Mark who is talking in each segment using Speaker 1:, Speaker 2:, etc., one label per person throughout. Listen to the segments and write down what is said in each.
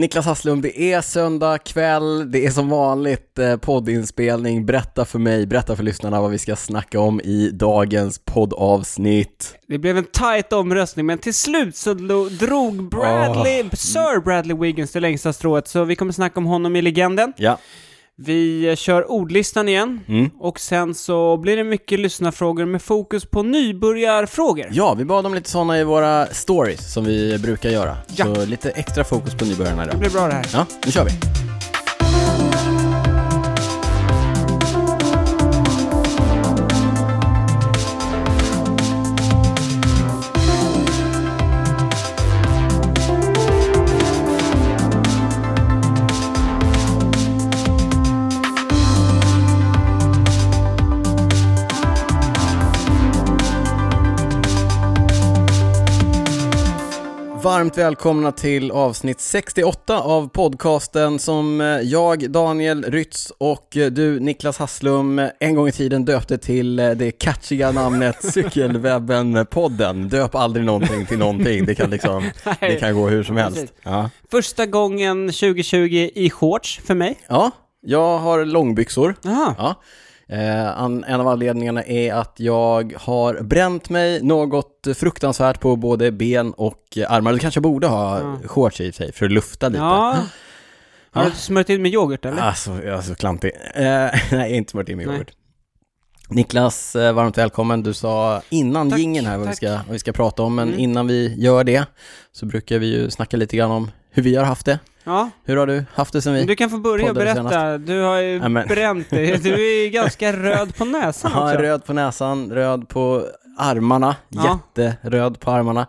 Speaker 1: Niklas Hasslund, det är söndag kväll, det är som vanligt eh, poddinspelning. Berätta för mig, berätta för lyssnarna vad vi ska snacka om i dagens poddavsnitt.
Speaker 2: Det blev en tight omröstning, men till slut så lo- drog
Speaker 1: Ah.
Speaker 2: Bradley,
Speaker 1: Mm.
Speaker 2: Sir Bradley Wiggins det längsta strået, så vi kommer snacka om honom i legenden.
Speaker 1: Ja,
Speaker 2: Vi eh, kör ordlistan igen,
Speaker 1: Mm.
Speaker 2: och sen så blir det mycket lyssnarfrågor med fokus på nybörjarfrågor.
Speaker 1: ja vi bad om lite sådana i våra stories som vi brukar göra.
Speaker 2: Ja.
Speaker 1: Så lite extra fokus på nybörjarna
Speaker 2: Det
Speaker 1: idag.
Speaker 2: blir bra det här.
Speaker 1: Ja, nu kör vi. Varmt välkomna till avsnitt 68 av podcasten som eh, jag, Daniel Rytz och eh, du, Niklas Hasslum, eh, en gång i tiden döpte till eh, det catchiga namnet Cykelwebben-podden. Döp aldrig någonting till någonting, det kan, liksom, det kan gå hur som helst.
Speaker 2: Precis.
Speaker 1: Ja,
Speaker 2: Första gången 2020 i shorts för mig.
Speaker 1: ja jag har långbyxor.
Speaker 2: Aha.
Speaker 1: Ja. Eh, an- en av anledningarna är att jag har bränt mig något fruktansvärt på både ben och eh, armar. Du kanske borde ha
Speaker 2: Ja.
Speaker 1: shorts i och för sig för att lufta lite.
Speaker 2: Ja. Har du smörjt in med yoghurt eller?
Speaker 1: Alltså, jag är så klantig. Eh, nej, jag har inte smört in med
Speaker 2: Nej.
Speaker 1: yoghurt. Niklas, eh, varmt välkommen. Du sa innan
Speaker 2: Tack,
Speaker 1: jingeln här vad vi,
Speaker 2: tack.
Speaker 1: ska, vad vi ska prata om, men
Speaker 2: Mm.
Speaker 1: innan vi gör det så brukar vi ju snacka lite grann om hur vi har haft det.
Speaker 2: Ja.
Speaker 1: Hur har du haft det sen vi...
Speaker 2: Du kan få börja
Speaker 1: Poddade
Speaker 2: berätta. Du har ju
Speaker 1: Ja, men-
Speaker 2: bränt dig. Du är ju ganska röd på näsan
Speaker 1: Ja,
Speaker 2: också.
Speaker 1: röd på näsan, röd på armarna,
Speaker 2: Ja.
Speaker 1: jätteröd på armarna.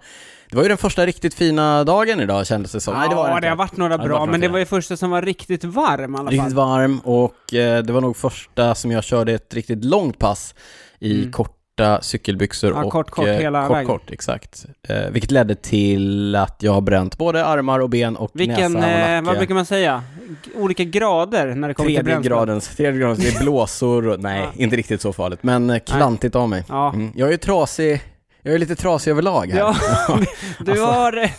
Speaker 1: Det var ju den första riktigt fina dagen idag kändes det som. Nej, det var
Speaker 2: ja,
Speaker 1: inte.
Speaker 2: det har varit några
Speaker 1: Ja, det har
Speaker 2: bra,
Speaker 1: varit några
Speaker 2: men det
Speaker 1: fina.
Speaker 2: var ju första som var riktigt varm i alla
Speaker 1: Riktigt
Speaker 2: fall.
Speaker 1: varm och eh, det var nog första som jag körde ett riktigt långt pass i
Speaker 2: Mm.
Speaker 1: korta cykelbyxor
Speaker 2: Ja,
Speaker 1: och
Speaker 2: kort, kort
Speaker 1: eh,
Speaker 2: hela
Speaker 1: kort,
Speaker 2: vägen.
Speaker 1: kort, exakt. Eh, vilket ledde till att jag har bränt både armar och ben och
Speaker 2: Vilken,
Speaker 1: näsa och
Speaker 2: eh,
Speaker 1: nacke.
Speaker 2: vad brukar man säga? G- Olika grader när det kommer till
Speaker 1: tredje
Speaker 2: bränsle.
Speaker 1: gradens, tredje gradens, det är blåsor och, nej,
Speaker 2: Ja.
Speaker 1: inte riktigt så farligt, men eh, klantigt av mig.
Speaker 2: Ja,
Speaker 1: Mm. Jag är ju trasig, jag är lite trasig överlag här.
Speaker 2: ja du
Speaker 1: Alltså.
Speaker 2: har... eh,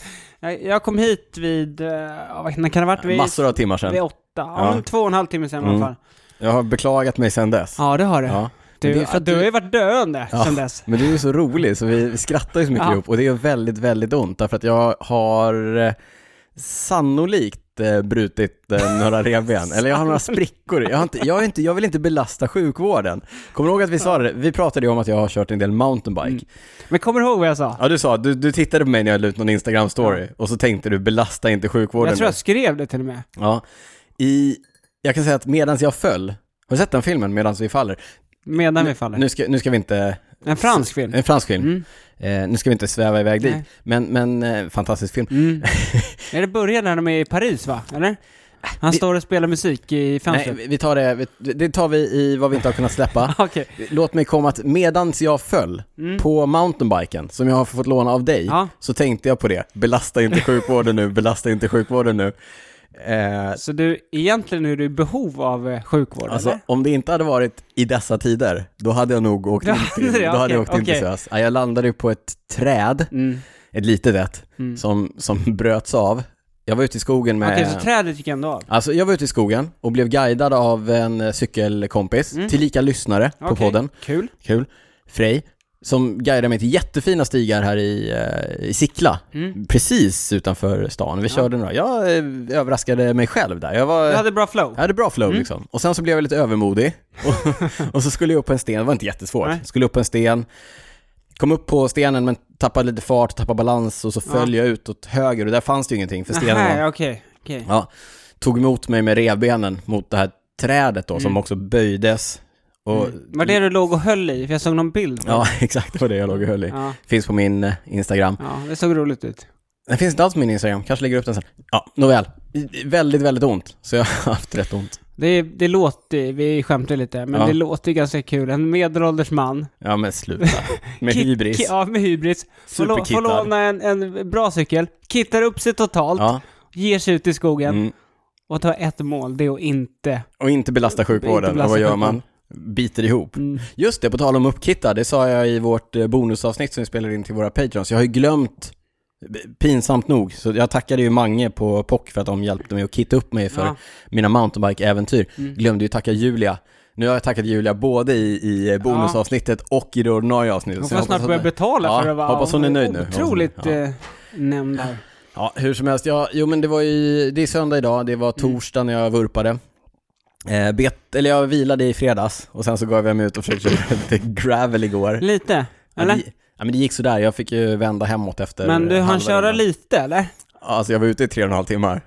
Speaker 2: jag- Jag kom hit vid, eh, ja, vad- när kan det ha varit? Vid,
Speaker 1: Massor av timmar sedan.
Speaker 2: vid åtta, ja,
Speaker 1: Ja.
Speaker 2: men två och en halv timme sedan i
Speaker 1: Mm.
Speaker 2: alla fall.
Speaker 1: Jag har beklagat mig sedan dess.
Speaker 2: Ja, det har du.
Speaker 1: Ja.
Speaker 2: Du,
Speaker 1: Men det är för att
Speaker 2: du
Speaker 1: du-
Speaker 2: har ju varit döende
Speaker 1: Ja.
Speaker 2: sedan dess.
Speaker 1: Men du är ju så rolig så vi vi skrattar ju så mycket
Speaker 2: Ja.
Speaker 1: ihop och det gör väldigt, väldigt ont därför att jag har eh, sannolikt eh, brutit eh, några revben, eller jag har några sprickor. Jag, har inte, jag, är inte, jag vill inte belasta sjukvården. Kommer du ihåg att vi sa det? Vi pratade ju om att jag har kört en del mountainbike.
Speaker 2: Mm. Men kommer du ihåg vad jag sa?
Speaker 1: Ja, du sa, du, du tittade på mig när jag la ut någon Instagram-story och så tänkte du belasta inte sjukvården.
Speaker 2: jag tror
Speaker 1: nu."
Speaker 2: jag skrev det till och med.
Speaker 1: Ja. I, jag kan säga att medan jag föll, har du sett den filmen, Medan vi faller?
Speaker 2: Medan vi faller.
Speaker 1: Nu ska, nu ska vi inte...
Speaker 2: En fransk film.
Speaker 1: En fransk film.
Speaker 2: Mm.
Speaker 1: Eh, nu ska vi inte sväva iväg dit,
Speaker 2: Nej.
Speaker 1: men, men eh, fantastisk film.
Speaker 2: Mm. Är det början när de är i Paris va? Eller? Han
Speaker 1: Vi-
Speaker 2: står och spelar musik i
Speaker 1: Nej,
Speaker 2: fönstret.
Speaker 1: vi- vi tar det, vi, det tar vi i vad vi inte har kunnat släppa.
Speaker 2: Okej.
Speaker 1: Låt mig komma att medans jag föll
Speaker 2: Mm.
Speaker 1: på mountainbiken, som jag har fått låna av dig,
Speaker 2: Ja.
Speaker 1: så tänkte jag på det. Belasta inte sjukvården nu, belasta inte sjukvården nu. Eh,
Speaker 2: Så du, egentligen är du i behov av eh, sjukvård
Speaker 1: alltså,
Speaker 2: eller?
Speaker 1: om det inte hade varit i dessa tider, då hade jag nog åkt
Speaker 2: Då
Speaker 1: in
Speaker 2: hade
Speaker 1: till,
Speaker 2: det,
Speaker 1: då hade jag
Speaker 2: okej,
Speaker 1: åkt in till
Speaker 2: okej.
Speaker 1: SÖS. Ja, Jag landade ju på ett träd,
Speaker 2: Mm.
Speaker 1: ett litet ett,
Speaker 2: Mm.
Speaker 1: som, som bröts av. Jag var ute i skogen med...
Speaker 2: Okej, så trädet gick ändå av?
Speaker 1: Alltså jag var ute i skogen och blev guidad av en eh, cykelkompis,
Speaker 2: Mm.
Speaker 1: tillika lyssnare på
Speaker 2: Okej,
Speaker 1: podden, Eh,
Speaker 2: Kul.
Speaker 1: kul, Frej, som guidade mig till jättefina stigar här i, eh, i Sickla,
Speaker 2: Mm.
Speaker 1: precis utanför stan. Vi
Speaker 2: Ja.
Speaker 1: körde några, jag eh, överraskade mig själv där. Jag, var,
Speaker 2: Du hade bra flow?
Speaker 1: jag hade bra flow
Speaker 2: Mm.
Speaker 1: liksom. Och sen så blev jag lite övermodig och, och så skulle jag upp på en sten, det var inte jättesvårt,
Speaker 2: Nej.
Speaker 1: skulle upp på en sten, kom upp på stenen men tappade lite fart, tappade balans och så föll jag ut åt höger och där fanns det ju ingenting för stenen var
Speaker 2: Nej, okej. okej.
Speaker 1: Ja, tog emot mig med revbenen mot det här trädet då, som också böjdes. Och,
Speaker 2: Var det du låg och höll i? För jag såg någon bild på
Speaker 1: Ja, exakt vad det jag låg och höll i.
Speaker 2: det. Ja.
Speaker 1: Finns på min eh, Instagram.
Speaker 2: ja, det såg roligt ut.
Speaker 1: Den finns inte alls på min Instagram, kanske lägger upp den sen. Ja, nåväl. I- Väldigt, väldigt ont. Så jag har haft rätt ont.
Speaker 2: Det, det låter, vi skämtar lite, men
Speaker 1: Ja.
Speaker 2: det låter ju ganska kul. En medelålders man.
Speaker 1: Ja, men sluta. Med
Speaker 2: Kit-
Speaker 1: hybris.
Speaker 2: ki- Ja, med hybris. Får lå- Får
Speaker 1: Superkittad.
Speaker 2: låna en, en bra cykel, kittar upp sig totalt,
Speaker 1: Ja,
Speaker 2: ger sig ut i skogen
Speaker 1: mm.
Speaker 2: och tar ett mål, det är att inte...
Speaker 1: Och inte belasta sjukvården.
Speaker 2: Inte belasta
Speaker 1: och vad gör man? Biter ihop.
Speaker 2: Mm.
Speaker 1: Just det, på tal om uppkittar, det sa jag i vårt eh, bonusavsnitt som vi spelade in till våra patreons. Jag har ju glömt pinsamt nog. Så jag tackade ju Mange på POC för att de hjälpte mig att kitta upp mig för
Speaker 2: Ja. Mm.
Speaker 1: mina mountainbike-äventyr. Glömde ju tacka Julia. Nu har jag tackat Julia både i, i eh, bonusavsnittet och i det ordinarie avsnittet.
Speaker 2: Hon
Speaker 1: Så jag
Speaker 2: får snart
Speaker 1: hoppas att-
Speaker 2: börja betala
Speaker 1: ja,
Speaker 2: för det. va?
Speaker 1: Hoppas hon är nöjd nu.
Speaker 2: Otroligt
Speaker 1: Ja.
Speaker 2: eh, nämnd här.
Speaker 1: Ja, hur som helst. Ja, jo, men det var ju, det är söndag idag, det var
Speaker 2: Mm.
Speaker 1: torsdag när jag vurpade. Eh, bet, eller jag vilade i fredags och sen så gav jag mig ut och försökte köra lite gravel igår.
Speaker 2: Lite,
Speaker 1: Ja, det,
Speaker 2: eller?
Speaker 1: ja, men det gick sådär, jag fick ju vända hemåt efter
Speaker 2: Men du
Speaker 1: eh,
Speaker 2: hann
Speaker 1: halva
Speaker 2: köra
Speaker 1: rundan.
Speaker 2: lite, eller?
Speaker 1: Ja, Alltså jag var ute i tre och en halv timmar.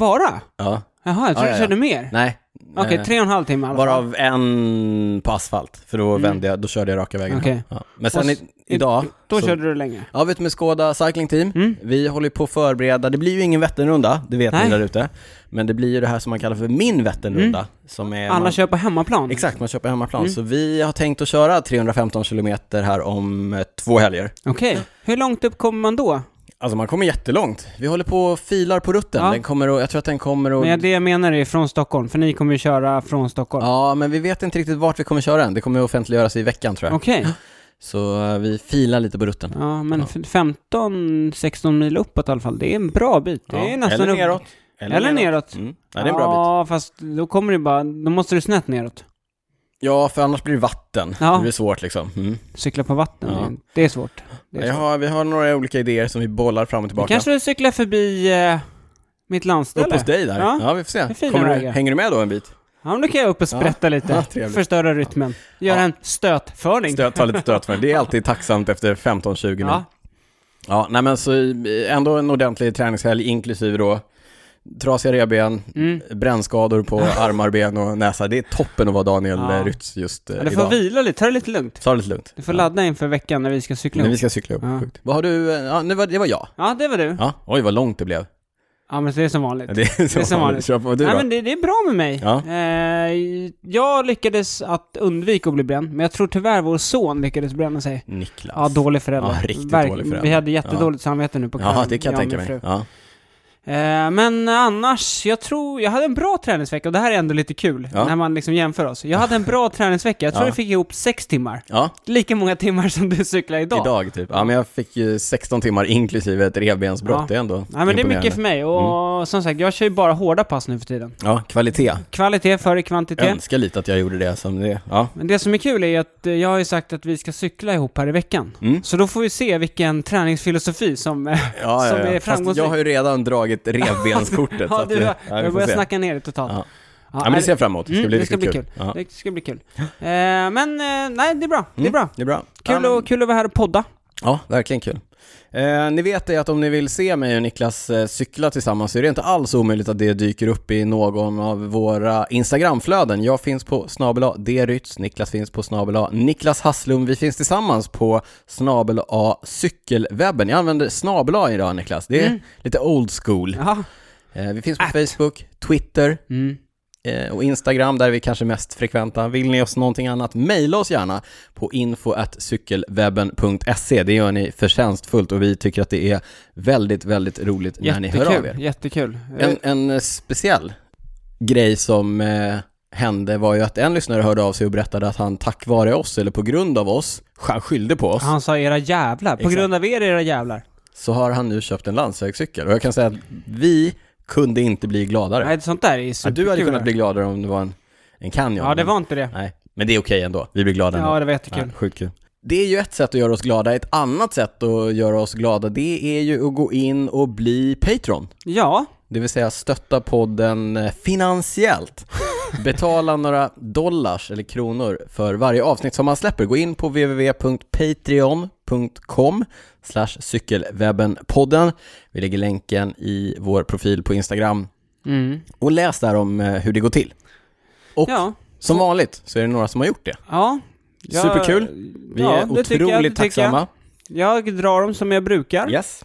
Speaker 2: Bara?
Speaker 1: Ja,
Speaker 2: Jaha, jag
Speaker 1: Ja,
Speaker 2: trodde
Speaker 1: ja,
Speaker 2: du
Speaker 1: ja.
Speaker 2: körde mer.
Speaker 1: nej.
Speaker 2: Okej,
Speaker 1: eh,
Speaker 2: tre och en halv timme i alla fall.
Speaker 1: Varav en på asfalt, för då vände jag, då körde jag raka vägen.
Speaker 2: Mm. Okej.
Speaker 1: Ja. Men sen
Speaker 2: Och
Speaker 1: i,
Speaker 2: s-
Speaker 1: idag,
Speaker 2: Då
Speaker 1: så-
Speaker 2: körde du längre.
Speaker 1: Ja, vi är ute med Skoda Cycling Team.
Speaker 2: Mm.
Speaker 1: Vi håller på att förbereda, det blir ju ingen Vätternrunda, det vet
Speaker 2: Nej. Mm.
Speaker 1: ni där ute. Men det blir ju det här som man kallar för min Vätternrunda. Som är
Speaker 2: Alla
Speaker 1: man,
Speaker 2: kör Mm. på hemmaplan.
Speaker 1: Exakt, man kör på hemmaplan. Så vi har tänkt att köra 315 kilometer här om eh, två helger.
Speaker 2: Okej, hur långt upp kommer man då?
Speaker 1: Alltså man kommer jättelångt. Vi håller på och filar på rutten.
Speaker 2: Ja.
Speaker 1: Den kommer att, jag tror att den kommer att...
Speaker 2: Men det jag menar är från Stockholm, för ni kommer ju köra från Stockholm.
Speaker 1: Ja, men vi vet inte riktigt vart vi kommer köra den. Det kommer att offentliggöras i veckan tror jag.
Speaker 2: Okej,
Speaker 1: Så eh, vi filar lite på rutten.
Speaker 2: ja men f- 15-16 mil uppåt i alla fall, det är en bra bit. Det är
Speaker 1: Ja,
Speaker 2: nästan
Speaker 1: eller
Speaker 2: upp-
Speaker 1: neråt.
Speaker 2: Eller, neråt.
Speaker 1: Mm. Ja, det är en bra bit.
Speaker 2: Ja, fast då kommer det bara, då måste du snett neråt.
Speaker 1: Ja, för annars blir det vatten.
Speaker 2: Ja.
Speaker 1: Det blir svårt liksom. Mm.
Speaker 2: Cykla på vatten,
Speaker 1: Ja.
Speaker 2: det är svårt. Det är
Speaker 1: Jag
Speaker 2: svårt.
Speaker 1: har, vi har några olika idéer som vi bollar fram och tillbaka.
Speaker 2: Kanske du cyklar förbi eh, mitt landställe?
Speaker 1: Upp hos dig där.
Speaker 2: Ja.
Speaker 1: Ja, vi får
Speaker 2: är
Speaker 1: se.
Speaker 2: fina
Speaker 1: Kommer du,
Speaker 2: vägar.
Speaker 1: hänger du med då en bit?
Speaker 2: Ja, men då kan jag upp och sprätta lite.
Speaker 1: Ja, trevligt.
Speaker 2: Förstöra rytmen. Göra
Speaker 1: Ja.
Speaker 2: en stötförning.
Speaker 1: Stöt, ta lite stöt för det. Det är alltid tacksamt efter 15-20 mil.
Speaker 2: Ja.
Speaker 1: Ja. nej men så eh, ändå en ordentlig träningshelg inklusive då trasiga revben,
Speaker 2: Mm.
Speaker 1: brännskador på armar, ben och näsa. Det är toppen att vara Daniel
Speaker 2: Ja.
Speaker 1: ja. Rytz just eh,
Speaker 2: Ja, Du får
Speaker 1: idag.
Speaker 2: vila lite, ta det lite lugnt.
Speaker 1: Ta det lite lugnt.
Speaker 2: Du får ladda inför veckan när vi ska cykla
Speaker 1: När vi
Speaker 2: upp.
Speaker 1: ska cykla upp.
Speaker 2: Ja.
Speaker 1: Sjukt. Vad har du, eh, ja, nu var, det var jag.
Speaker 2: Ja, det var du.
Speaker 1: Ja, oj vad långt det blev.
Speaker 2: Ja, men det är som vanligt.
Speaker 1: Ja, Det är som,
Speaker 2: Det är som vanligt.
Speaker 1: vanligt. Kör på, du
Speaker 2: Nej,
Speaker 1: då?
Speaker 2: men det, det är bra med mig.
Speaker 1: Ja.
Speaker 2: Eh, jag lyckades att undvika att bli bränd, men jag tror tyvärr vår son lyckades bränna sig.
Speaker 1: Niklas.
Speaker 2: Ja, dålig förälder.
Speaker 1: Ja, riktigt dålig förälder.
Speaker 2: Vi hade jättedåligt samvete nu på kvällen.
Speaker 1: Ja, det kan jag
Speaker 2: och
Speaker 1: tänka
Speaker 2: min
Speaker 1: mig.
Speaker 2: fru.
Speaker 1: Ja.
Speaker 2: Eh, men annars, jag tror, jag hade en bra träningsvecka och det här är ändå lite kul
Speaker 1: Ja.
Speaker 2: när man liksom jämför oss. Jag hade en bra träningsvecka, jag tror
Speaker 1: Ja.
Speaker 2: jag fick ihop sex timmar.
Speaker 1: ja,
Speaker 2: Lika många timmar som du cyklar idag.
Speaker 1: idag typ. Ja, men jag fick ju 16 timmar inklusive ett revbensbrott.
Speaker 2: Ja.
Speaker 1: Det är ändå
Speaker 2: Nej men det är mycket
Speaker 1: imponerande. Mm.
Speaker 2: för mig och som sagt, jag kör ju bara hårda pass nu för tiden.
Speaker 1: Ja, kvalitet.
Speaker 2: Kvalitet före kvantitet.
Speaker 1: Jag önskar lite att jag gjorde det som det. Ja,
Speaker 2: Men det som är kul är ju att eh, jag har ju sagt att vi ska cykla ihop här i veckan.
Speaker 1: Mm.
Speaker 2: Så då får vi se vilken träningsfilosofi som... eh,
Speaker 1: ja,
Speaker 2: Som
Speaker 1: ja,
Speaker 2: är
Speaker 1: ja. Fast
Speaker 2: framgångsrik.
Speaker 1: jag har ju redan dragit revbenskortet. så
Speaker 2: ja,
Speaker 1: att
Speaker 2: du
Speaker 1: det-
Speaker 2: har
Speaker 1: vi
Speaker 2: jag
Speaker 1: får
Speaker 2: börjar
Speaker 1: se.
Speaker 2: snacka ner det totalt.
Speaker 1: Ja.
Speaker 2: Ja,
Speaker 1: Ja, men
Speaker 2: nej,
Speaker 1: det ser jag fram emot. Det ska
Speaker 2: Mm,
Speaker 1: bli
Speaker 2: det ska
Speaker 1: riktigt
Speaker 2: bli
Speaker 1: kul.
Speaker 2: kul.
Speaker 1: Ja.
Speaker 2: Det ska bli kul. Eh, men eh, nej, det är bra. Det är
Speaker 1: Mm,
Speaker 2: bra.
Speaker 1: Det är bra.
Speaker 2: Kul,
Speaker 1: ja,
Speaker 2: och, kul att vara här och podda.
Speaker 1: ja, verkligen kul. Eh, ni vet det att om ni vill se mig och Niklas eh, cykla tillsammans så är det inte alls omöjligt att det dyker upp i någon av våra Instagramflöden. Jag finns på snabel A Drytz, Niklas finns på snabel A Niklas Hasslum. Vi finns tillsammans på snabel A Cykelwebben. Jag använder snabel A idag Niklas, det är lite old school.
Speaker 2: Jaha.
Speaker 1: Eh, vi finns på Facebook, Twitter
Speaker 2: Mm.
Speaker 1: eh, och Instagram, där är vi kanske mest frekventa. Vill ni oss någonting annat, mejla oss gärna på info.cykelwebben.se. Det gör ni förtjänstfullt och vi tycker att det är väldigt, väldigt roligt när ni hör av
Speaker 2: Jättekul.
Speaker 1: er.
Speaker 2: Jättekul. Eh,
Speaker 1: En, en eh, speciell grej som eh, hände var ju att en lyssnare hörde av sig och berättade att han tack vare oss, eller på grund av oss, han skyllde på oss,
Speaker 2: Han sa era jävlar. På
Speaker 1: Exakt.
Speaker 2: grund av er, era jävlar.
Speaker 1: så har han nu köpt en landsvägscykel. Och jag kan säga att vi kunde inte bli gladare.
Speaker 2: Nej, sånt där är ju
Speaker 1: Ja,
Speaker 2: superkul.
Speaker 1: du hade kunnat bli gladare om det var en, en kanjon.
Speaker 2: Ja, det
Speaker 1: men-
Speaker 2: var inte det.
Speaker 1: Nej, men det är okej ändå. Vi blir glada ändå.
Speaker 2: Ja, det var
Speaker 1: Ja,
Speaker 2: jättekul.
Speaker 1: sjukt kul. Det är ju ett sätt att göra oss glada. Ett annat sätt att göra oss glada, det är ju att gå in och bli Patreon.
Speaker 2: Ja,
Speaker 1: Det vill säga stötta podden eh, finansiellt. Betala några dollars eller kronor för varje avsnitt som man släpper. Gå in på www.patreon.com cykelwebbenpodden. Vi lägger länken i vår profil på Instagram
Speaker 2: mm.
Speaker 1: och läs där om eh, hur det går till. Och
Speaker 2: ja.
Speaker 1: som vanligt så är det några som har gjort det.
Speaker 2: ja. Jag-
Speaker 1: Superkul. Vi
Speaker 2: ja,
Speaker 1: är
Speaker 2: det tycker jag,
Speaker 1: otroligt
Speaker 2: det tycker jag.
Speaker 1: tacksamma.
Speaker 2: Jag drar dem som jag brukar.
Speaker 1: Yes.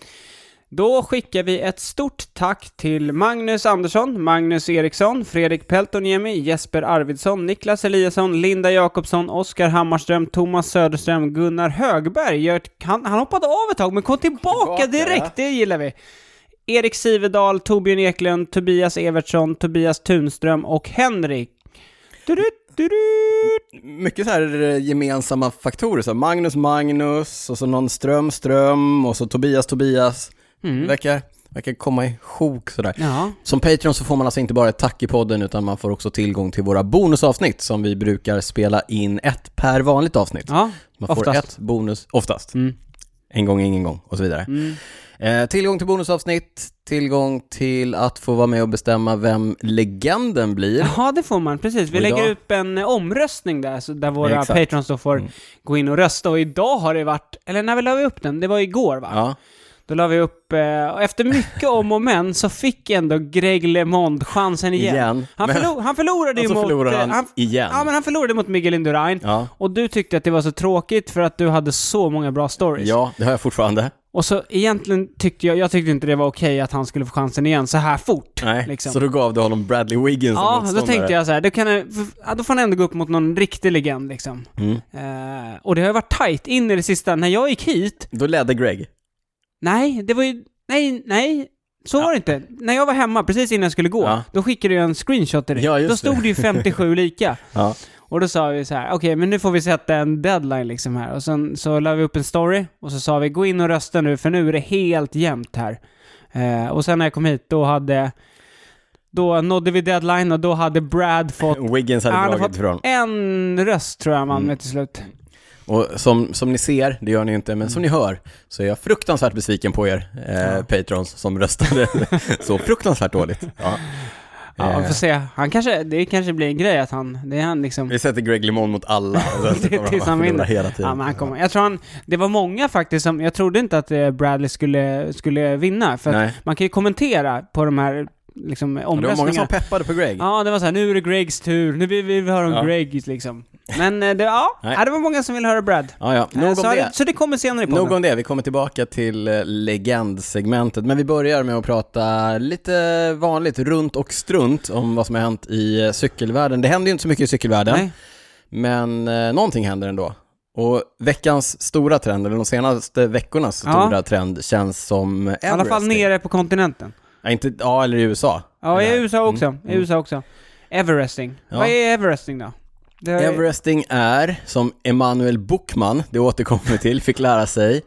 Speaker 2: Då skickar vi ett stort tack till Magnus Andersson, Magnus Eriksson, Fredrik Peltoniemi, Jesper Arvidsson, Niklas Eliasson, Linda Jakobsson, Oskar Hammarström, Thomas Söderström, Gunnar Högberg. Gert, han, han hoppade av ett tag men kom tillbaka
Speaker 1: Tillbaka,
Speaker 2: direkt,
Speaker 1: ja.
Speaker 2: det gillar vi. Erik Sivedal, Torbjörn Eklund, Tobias Evertsson, Tobias Tunström och Henrik. Du-du, du-du.
Speaker 1: Mycket så här eh, gemensamma faktorer, så här Magnus Magnus, och så någon Ström Ström, och så Tobias Tobias.
Speaker 2: Mm.
Speaker 1: Verkar, verkar komma i sjok sådär.
Speaker 2: Ja,
Speaker 1: Som Patreon så får man alltså inte bara ett tack i podden utan man får också tillgång till våra bonusavsnitt som vi brukar spela in ett per vanligt avsnitt.
Speaker 2: ja.
Speaker 1: Man får
Speaker 2: oftast.
Speaker 1: ett bonus, oftast.
Speaker 2: Mm.
Speaker 1: En gång, ingen gång och så vidare.
Speaker 2: Mm.
Speaker 1: Eh, tillgång till bonusavsnitt, tillgång till att få vara med och bestämma vem legenden blir.
Speaker 2: Ja, det får man. Precis. Vi
Speaker 1: Och
Speaker 2: lägger
Speaker 1: idag-
Speaker 2: upp en eh, omröstning där, så där våra
Speaker 1: Exakt. Mm.
Speaker 2: patrons då får gå in och rösta. Och idag har det varit, eller när vi la vi upp den? Det var igår va?
Speaker 1: Ja,
Speaker 2: Då la vi upp, eh, och efter mycket om och men så fick ändå Greg LeMond chansen igen.
Speaker 1: igen.
Speaker 2: Han,
Speaker 1: Men-
Speaker 2: förlo- han förlorade ju
Speaker 1: Och så
Speaker 2: mot...
Speaker 1: förlorar
Speaker 2: eh,
Speaker 1: han, igen.
Speaker 2: Ja, men han förlorade mot Miguel Indurain.
Speaker 1: Ja.
Speaker 2: Och du tyckte att det var så tråkigt för att du hade så många bra stories.
Speaker 1: ja, det har jag fortfarande.
Speaker 2: Och så egentligen tyckte jag, jag tyckte inte det var okej att han skulle få chansen igen så här fort.
Speaker 1: Nej,
Speaker 2: liksom.
Speaker 1: så då gav du honom Bradley Wiggins som
Speaker 2: Ja, då
Speaker 1: motståndare.
Speaker 2: tänkte jag så här, då, kan jag, för- ja, då får han ändå gå upp mot någon riktig legend liksom.
Speaker 1: Mm.
Speaker 2: Eh, och det har ju varit tight in i det sista. När jag gick hit,
Speaker 1: Då ledde Greg.
Speaker 2: nej, det var ju, nej, nej, så var det inte. När jag var hemma, precis innan jag skulle gå,
Speaker 1: Ja.
Speaker 2: då skickade jag en screenshot till dig.
Speaker 1: Ja, just
Speaker 2: då stod
Speaker 1: det.
Speaker 2: det ju 57 lika.
Speaker 1: Ja.
Speaker 2: Och då sa vi så här, okej, men nu får vi sätta en deadline liksom här. Och sen så la vi upp en story och så sa vi, gå in och rösta nu för nu är det helt jämnt här. Eh, och sen när jag kom hit, då hade, då nådde vi deadline och då hade Brad fått
Speaker 1: Wiggins hade
Speaker 2: Han har
Speaker 1: dragit
Speaker 2: fått-
Speaker 1: ifrån.
Speaker 2: en röst tror jag man
Speaker 1: Mm.
Speaker 2: med till slut.
Speaker 1: Och som, som ni ser, det gör ni ju inte, men som ni hör så är jag fruktansvärt besviken på er eh,
Speaker 2: Ja.
Speaker 1: patrons som röstade så fruktansvärt dåligt. Ja.
Speaker 2: Ja, vi
Speaker 1: eh,
Speaker 2: får se. Han kanske, det kanske blir en grej att han, det är han liksom.
Speaker 1: vi sätter Greg LeMond mot alla och sen så
Speaker 2: Det-
Speaker 1: kommer
Speaker 2: tills han
Speaker 1: han
Speaker 2: vinner.
Speaker 1: vinner hela tiden.
Speaker 2: Ja, men han kommer. Jag tror han, det var många faktiskt som, jag trodde inte att eh, Bradley skulle, skulle vinna. För att
Speaker 1: Nej.
Speaker 2: man kan ju kommentera på de här liksom,
Speaker 1: Ja, Det var många som
Speaker 2: omröstningarna.
Speaker 1: peppade på Greg.
Speaker 2: Ja, det var så här, nu är det Gregs tur, nu vill vi höra om
Speaker 1: Ja.
Speaker 2: Greg liksom. Men eh, det, ja,
Speaker 1: Nej.
Speaker 2: ja, det var många som ville höra Brad.
Speaker 1: Ja, ja. Nog om
Speaker 2: Eh, så,
Speaker 1: det.
Speaker 2: så det kommer senare i podden.
Speaker 1: Nog om det, vi kommer tillbaka till eh, legendsegmentet. Men vi börjar med att prata lite vanligt runt och strunt om vad som har hänt i eh, cykelvärlden. Det händer ju inte så mycket i cykelvärlden.
Speaker 2: Nej.
Speaker 1: Men eh, någonting händer ändå. Och veckans stora trend, eller de senaste veckornas
Speaker 2: Ja.
Speaker 1: stora trend, känns som Everest. typ.
Speaker 2: I alla fall nere på kontinenten.
Speaker 1: Ja, inte, ja, eller i USA.
Speaker 2: Ja, i
Speaker 1: Eller-
Speaker 2: USA också.
Speaker 1: Mm.
Speaker 2: I USA också. Everesting.
Speaker 1: Ja.
Speaker 2: Vad är Everesting då? Det är-
Speaker 1: Everesting är, som Emanuel Bookman, det återkommer vi till, fick lära sig,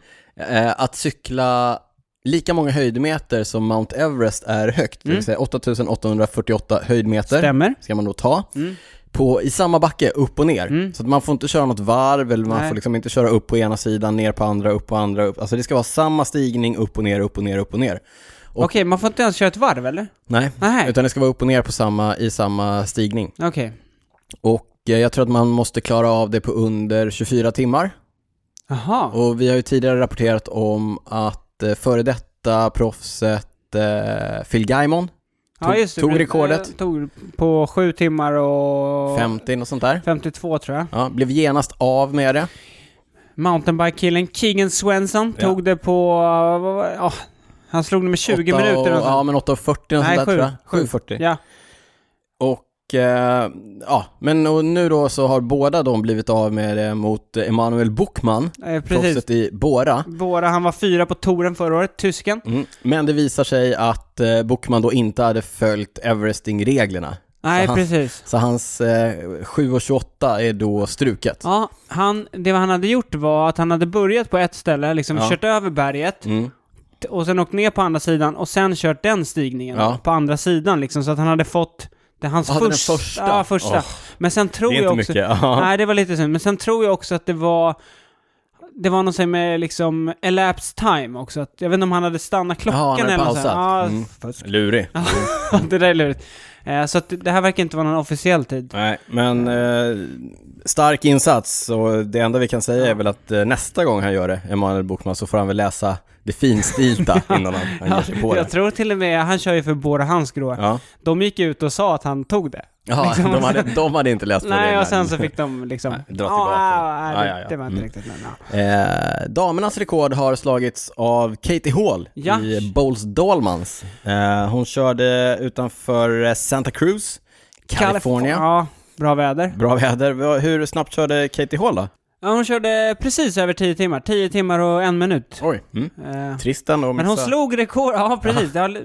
Speaker 1: eh, att cykla lika många höjdmeter som Mount Everest är högt, det
Speaker 2: Mm.
Speaker 1: vill säga 8848 höjdmeter
Speaker 2: Stämmer.
Speaker 1: ska man då ta,
Speaker 2: Mm.
Speaker 1: på, i samma backe, upp och ner.
Speaker 2: Mm.
Speaker 1: Så att man får inte köra något varv, eller man
Speaker 2: Nej.
Speaker 1: får liksom inte köra upp på ena sidan, ner på andra, upp på andra, upp. Alltså det ska vara samma stigning, upp och ner, upp och ner, upp och ner. Och-
Speaker 2: Okej, man får inte ens köra ett varv eller?
Speaker 1: Nej,
Speaker 2: Nej.
Speaker 1: utan det ska vara upp och ner på samma, i samma stigning.
Speaker 2: Okej.
Speaker 1: Och eh, jag tror att man måste klara av det på under 24 timmar.
Speaker 2: Jaha.
Speaker 1: Och vi har ju tidigare rapporterat om att eh, före detta proffset eh, Phil Gaimon, tog- tog
Speaker 2: men-
Speaker 1: rekordet.
Speaker 2: eh, Tog på sju timmar och...
Speaker 1: 50 och sånt där,
Speaker 2: 52 tror jag.
Speaker 1: ja, blev genast av med det.
Speaker 2: Mountainbike-killen Keegan Swenson
Speaker 1: Ja.
Speaker 2: tog det på... vad var- Ja, han slog det med 20
Speaker 1: Åtta och-
Speaker 2: minuter och,
Speaker 1: Ja, men 8.40 och sånt
Speaker 2: Nej,
Speaker 1: där
Speaker 2: sju.
Speaker 1: tror jag.
Speaker 2: Sju.
Speaker 1: 7.40.
Speaker 2: ja.
Speaker 1: Och eh, ja, men och nu då så har båda de blivit av med det mot eh, Emanuel Bockman,
Speaker 2: eh, precis.
Speaker 1: proffset i Bora.
Speaker 2: Båda, han var fyra på touren förra året, tysken.
Speaker 1: Mm. Men det visar sig att eh, Bockman då inte hade följt Everesting-reglerna.
Speaker 2: Nej,
Speaker 1: han-
Speaker 2: precis.
Speaker 1: Så hans eh, 7.28 är då struket.
Speaker 2: Ja, han, det han hade gjort var att han hade börjat på ett ställe, liksom
Speaker 1: Ja.
Speaker 2: kört över berget
Speaker 1: Mm.
Speaker 2: och sen åkt ner på andra sidan och sen kört den stigningen
Speaker 1: Ja.
Speaker 2: på andra sidan liksom, så att han hade fått det, hans
Speaker 1: Ja, den
Speaker 2: första.
Speaker 1: första.
Speaker 2: Ja, första.
Speaker 1: Åh.
Speaker 2: Men sen tror
Speaker 1: Det är
Speaker 2: jag
Speaker 1: inte
Speaker 2: också...
Speaker 1: mycket. Ja.
Speaker 2: Nej, det var lite synd. Men sen tror jag också att det var... Det var någon som med liksom elapsed time också. Att, jag vet inte om han hade stannat klockan
Speaker 1: Jaha, han hade
Speaker 2: eller något
Speaker 1: pausat.
Speaker 2: sånt. Ja,
Speaker 1: Mm.
Speaker 2: fusk.
Speaker 1: Lurig.
Speaker 2: det där är lurigt. Eh, så att det här verkar inte vara någon officiell tid.
Speaker 1: Nej, men eh, stark insats och det enda vi kan säga är väl att eh, nästa gång han gör det, Emanuel Bockman, så får han väl läsa det finstilta innan han, han ger sig på
Speaker 2: jag
Speaker 1: det.
Speaker 2: tror till och med, han kör ju för Bora Hansgrohe.
Speaker 1: Ja.
Speaker 2: De gick ut och sa att han tog det.
Speaker 1: Jaha,
Speaker 2: Liksom,
Speaker 1: de, hade, de hade inte läst på
Speaker 2: Nej,
Speaker 1: reglerna.
Speaker 2: och sen så fick de liksom...
Speaker 1: Nej, dra
Speaker 2: "Ah,
Speaker 1: tillbaka."
Speaker 2: ah, nej,
Speaker 1: Ja, Mm.
Speaker 2: det,
Speaker 1: ja, ja.
Speaker 2: det var inte riktigt... Men, ja.
Speaker 1: Eh, damernas rekord har slagits av Katie Hall
Speaker 2: Ja.
Speaker 1: i Bowles Dolmans. Eh, hon körde utanför eh, Santa Cruz, Kalifornien.
Speaker 2: Ja, bra väder.
Speaker 1: Bra väder. Vad- Hur snabbt körde Katie Hall då?
Speaker 2: Ja, hon körde precis över 10 timmar. 10 timmar och en minut.
Speaker 1: Oj. Mm.
Speaker 2: Eh,
Speaker 1: Trist ändå att
Speaker 2: men hon
Speaker 1: missa.
Speaker 2: slog rekord, ja precis. Det var,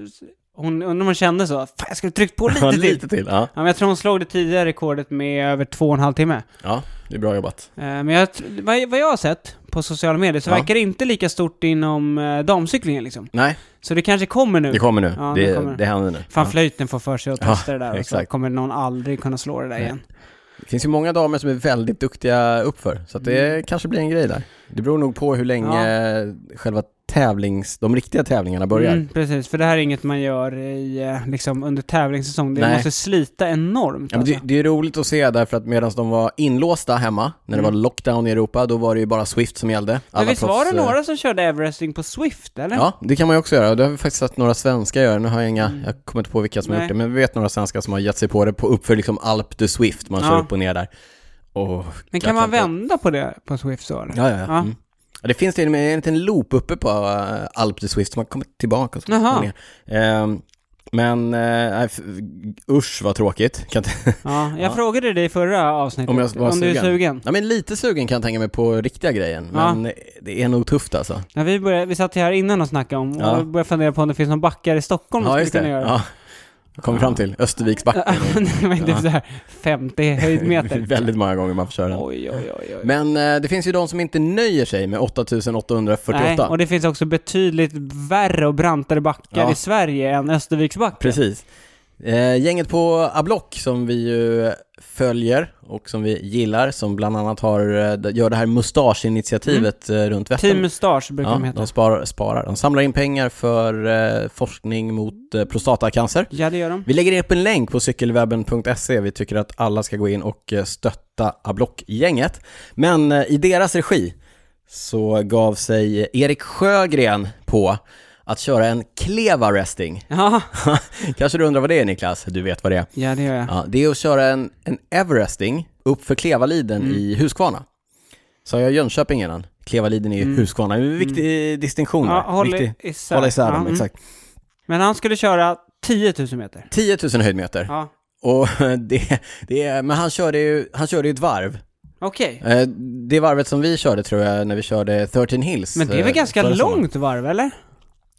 Speaker 2: hon, undrar om hon kände så, fan jag skulle tryckt på lite
Speaker 1: Ja,
Speaker 2: till.
Speaker 1: lite till. Ja.
Speaker 2: Ja, men jag tror hon slog det tidigare rekordet med över två och en halv timme.
Speaker 1: ja, det är bra jobbat.
Speaker 2: Eh, men jag, tr- vad, vad jag har sett på sociala medier, så
Speaker 1: Ja.
Speaker 2: verkar det inte lika stort inom eh, damcyklingen liksom.
Speaker 1: Nej,
Speaker 2: Så det kanske kommer nu.
Speaker 1: det kommer nu.
Speaker 2: Ja,
Speaker 1: det,
Speaker 2: det
Speaker 1: det,
Speaker 2: kommer.
Speaker 1: händer nu.
Speaker 2: Fan
Speaker 1: Ja.
Speaker 2: flöjten får för sig att
Speaker 1: Ja,
Speaker 2: testa det där och så
Speaker 1: exakt.
Speaker 2: kommer någon aldrig kunna slå det där
Speaker 1: Nej.
Speaker 2: igen.
Speaker 1: Det finns ju många damer som är väldigt duktiga uppför, så att det
Speaker 2: Mm.
Speaker 1: kanske blir en grej där. Det beror nog på hur länge själva tävlings, de riktiga tävlingarna börjar.
Speaker 2: Mm, precis, för det här är inget man gör i, eh, liksom, under tävlingssäsong. Det
Speaker 1: Nej.
Speaker 2: måste slita enormt
Speaker 1: Ja, men
Speaker 2: alltså.
Speaker 1: det, det är roligt att se därför att medan de var inlåsta hemma, när det
Speaker 2: Mm.
Speaker 1: var lockdown i Europa, då var det ju bara Swift som gällde.
Speaker 2: Men
Speaker 1: Alla
Speaker 2: visst var det
Speaker 1: proffs, eh,
Speaker 2: några som körde Everesting på Swift, eller?
Speaker 1: Ja, det kan man ju också göra. Det har vi faktiskt sett några svenskar göra. Nu har jag inga,
Speaker 2: Mm.
Speaker 1: jag kommer inte på vilka som har
Speaker 2: Nej.
Speaker 1: gjort det, men vi vet några svenskar som har gett sig på det på, uppför liksom Alp de Swift, man
Speaker 2: Ja.
Speaker 1: kör upp och ner där. Och,
Speaker 2: men kan man
Speaker 1: jag kan
Speaker 2: vända på det på Swift så, eller?
Speaker 1: ja, ja, ja.
Speaker 2: Ja.
Speaker 1: Mm. Ja, Det finns till och med en liten loop uppe på eh, Alp de Swift som man kommer tillbaka och så
Speaker 2: Jaha.
Speaker 1: kommer ner. Ehm, men, eh, nej, f- usch vad tråkigt. Kan inte...
Speaker 2: Ja, jag
Speaker 1: Ja.
Speaker 2: frågade dig i förra avsnittet
Speaker 1: Om
Speaker 2: om,
Speaker 1: jag var
Speaker 2: du är
Speaker 1: sugen.
Speaker 2: sugen.
Speaker 1: Ja men lite sugen kan jag tänka mig på riktiga grejen,
Speaker 2: Ja.
Speaker 1: men det är nog tufft alltså.
Speaker 2: Ja, vi, började, vi satt ju här innan och snackade om,
Speaker 1: Ja.
Speaker 2: och jag började fundera på om det finns någon backar i Stockholm man skulle kunna göra.
Speaker 1: Ja. Kom fram till Österviksbacken.
Speaker 2: men det är
Speaker 1: Ja.
Speaker 2: sådär 50 höjdmeter.
Speaker 1: Väldigt många gånger man får köra den.
Speaker 2: Oj, oj, oj, oj.
Speaker 1: Men eh, det finns ju de som inte nöjer sig med 8848.
Speaker 2: Nej, och det finns också betydligt värre och brantare backar
Speaker 1: Ja.
Speaker 2: i Sverige än Österviksbacken.
Speaker 1: Precis. Eh, gänget på Ablock som vi ju följer och som vi gillar, som bland annat har, eh, gör det här mustaschinitiativet eh, runt
Speaker 2: Mm. Team
Speaker 1: Vättern.
Speaker 2: Mustasch brukar
Speaker 1: Ja,
Speaker 2: de heta.
Speaker 1: de sparar, sparar. De samlar in pengar för eh, forskning mot eh, prostatacancer.
Speaker 2: Ja, det gör de.
Speaker 1: Vi lägger upp en länk på cykelwebben.se. Vi tycker att alla ska gå in och eh, stötta Ablock-gänget. Men eh, i deras regi så gav sig Erik Sjögren på att köra en Kleva Resting.
Speaker 2: Ja,
Speaker 1: Kanske du undrar vad det är Niklas? Du vet vad det är.
Speaker 2: ja det gör jag.
Speaker 1: Ja, det är att köra en, en Everesting uppför Klevaliden
Speaker 2: Mm.
Speaker 1: i Huskvarna. Sa jag Jönköping innan? Klevaliden är ju Huskvarna. Det är en viktig eh, distinktion
Speaker 2: Mm. Ja,
Speaker 1: där.
Speaker 2: håll
Speaker 1: Viktig-
Speaker 2: isär.
Speaker 1: Hålla isär
Speaker 2: Ja,
Speaker 1: dem,
Speaker 2: mm.
Speaker 1: exakt.
Speaker 2: Men han skulle köra 10 000 meter.
Speaker 1: 10 000 höjdmeter.
Speaker 2: Ja,
Speaker 1: Och det, det, är- men han körde, ju, han körde ju ett varv.
Speaker 2: okej.
Speaker 1: Eh, Det varvet som vi körde tror jag, när vi körde 13 Hills.
Speaker 2: Men det är
Speaker 1: eh,
Speaker 2: väl ganska
Speaker 1: förra sommaren.
Speaker 2: långt varv, eller?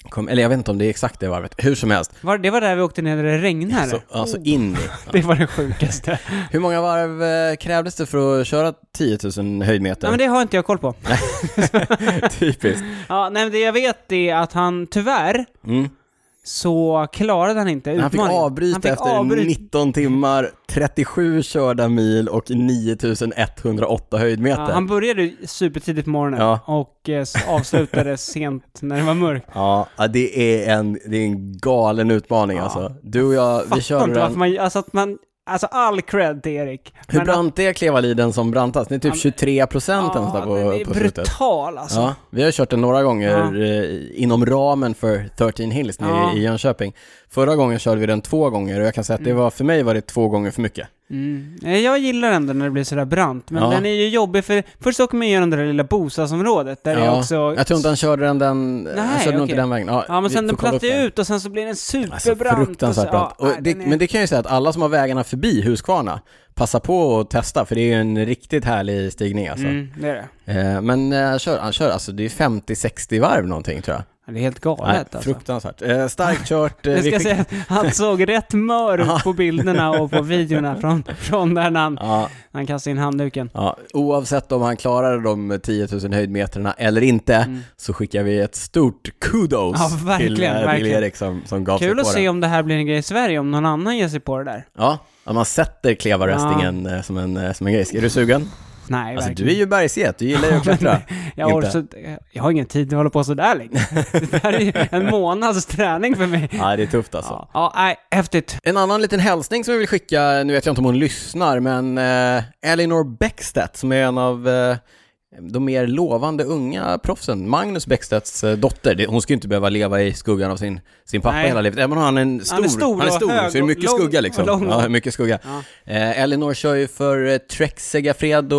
Speaker 1: Kom, eller jag vet inte om det är exakt det varvet. Hur som helst.
Speaker 2: Var, det var där vi åkte ner när det regnade.
Speaker 1: Så, alltså
Speaker 2: Oh.
Speaker 1: in i.
Speaker 2: Det var det sjukaste.
Speaker 1: Hur många varv eh, krävdes det för att köra 10 000 höjdmeter?
Speaker 2: ja, men det har inte jag koll på.
Speaker 1: Typiskt.
Speaker 2: Ja, nej, men det jag vet är att han tyvärr
Speaker 1: Mm.
Speaker 2: så klarade han inte
Speaker 1: Han fick
Speaker 2: utmaningen.
Speaker 1: avbryta
Speaker 2: Han fick
Speaker 1: efter
Speaker 2: avbryta.
Speaker 1: 19 timmar, 37 körda mil och 9108 höjdmeter.
Speaker 2: Ja, han började ju supertidigt på morgonen
Speaker 1: Ja.
Speaker 2: och eh, s- avslutade sent när det var mörkt.
Speaker 1: Ja, ja, det är en, det är en galen utmaning
Speaker 2: Ja.
Speaker 1: alltså. Du och jag, vi
Speaker 2: Fattar
Speaker 1: körde
Speaker 2: inte varför
Speaker 1: den.
Speaker 2: man, alltså att man, alltså all cred till Erik.
Speaker 1: Hur
Speaker 2: Men
Speaker 1: brant är Klevaliden som brantast? Det är typ 23 procent
Speaker 2: att-
Speaker 1: eller nåt där
Speaker 2: ja, den
Speaker 1: på,
Speaker 2: är
Speaker 1: på slutet.
Speaker 2: brutal alltså.
Speaker 1: Ja, vi har kört den några gånger
Speaker 2: Ja.
Speaker 1: eh, inom ramen för 13 Hills nere
Speaker 2: Ja.
Speaker 1: i Jönköping. Förra gången körde vi den två gånger och jag kan säga att det var, för mig var det två gånger för mycket.
Speaker 2: Mm. Eh, Jag gillar ändå när det blir sådär brant, men
Speaker 1: Ja.
Speaker 2: den är ju jobbig för först åker man igenom det där lilla bostadsområdet där det
Speaker 1: Ja,
Speaker 2: är också...
Speaker 1: Jag tror inte han körde den, den han
Speaker 2: Nej,
Speaker 1: körde nog inte
Speaker 2: okej.
Speaker 1: den vägen. Ja,
Speaker 2: Ja men
Speaker 1: vi
Speaker 2: sen
Speaker 1: får
Speaker 2: den
Speaker 1: kolla upp
Speaker 2: plattar ju
Speaker 1: den.
Speaker 2: ut och sen så blir den
Speaker 1: Alltså
Speaker 2: superbrant. och
Speaker 1: fruktansvärt
Speaker 2: så-
Speaker 1: brant.
Speaker 2: Ja,
Speaker 1: Och
Speaker 2: nej,
Speaker 1: det,
Speaker 2: den är-
Speaker 1: Men det kan jag ju säga att alla som har vägarna förbi Huskvarna, passa på att testa för det är ju en riktigt härlig stigning alltså.
Speaker 2: Mm, det är det.
Speaker 1: Eh, men eh, kör, han kör, alltså det är 50-60 varv någonting tror jag.
Speaker 2: Ja, Det är helt galet
Speaker 1: Nej,
Speaker 2: alltså.
Speaker 1: Fruktansvärt. Eh, starkt kört. eh,
Speaker 2: Jag
Speaker 1: vi
Speaker 2: ska
Speaker 1: skick-
Speaker 2: säga att han såg rätt mör ut på bilderna och på videorna från, från där när han,
Speaker 1: Ja,
Speaker 2: han kastade in handduken.
Speaker 1: ja, oavsett om han klarar de 10 000 höjdmeterna eller inte så skickar vi ett stort kudos
Speaker 2: Mm. Ja, verkligen,
Speaker 1: till, eh, till
Speaker 2: verkligen.
Speaker 1: Erik som, som gav sig
Speaker 2: Kul
Speaker 1: på
Speaker 2: att se
Speaker 1: den.
Speaker 2: om det här blir en grej i Sverige, om någon annan ger sig på det där.
Speaker 1: Ja, ja, man sätter klevarröstingen eh, som, en, eh, som en grej. Är du sugen?
Speaker 2: Nej,
Speaker 1: Alltså du
Speaker 2: verkligen.
Speaker 1: är ju bergsget, du gillar ju att klättra.
Speaker 2: jag, har
Speaker 1: inte.
Speaker 2: så, jag har ingen tid att hålla på sådär länge. Det här är ju en månads träning för mig.
Speaker 1: Ja, det är tufft alltså.
Speaker 2: Ja, ja nej, häftigt.
Speaker 1: En annan liten hälsning som vi vill skicka, nu vet jag inte om hon lyssnar, men eh, Elinor Bäckstedt som är en av eh, de mer lovande unga proffsen, Magnus Bäckstedts eh, dotter. Det, hon ska ju inte behöva leva i skuggan av sin, sin pappa
Speaker 2: Nej.
Speaker 1: hela livet. Även om han är en stor,
Speaker 2: är stor och hög
Speaker 1: så är det
Speaker 2: och
Speaker 1: mycket
Speaker 2: lång-
Speaker 1: skugga liksom.
Speaker 2: och lång.
Speaker 1: Ja, mycket skugga.
Speaker 2: Ja.
Speaker 1: Eh, Elinor kör ju för eh, Trek Segafredo,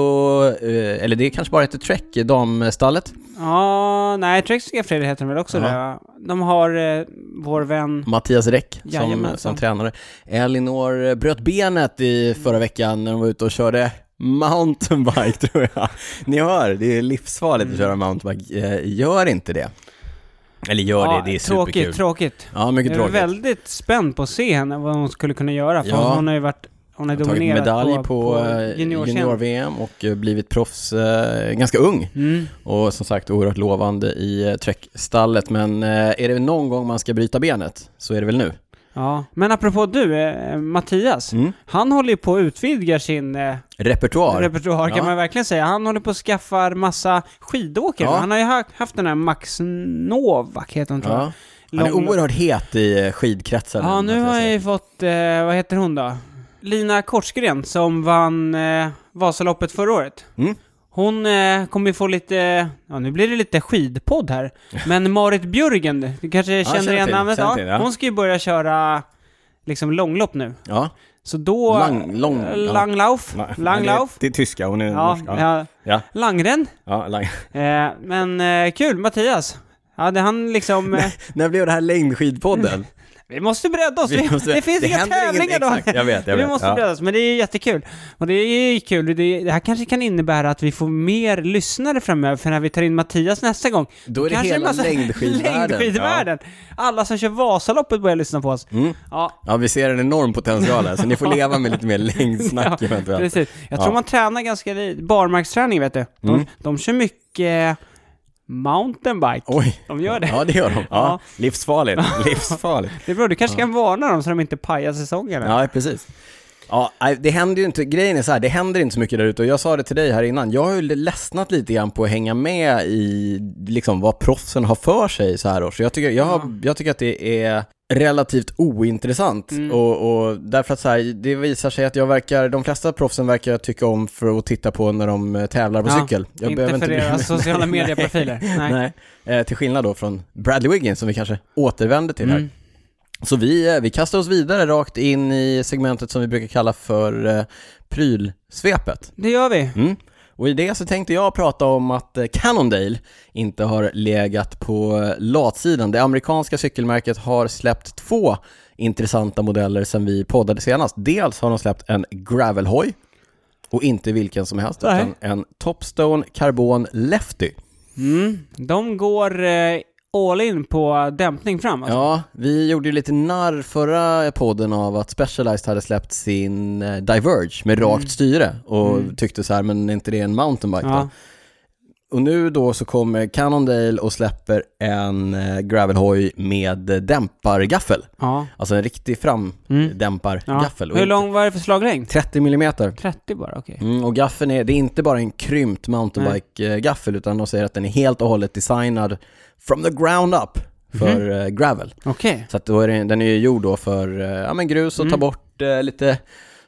Speaker 1: eh, eller det kanske bara heter Trek, eh, damstallet.
Speaker 2: Ja, nej, Trex Fredrik heter de väl också
Speaker 1: Ja.
Speaker 2: där va? De har eh, vår vän...
Speaker 1: Mattias Räck som,
Speaker 2: Jajamensan.
Speaker 1: som tränare. Elinor eh, bröt benet i förra veckan när de var ute och körde mountainbike tror jag. Ni hör, det är livsfarligt att köra mountainbike. Eh, Gör inte det. Mm. Eller gör det, det är
Speaker 2: tråkigt,
Speaker 1: superkul.
Speaker 2: tråkigt.
Speaker 1: Ja, mycket
Speaker 2: Jag är
Speaker 1: tråkigt.
Speaker 2: väldigt spänd på att se henne, vad hon skulle kunna göra, för
Speaker 1: Ja.
Speaker 2: hon har ju varit Hon har
Speaker 1: Har tagit
Speaker 2: dominerat
Speaker 1: medalj på, eh,
Speaker 2: juniorscenen.
Speaker 1: junior-VM och eh, blivit proffs eh, ganska ung.
Speaker 2: Mm.
Speaker 1: Och som sagt oerhört lovande i eh, Trek-stallet. Men eh, är det någon gång man ska bryta benet så är det väl nu.
Speaker 2: Ja. Men apropå du, eh, Mattias.
Speaker 1: Mm.
Speaker 2: Han håller ju på att utvidga sin eh,
Speaker 1: Repertoar.
Speaker 2: repertoar
Speaker 1: Ja.
Speaker 2: kan man verkligen säga. Han håller på att skaffa massa skidåkare.
Speaker 1: Ja.
Speaker 2: Han har ju ha- haft den här Max Novak, heter hon tror jag.
Speaker 1: ja. Han är
Speaker 2: Lång-
Speaker 1: oerhört het i eh, skidkretsar.
Speaker 2: Ja, nu
Speaker 1: måste
Speaker 2: har jag
Speaker 1: säga.
Speaker 2: ju fått, eh, vad heter hon då? Lina Korsgren som vann eh, Vasaloppet förra året.
Speaker 1: Mm.
Speaker 2: Hon eh, kommer ju få lite, ja nu blir det lite skidpodd här, men Marit Björgen, du kanske känner
Speaker 1: känner
Speaker 2: igen
Speaker 1: till,
Speaker 2: namnet?
Speaker 1: känner till, ja.
Speaker 2: Hon ska ju börja köra liksom långlopp nu.
Speaker 1: Ja.
Speaker 2: Så då... eh,
Speaker 1: Lang- lång- ja.
Speaker 2: Langlauf.
Speaker 1: Nej,
Speaker 2: Langlauf.
Speaker 1: Det, det är tyska, hon är
Speaker 2: Ja,
Speaker 1: norsk. Ja.
Speaker 2: ja.
Speaker 1: Ja.
Speaker 2: Langren.
Speaker 1: Ja, lang.
Speaker 2: Eh, men eh, kul, Mattias. Hade han liksom... Eh,
Speaker 1: När blev det här längdskidpodden?
Speaker 2: vi måste bredda oss.
Speaker 1: Vi
Speaker 2: Vi
Speaker 1: måste-
Speaker 2: det finns
Speaker 1: det
Speaker 2: inga
Speaker 1: händer inget-
Speaker 2: tävlingar då.
Speaker 1: exakt, jag vet, jag
Speaker 2: vi
Speaker 1: vet,
Speaker 2: måste
Speaker 1: ja.
Speaker 2: bredda oss, men det är ju jättekul. Och det är ju kul. Det, det här kanske kan innebära att vi får mer lyssnare framöver, för när vi tar in Mattias nästa gång,
Speaker 1: Då är det
Speaker 2: kanske en
Speaker 1: hela
Speaker 2: massa
Speaker 1: längdskidvärlden.
Speaker 2: längdskidvärlden. Alla som kör Vasaloppet börjar lyssna på oss.
Speaker 1: Mm.
Speaker 2: Ja,
Speaker 1: Ja, vi ser en enorm potential här, så ni får leva med lite mer längdsnack
Speaker 2: Ja,
Speaker 1: eventuellt.
Speaker 2: Precis. Jag tror
Speaker 1: Ja.
Speaker 2: man tränar ganska li- barmarksträning vet du. De,
Speaker 1: Mm.
Speaker 2: de kör mycket mountainbike.
Speaker 1: Oj.
Speaker 2: De gör det.
Speaker 1: Ja, det gör de. Ja.
Speaker 2: Ja.
Speaker 1: Livsfarligt. Livsfarligt.
Speaker 2: Det är bra, du kanske kan varna dem så de inte pajar säsongen. eller?
Speaker 1: Ja, precis. Ja, nej, det händer ju inte, grejen är så här, det händer inte så mycket där ute och jag sa det till dig här innan, jag har ju ledsnat lite grann på att hänga med i liksom vad proffsen har för sig så här år. Så jag tycker, jag, har- jag tycker att det är relativt ointressant
Speaker 2: Mm.
Speaker 1: och, och därför att så här, det visar sig att jag verkar, de flesta proffsen verkar jag tycka om för att titta på när de eh, tävlar på
Speaker 2: Ja,
Speaker 1: cykel. Jag
Speaker 2: inte för
Speaker 1: bry mig.
Speaker 2: deras sociala medieprofiler. Nej.
Speaker 1: Nej. Eh, till skillnad då från Bradley Wiggins som vi kanske återvänder till här.
Speaker 2: Mm.
Speaker 1: Så vi, eh, vi kastar oss vidare rakt in i segmentet som vi brukar kalla för eh, prylsvepet.
Speaker 2: Det gör vi.
Speaker 1: Mm. Och i det så tänkte jag prata om att eh, Cannondale inte har legat på eh, latsidan. Det amerikanska cykelmärket har släppt två intressanta modeller sedan vi poddade senast. Dels har de släppt en gravelhoj och inte vilken som helst,
Speaker 2: Nej.
Speaker 1: utan en Topstone Carbon Lefty.
Speaker 2: Mm. De går eh, all in på dämpning fram. Alltså.
Speaker 1: Ja, vi gjorde ju lite narr förra podden av att Specialized hade släppt sin eh, Diverge med rakt styre och tyckte så här, men är inte det en mountainbike då?
Speaker 2: Mm. Ja.
Speaker 1: Och nu då så kommer Cannondale och släpper en eh, gravelhoj med eh, dämpargaffel.
Speaker 2: Ja.
Speaker 1: Alltså en riktig
Speaker 2: Mm. ja.
Speaker 1: framdämpargaffel. Och
Speaker 2: Hur lång var det för slaglängd?
Speaker 1: 30 millimeter.
Speaker 2: 30 bara, okej.
Speaker 1: Mm, och gaffeln är, det är inte bara en krympt mountainbike-gaffel utan de säger att den är helt och hållet designad from the ground up
Speaker 2: Mhm.
Speaker 1: för eh, gravel.
Speaker 2: Okej.
Speaker 1: Så att då är den, den är ju gjord då för eh, ja, men grus och ta
Speaker 2: Mm.
Speaker 1: bort eh, lite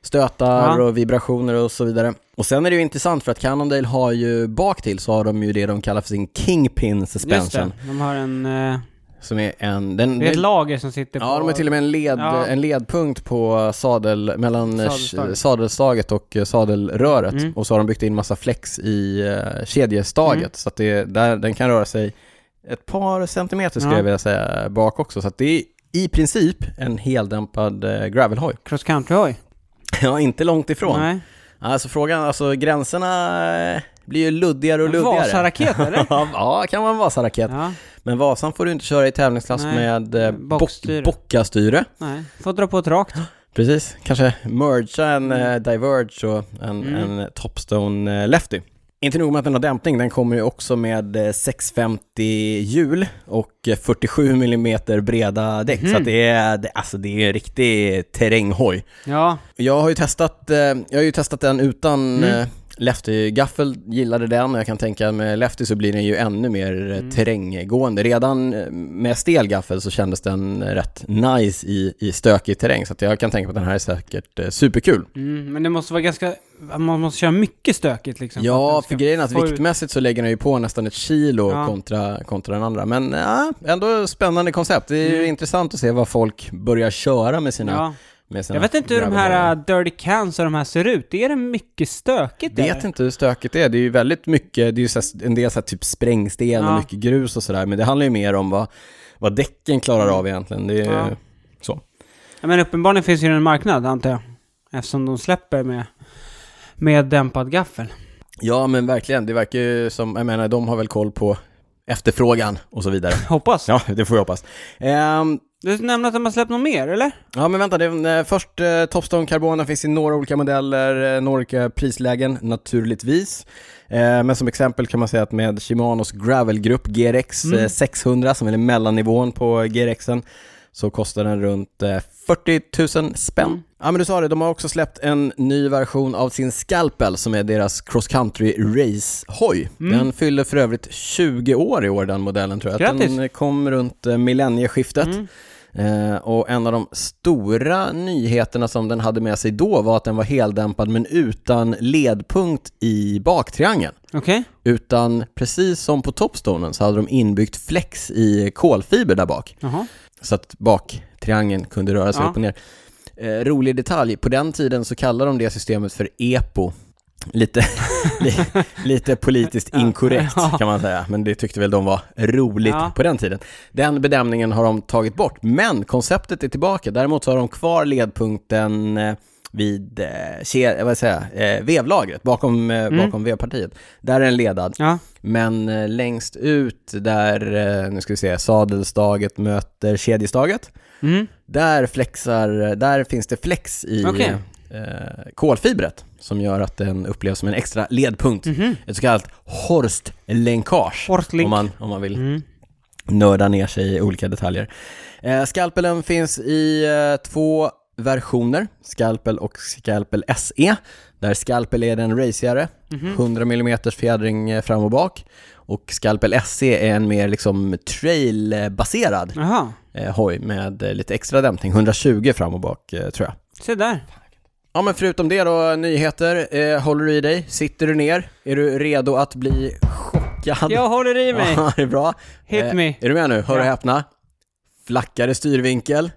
Speaker 1: stötar
Speaker 2: Ja.
Speaker 1: och vibrationer och så vidare. Och sen är det ju intressant för att Cannondale har ju bak till så har de ju det de kallar för sin Kingpin
Speaker 2: Just
Speaker 1: suspension.
Speaker 2: det. De har en... Eh,
Speaker 1: Som är en... Den,
Speaker 2: det är ett
Speaker 1: den-
Speaker 2: lager som sitter Typ på...
Speaker 1: ja, de har till och med en, led,
Speaker 2: Ja.
Speaker 1: en ledpunkt på sadel, mellan eh,
Speaker 2: Sadelstaget.
Speaker 1: sadelstaget och eh, sadelröret.
Speaker 2: Mm.
Speaker 1: Och så har de byggt in massa flex i eh, kedjestaget
Speaker 2: Mm.
Speaker 1: så att det, där, den kan röra sig ett par centimeter skulle
Speaker 2: Ja.
Speaker 1: jag vilja säga bak också. Så att det är i princip en heldämpad eh, gravelhoj.
Speaker 2: Cross country-hoj.
Speaker 1: ja, inte långt ifrån.
Speaker 2: Nej.
Speaker 1: Alltså frågan, alltså gränserna eh, blir ju luddigare och
Speaker 2: En
Speaker 1: luddigare.
Speaker 2: Vasaraket, eller?
Speaker 1: ja, kan vara en Vasaraket.
Speaker 2: Ja.
Speaker 1: Men Vasan får du inte köra i tävlingsklass
Speaker 2: Nej,
Speaker 1: med eh, bock-
Speaker 2: bockstyre.
Speaker 1: bockastyre.
Speaker 2: Nej, får dra på ett rakt.
Speaker 1: Precis, kanske mergea en eh, Diverge och en,
Speaker 2: Mm.
Speaker 1: en Topstone eh, Lefty. Inte nog med att den har dämpning, den kommer ju också med eh, 650 hjul och eh, 47 mm breda däck. Så att det är, det, alltså det är en riktig terränghoj.
Speaker 2: Ja,
Speaker 1: Jag har ju testat, eh, jag har ju testat den utan
Speaker 2: Mm.
Speaker 1: eh, Lefty-gaffel, gillade den och jag kan tänka att med Lefty så blir den ju ännu mer
Speaker 2: Mm.
Speaker 1: eh, terränggående. Redan eh, med stel gaffel så kändes den eh, rätt nice i, i stökig terräng så att jag kan tänka mig att den här är säkert eh, superkul.
Speaker 2: mm, men det måste vara ganska... Man måste köra mycket stökigt liksom. att
Speaker 1: Ja,
Speaker 2: den ska
Speaker 1: för grejen är att
Speaker 2: få ut-
Speaker 1: viktmässigt så lägger den ju på nästan ett kilo
Speaker 2: Ja.
Speaker 1: kontra, kontra den andra. Men ja, ändå spännande koncept. Det är ju intressant att se vad folk börjar köra med sina...
Speaker 2: Mm. Ja.
Speaker 1: Med sina
Speaker 2: Jag vet inte hur de
Speaker 1: gravelhojar.
Speaker 2: här äh, Dirty Cans och de här ser ut. Är det mycket stökigt
Speaker 1: vet inte hur stökigt det är. Det är ju väldigt mycket, det är ju så här, en del så här, typ sprängsten och
Speaker 2: Ja.
Speaker 1: mycket grus och sådär. Men det handlar ju mer om vad, vad däcken klarar av egentligen. Det är
Speaker 2: Ja.
Speaker 1: så.
Speaker 2: Ja, men uppenbarligen finns ju en marknad, antar jag. Eftersom de släpper med, med dämpad gaffel.
Speaker 1: Ja men verkligen, det verkar ju som, jag menar de har väl koll på efterfrågan och så vidare.
Speaker 2: Hoppas.
Speaker 1: Ja, det får vi hoppas. Ehm,
Speaker 2: Du nämnde att de har släppt något mer, eller?
Speaker 1: Ja men vänta, det, eh, först eh, Topstone Carbona finns i några olika modeller, eh, några olika prislägen naturligtvis. Eh, men som exempel kan man säga att med Shimanos Gravelgrupp GRX eh,
Speaker 2: Mm.
Speaker 1: 600 som är den mellannivån på GRXen så kostar den runt eh, 40 000 spänn.
Speaker 2: Mm.
Speaker 1: Ja men du sa det, de har också släppt en ny version av sin Scalpel som är deras cross country race-hoj.
Speaker 2: Mm.
Speaker 1: Den fyller för övrigt 20 år i år den modellen tror jag. Att
Speaker 2: Grattis.
Speaker 1: Den eh, kom runt eh, millennieskiftet.
Speaker 2: Mm.
Speaker 1: Eh, och en av de stora nyheterna som den hade med sig då var att den var heldämpad men utan ledpunkt i baktriangeln.
Speaker 2: Okej.
Speaker 1: Utan precis som på Topstonen så hade de inbyggt flex i kolfiber där bak.
Speaker 2: Jaha.
Speaker 1: Så att baktriangeln kunde röra sig
Speaker 2: Ja.
Speaker 1: upp och ner. Eh, rolig detalj, på den tiden så kallade de det systemet för EPO. Lite, li, lite politiskt inkorrekt kan man säga, men det tyckte väl de var roligt
Speaker 2: Ja.
Speaker 1: på den tiden. Den bedömningen har de tagit bort, men konceptet är tillbaka. Däremot så har de kvar ledpunkten eh, vid eh, ke- eh, vad säger jag, eh, vevlagret, bakom, eh,
Speaker 2: Mm.
Speaker 1: bakom vevpartiet. Där är den ledad,
Speaker 2: Ja.
Speaker 1: men eh, längst ut där, eh, nu ska vi se, sadelstaget möter kedjestaget.
Speaker 2: Mm.
Speaker 1: Där, flexar, där finns det flex i
Speaker 2: Okej.
Speaker 1: eh, kolfibret som gör att den upplevs som en extra ledpunkt.
Speaker 2: Mhm.
Speaker 1: Ett så kallat horstlänkage
Speaker 2: Hortlink.
Speaker 1: om man, om man vill
Speaker 2: Mm.
Speaker 1: nörda ner sig i olika detaljer. Eh, skalpelen finns i eh, två versioner, Skalpel och Skalpel SE, där Skalpel är den racigare, 100 mm fjädring eh, fram och bak, och Skalpel SE är en mer liksom trail-baserad
Speaker 2: Jaha.
Speaker 1: eh, hoj med eh, lite extra dämpning, 120 fram och bak eh, tror jag.
Speaker 2: Se där.
Speaker 1: Ja men förutom det då, nyheter, eh, håller du i dig? Sitter du ner? Är du redo att bli chockad?
Speaker 2: Jag håller i mig.
Speaker 1: Ja, det är bra.
Speaker 2: Hit
Speaker 1: Eh,
Speaker 2: me.
Speaker 1: Är du med nu? Hör och
Speaker 2: Ja.
Speaker 1: häpna. Flackare styrvinkel,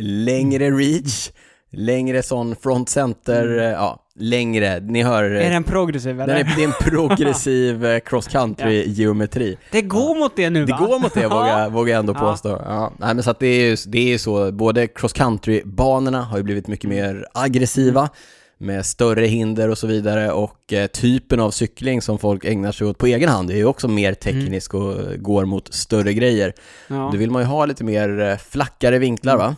Speaker 1: längre
Speaker 2: Mm.
Speaker 1: reach, längre sån front center, eh, ja, längre, ni hör. eh,
Speaker 2: Är den progressiv
Speaker 1: den
Speaker 2: eller?
Speaker 1: är, det är en progressiv eh, cross country geometri.
Speaker 2: Det går mot det nu
Speaker 1: Det
Speaker 2: va?
Speaker 1: går mot det vågar jag, vågar jag ändå
Speaker 2: Ja.
Speaker 1: påstå. Ja. Nej, men så att det är ju det är ju så, både cross country-banorna har ju blivit mycket mer aggressiva
Speaker 2: Mm.
Speaker 1: med större hinder och så vidare och eh, typen av cykling som folk ägnar sig åt på egen hand är ju också mer teknisk och eh, går mot större grejer.
Speaker 2: Mm. Ja. Mm.
Speaker 1: Då vill man ju ha lite mer eh, flackare vinklar va?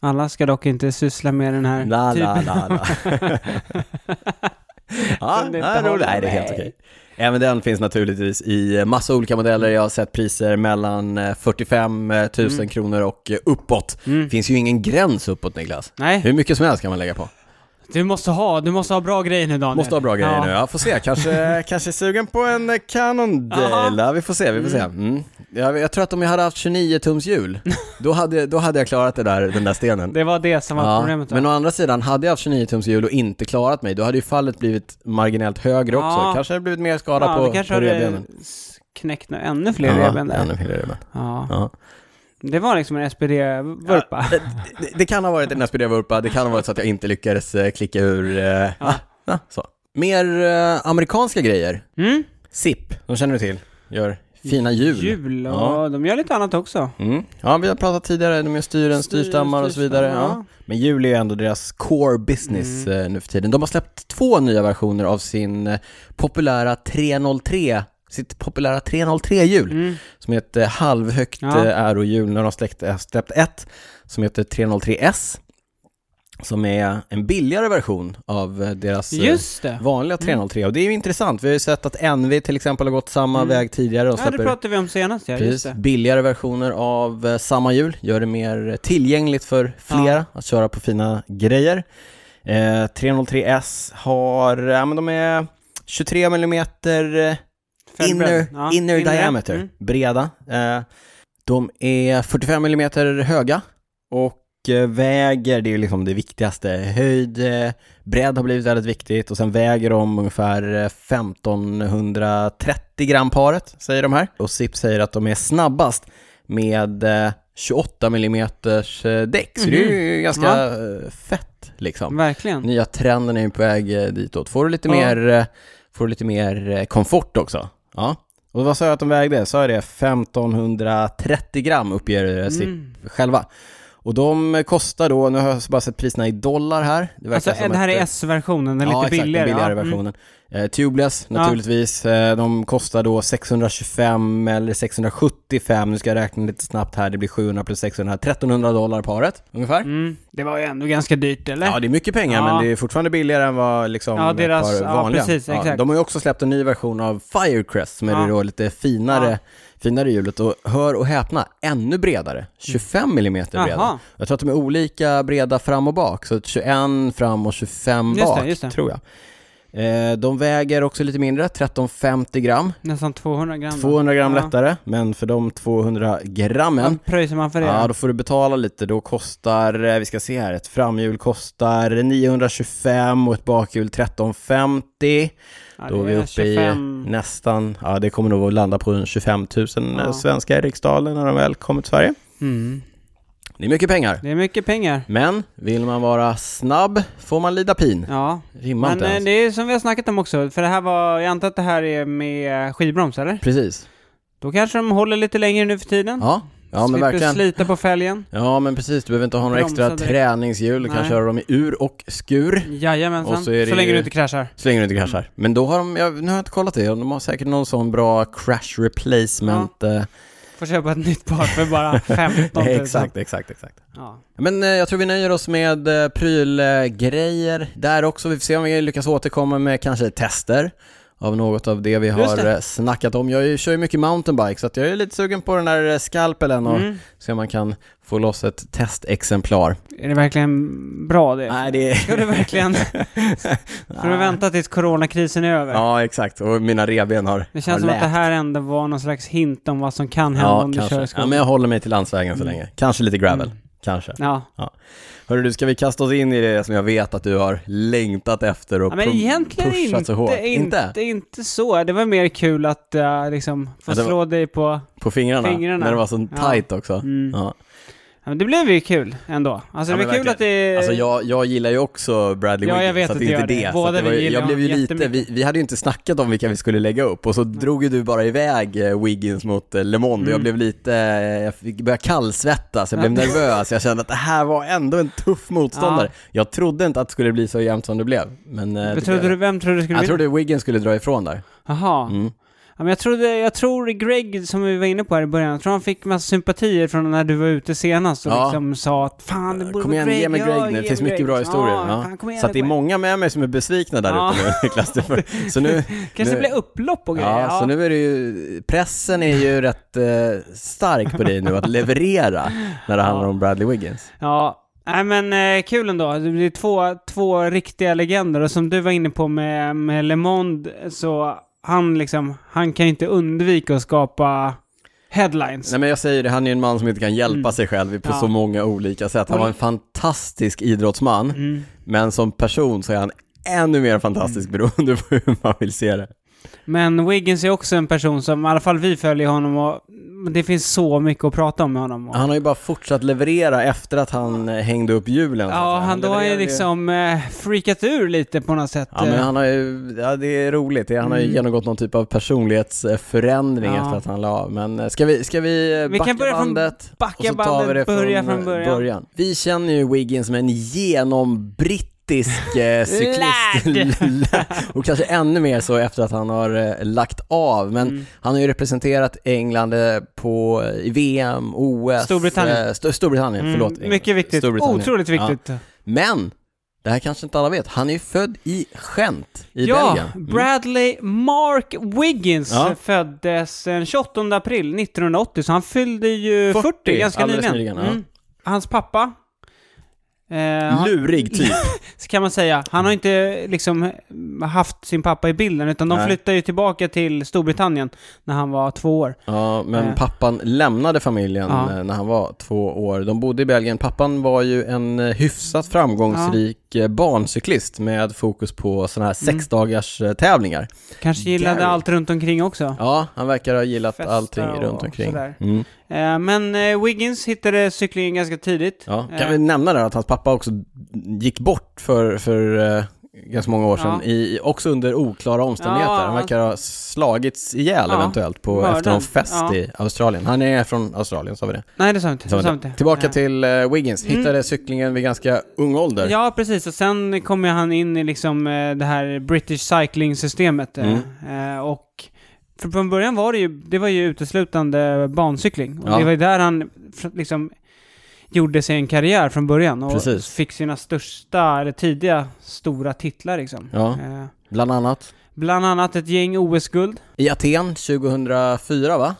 Speaker 2: Alla ska dock inte syssla med den här
Speaker 1: La,
Speaker 2: typen.
Speaker 1: la, la, la. ja,
Speaker 2: Kunde
Speaker 1: det
Speaker 2: inte
Speaker 1: är roligt.
Speaker 2: hålla
Speaker 1: Nej, det är helt
Speaker 2: mig.
Speaker 1: okej. Även den finns naturligtvis i massa olika modeller. Jag har sett priser mellan eh, 45 000
Speaker 2: Mm.
Speaker 1: kronor och eh, uppåt. Det finns ju ingen gräns uppåt Niklas.
Speaker 2: Nej,
Speaker 1: Hur mycket som helst kan man lägga på.
Speaker 2: du måste ha, du måste ha bra grejer nu Daniel.
Speaker 1: Måste ha bra grejer
Speaker 2: ja.
Speaker 1: nu. Jag får se, kanske, kanske är sugen på en eh, Cannondale.
Speaker 2: Jaha.
Speaker 1: Ja, vi får se, vi får se. Mm. Jag, jag tror att om jag hade haft 29 tums hjul, då hade, då hade jag klarat det där, den där stenen.
Speaker 2: Det var det som var
Speaker 1: Ja,
Speaker 2: problemet. va?
Speaker 1: men å andra sidan, hade jag haft 29 tums hjul och inte klarat mig, då hade ju fallet blivit marginellt högre också.
Speaker 2: Ja.
Speaker 1: Kanske hade det blivit mer skada
Speaker 2: det
Speaker 1: på,
Speaker 2: kanske
Speaker 1: på
Speaker 2: hade
Speaker 1: revbenen.
Speaker 2: s- knäckt nu ännu fler revben där.
Speaker 1: ännu fler revben.
Speaker 2: Ja.
Speaker 1: Ja.
Speaker 2: Det var liksom en SPD-vurpa.
Speaker 1: Det, det, det kan ha varit en SPD-vurpa, det kan ha varit så att jag inte lyckades eh, klicka ur... Eh,
Speaker 2: Ja.
Speaker 1: ah, så. Mer eh, amerikanska grejer.
Speaker 2: Mm?
Speaker 1: SIP, de känner du till. Gör fina hjul.
Speaker 2: Jul och
Speaker 1: Ja.
Speaker 2: de gör lite annat också.
Speaker 1: Mm. Ja, vi har pratat tidigare, de gör styren, styrstammar och så vidare.
Speaker 2: Styrstammar,
Speaker 1: Ja. Men jul är ju ändå deras core business
Speaker 2: Mm.
Speaker 1: eh, nu för tiden. De har släppt två nya versioner av sin eh, populära 303, sitt populära 303-hjul,
Speaker 2: Mm.
Speaker 1: som är ett eh, halvhögt
Speaker 2: Ja.
Speaker 1: ja. aerohjul. Nu har de släppt, eh, släppt ett som heter 303S, som är en billigare version av eh, deras eh,
Speaker 2: Just det.
Speaker 1: vanliga 303. Och det är ju intressant, vi har ju sett att NV till exempel har gått samma
Speaker 2: Mm.
Speaker 1: väg tidigare och
Speaker 2: Ja, det
Speaker 1: släpper
Speaker 2: pratade vi om senast ja, just
Speaker 1: Precis.
Speaker 2: det.
Speaker 1: Billigare versioner av eh, samma hjul gör det mer tillgängligt för flera att köra på fina grejer. Eh, 303S har, ja men de är 23 mm eh, inner,
Speaker 2: Fembredd. Ja,
Speaker 1: inner diameter,
Speaker 2: Mm.
Speaker 1: breda. Eh, de är 45 mm höga och eh, väger, det är ju liksom det viktigaste, höjd, eh, bredd har blivit väldigt viktigt och sen väger de ungefär eh, 1530 gram paret, säger de här. Och SIP säger att de är snabbast med eh, 28 mm däck, så det är ju ganska
Speaker 2: Mhm. Ja.
Speaker 1: eh, fett liksom.
Speaker 2: Verkligen.
Speaker 1: Nya trenden är ju på väg eh, ditåt. Får du lite
Speaker 2: Ja.
Speaker 1: mer, eh, får du lite mer eh, komfort också. Ja. Och vad sa jag att de vägde? Sa jag det? 1530 gram uppger eh, SIP
Speaker 2: Mm.
Speaker 1: själva. Och de kostar då, nu har jag bara sett priserna i dollar här. Det verkar
Speaker 2: Alltså
Speaker 1: som
Speaker 2: det här
Speaker 1: ett,
Speaker 2: är
Speaker 1: eh,
Speaker 2: S-versionen, den
Speaker 1: ja,
Speaker 2: lite
Speaker 1: exakt,
Speaker 2: billigare.
Speaker 1: den billigare
Speaker 2: ja. Mm.
Speaker 1: versionen. Eh, tubeless
Speaker 2: Ja.
Speaker 1: naturligtvis. Eh, de kostar då 625 eller 675, nu ska jag räkna lite snabbt här, det blir 700 plus 600, 1300 dollar paret ungefär.
Speaker 2: Mm. Det var ju ändå ganska dyrt eller?
Speaker 1: Ja, det är mycket pengar,
Speaker 2: Ja.
Speaker 1: men det är fortfarande billigare än vad liksom
Speaker 2: Ja, deras-
Speaker 1: ett par
Speaker 2: ja,
Speaker 1: vanliga.
Speaker 2: precis, exakt.
Speaker 1: de har ju också släppt en ny version av Firecrest, som är
Speaker 2: Ja.
Speaker 1: det då lite finare,
Speaker 2: Ja.
Speaker 1: finare hjulet. Och hör och häpna, ännu bredare. 25 mm bredare.
Speaker 2: Jaha.
Speaker 1: Jag tror att de är olika breda fram och bak, så 21 fram och 25
Speaker 2: Just det,
Speaker 1: bak,
Speaker 2: just det.
Speaker 1: tror jag. Eh, de väger också lite mindre, 1350 gram.
Speaker 2: Nästan 200 gram. då.
Speaker 1: 200 gram
Speaker 2: Ja.
Speaker 1: lättare, men för de 200 grammen
Speaker 2: Vad pröjsar man för det?
Speaker 1: Ja, då får du betala lite. Då kostar, eh, vi ska se här, ett framhjul kostar 925 och ett bakhjul 1350.
Speaker 2: Ja,
Speaker 1: då är
Speaker 2: det
Speaker 1: vi uppe i
Speaker 2: 25.
Speaker 1: nästan, ja det kommer nog att landa på en 25 000
Speaker 2: Ja.
Speaker 1: ja. svenskar i riksdagen när de väl kommer till Sverige.
Speaker 2: Mm.
Speaker 1: Det är mycket pengar.
Speaker 2: Det är mycket pengar.
Speaker 1: Men vill man vara snabb får man lida pin.
Speaker 2: Ja.
Speaker 1: Rimmar
Speaker 2: Men
Speaker 1: inte
Speaker 2: eh,
Speaker 1: ens.
Speaker 2: det är som vi har snackat om också, för det här var, jag antar att det här är med skivbroms eller?
Speaker 1: Precis.
Speaker 2: Då kanske de håller lite längre nu för tiden.
Speaker 1: Ja, ja men
Speaker 2: Slipper
Speaker 1: verkligen.
Speaker 2: slita på fälgen.
Speaker 1: Ja men precis, du behöver inte ha några
Speaker 2: Bromsa
Speaker 1: extra
Speaker 2: direkt.
Speaker 1: träningshjul. Du kan
Speaker 2: Nej.
Speaker 1: köra dem i ur och skur.
Speaker 2: Jajamensan.
Speaker 1: Och
Speaker 2: Så,
Speaker 1: så är det
Speaker 2: länge
Speaker 1: ju-
Speaker 2: du inte kraschar.
Speaker 1: Så länge du inte
Speaker 2: Mm.
Speaker 1: kraschar. Men då har de, jag, nu har jag inte kollat det, de har säkert någon sån bra crash replacement. eh,
Speaker 2: Får köpa ett nytt par för bara 15 000.
Speaker 1: exakt, exakt, exakt.
Speaker 2: Ja.
Speaker 1: Men eh, jag tror vi nöjer oss med eh, prylgrejer där också. Vi får se om vi lyckas återkomma med kanske tester av något av det vi
Speaker 2: Just
Speaker 1: har
Speaker 2: det.
Speaker 1: eh, snackat om. Jag är ju- kör ju mycket mountainbike så att jag är lite sugen på den här eh, skalpelen och
Speaker 2: Mm.
Speaker 1: se om man kan få loss ett testexemplar.
Speaker 2: Är det verkligen bra det?
Speaker 1: Nej, det är...
Speaker 2: Ska du verkligen... Får du vänta tills coronakrisen är över?
Speaker 1: Ja, exakt. Och mina revben har
Speaker 2: Det
Speaker 1: har
Speaker 2: känns som att
Speaker 1: läkt.
Speaker 2: det här ändå var någon slags hint om vad som kan hända om du kör i
Speaker 1: Ja,
Speaker 2: skogen.
Speaker 1: men jag håller mig till landsvägen så
Speaker 2: Mm.
Speaker 1: länge. Kanske lite gravel. Kanske.
Speaker 2: Ja.
Speaker 1: Hörru du, ska vi kasta oss in i det som jag vet att du har längtat efter och
Speaker 2: ja, men
Speaker 1: pu-
Speaker 2: egentligen
Speaker 1: pushat
Speaker 2: inte,
Speaker 1: så hårt?
Speaker 2: inte, inte, så. Det var mer kul att eh, liksom få
Speaker 1: Ja, det var-
Speaker 2: slå dig på...
Speaker 1: På fingrarna?
Speaker 2: Fingrarna.
Speaker 1: När det var så
Speaker 2: Ja.
Speaker 1: tight också?
Speaker 2: Mm.
Speaker 1: Ja.
Speaker 2: Ja, men det blev ju kul ändå. Alltså
Speaker 1: Ja,
Speaker 2: det
Speaker 1: men
Speaker 2: var kul
Speaker 1: verkligen.
Speaker 2: att det...
Speaker 1: Alltså jag, jag gillar ju också Bradley
Speaker 2: Ja, jag
Speaker 1: Wiggins,
Speaker 2: vet
Speaker 1: så
Speaker 2: att
Speaker 1: det
Speaker 2: du
Speaker 1: är
Speaker 2: gör
Speaker 1: inte
Speaker 2: det.
Speaker 1: det. Så
Speaker 2: Båda
Speaker 1: att det var,
Speaker 2: vi
Speaker 1: ju-
Speaker 2: gillar
Speaker 1: jag blev ju
Speaker 2: honom
Speaker 1: lite, vi,
Speaker 2: jättemycket. Mm.
Speaker 1: vi hade ju inte snackat om vilka vi skulle lägga upp och så drog ju du bara iväg eh, Wiggins mot eh, Le Monde och jag blev lite, eh, jag fick börja kallsvettas, jag blev nervös, jag kände att det här var ändå en tuff motståndare. Jag trodde inte att det skulle bli så jämnt som det blev, men... eh, det
Speaker 2: Vad
Speaker 1: blev
Speaker 2: trodde
Speaker 1: det.
Speaker 2: du, vem trodde du skulle
Speaker 1: Jag
Speaker 2: vinna?
Speaker 1: trodde Wiggins skulle dra ifrån där.
Speaker 2: Jaha.
Speaker 1: Mm.
Speaker 2: Ja, men jag, trodde, jag tror Greg, som vi var inne på här i början, jag tror han fick massa sympatier från när du var ute senast och
Speaker 1: Ja. Eh,
Speaker 2: liksom sa att fan, det borde
Speaker 1: Kom
Speaker 2: vara
Speaker 1: igen,
Speaker 2: Greg.
Speaker 1: ge mig
Speaker 2: Ja,
Speaker 1: Greg nu,
Speaker 2: ge
Speaker 1: det finns
Speaker 2: mig
Speaker 1: mycket bra
Speaker 2: Greg.
Speaker 1: historier.
Speaker 2: Ja,
Speaker 1: Ja.
Speaker 2: Fan, kom igen,
Speaker 1: Så att det är
Speaker 2: Greg.
Speaker 1: många med mig som är besvikna där
Speaker 2: Ja.
Speaker 1: ute nu Niklas. Det får- Så nu,
Speaker 2: Kanske
Speaker 1: nu-
Speaker 2: blir upplopp och grejer.
Speaker 1: ja, så nu är det ju, pressen är ju rätt eh, stark på dig nu att leverera när det handlar om Bradley Wiggins.
Speaker 2: Ja. Nej men eh, kul ändå. Det blir två, två riktiga legender och som du var inne på med, med Le Monde så han liksom, han kan ju inte undvika att skapa headlines.
Speaker 1: Nej men jag säger det, han är ju en man som inte kan hjälpa sig själv på
Speaker 2: Ja.
Speaker 1: så många olika sätt. Han var en fantastisk idrottsman,
Speaker 2: Mm.
Speaker 1: men som person så är han ännu mer fantastisk beroende på hur man vill se det.
Speaker 2: Men Wiggins är också en person som, i alla fall vi följer honom och det finns så mycket att prata om med honom. Och,
Speaker 1: Han har ju bara fortsatt leverera efter att han eh, hängde upp hjulen. så att
Speaker 2: ja,
Speaker 1: säga.
Speaker 2: han då har ju
Speaker 1: levererar ju-
Speaker 2: liksom eh, freakat ur lite på något sätt.
Speaker 1: Ja men
Speaker 2: eh.
Speaker 1: han har ju, ja det är roligt, han har ju
Speaker 2: Mm.
Speaker 1: genomgått någon typ av personlighetsförändring
Speaker 2: Ja.
Speaker 1: efter att han la av. Men eh, ska vi, ska vi eh,
Speaker 2: Vi
Speaker 1: backa
Speaker 2: kan börja från
Speaker 1: bandet? och
Speaker 2: Eh, Backa
Speaker 1: så tar vi det
Speaker 2: bandet,
Speaker 1: från,
Speaker 2: börja från
Speaker 1: eh,
Speaker 2: början.
Speaker 1: Vi känner ju Wiggins som en genombrittisk eh, cyklist. och kanske ännu mer så efter att han har eh, lagt av. Men
Speaker 2: Mm.
Speaker 1: han har ju representerat England eh, på, eh, i VM, OS.
Speaker 2: Storbritannien.
Speaker 1: eh, Sto- Storbritannien,
Speaker 2: Mm,
Speaker 1: förlåt. England.
Speaker 2: mycket viktigt.
Speaker 1: Storbritannien.
Speaker 2: Otroligt
Speaker 1: Ja.
Speaker 2: viktigt.
Speaker 1: Men, det här kanske inte alla vet, han är ju född i Gent i
Speaker 2: ja,
Speaker 1: Belgien. Mm.
Speaker 2: Bradley Mark Wiggins
Speaker 1: Ja.
Speaker 2: föddes den 28 april 1980, så han fyllde ju 40,
Speaker 1: 40,
Speaker 2: ganska
Speaker 1: alldeles
Speaker 2: nyligen. Mm.
Speaker 1: nyligen, ja.
Speaker 2: Hans pappa, eh, han-
Speaker 1: Lurig typ.
Speaker 2: så kan man säga, han
Speaker 1: Mm.
Speaker 2: har inte liksom haft sin pappa i bilden, utan de
Speaker 1: Nej.
Speaker 2: flyttade ju tillbaka till Storbritannien när han var två år.
Speaker 1: Ja, men
Speaker 2: Eh.
Speaker 1: pappan lämnade familjen
Speaker 2: Ja.
Speaker 1: eh, när han var två år. De bodde i Belgien. Pappan var ju en eh, hyfsat framgångsrik eh, barncyklist med fokus på sådana här
Speaker 2: Mm.
Speaker 1: sexdagars eh, tävlingar.
Speaker 2: Kanske gillade
Speaker 1: Gary.
Speaker 2: allt runt omkring också.
Speaker 1: Ja, han verkar ha gillat
Speaker 2: Festa
Speaker 1: allting
Speaker 2: och
Speaker 1: runt omkring.
Speaker 2: sådär.
Speaker 1: Mm.
Speaker 2: Eh, men eh, Wiggins hittade cyklingen ganska tidigt.
Speaker 1: Ja.
Speaker 2: Eh,
Speaker 1: Kan vi nämna där att hans pappa också gick bort för, för eh, ganska många år sedan,
Speaker 2: Ja.
Speaker 1: i, också under oklara omständigheter.
Speaker 2: Ja,
Speaker 1: han verkar ha slagits ihjäl
Speaker 2: Ja.
Speaker 1: eventuellt på,
Speaker 2: Mördad.
Speaker 1: efter någon fest
Speaker 2: Ja.
Speaker 1: i Australien. Han är från Australien, sa vi det?
Speaker 2: Eh, Nej, det sa vi inte.
Speaker 1: Sa
Speaker 2: Det
Speaker 1: vi
Speaker 2: sa vi
Speaker 1: inte.
Speaker 2: inte.
Speaker 1: Tillbaka
Speaker 2: Ja.
Speaker 1: till eh, Wiggins,
Speaker 2: Mm.
Speaker 1: hittade cyklingen vid ganska ung ålder.
Speaker 2: Ja, precis. Och sen kommer han in i liksom eh, det här British Cycling-systemet. eh,
Speaker 1: Mm.
Speaker 2: eh, Och för från början var det ju, det var ju uteslutande bancykling. Och
Speaker 1: Ja.
Speaker 2: det var ju där han fr- liksom gjorde sig en karriär från början och
Speaker 1: Precis.
Speaker 2: fick sina största, eller tidiga, stora titlar liksom.
Speaker 1: Ja.
Speaker 2: Eh,
Speaker 1: Bland annat
Speaker 2: Bland annat ett gäng OS-guld.
Speaker 1: i Aten 2004, va?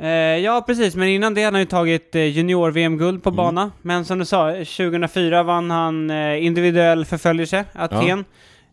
Speaker 2: Eh, ja, precis. Men innan det hade han ju tagit eh, junior-VM-guld på
Speaker 1: Mm.
Speaker 2: bana. Men som du sa, 2004 vann han eh, individuell förföljelse, Aten.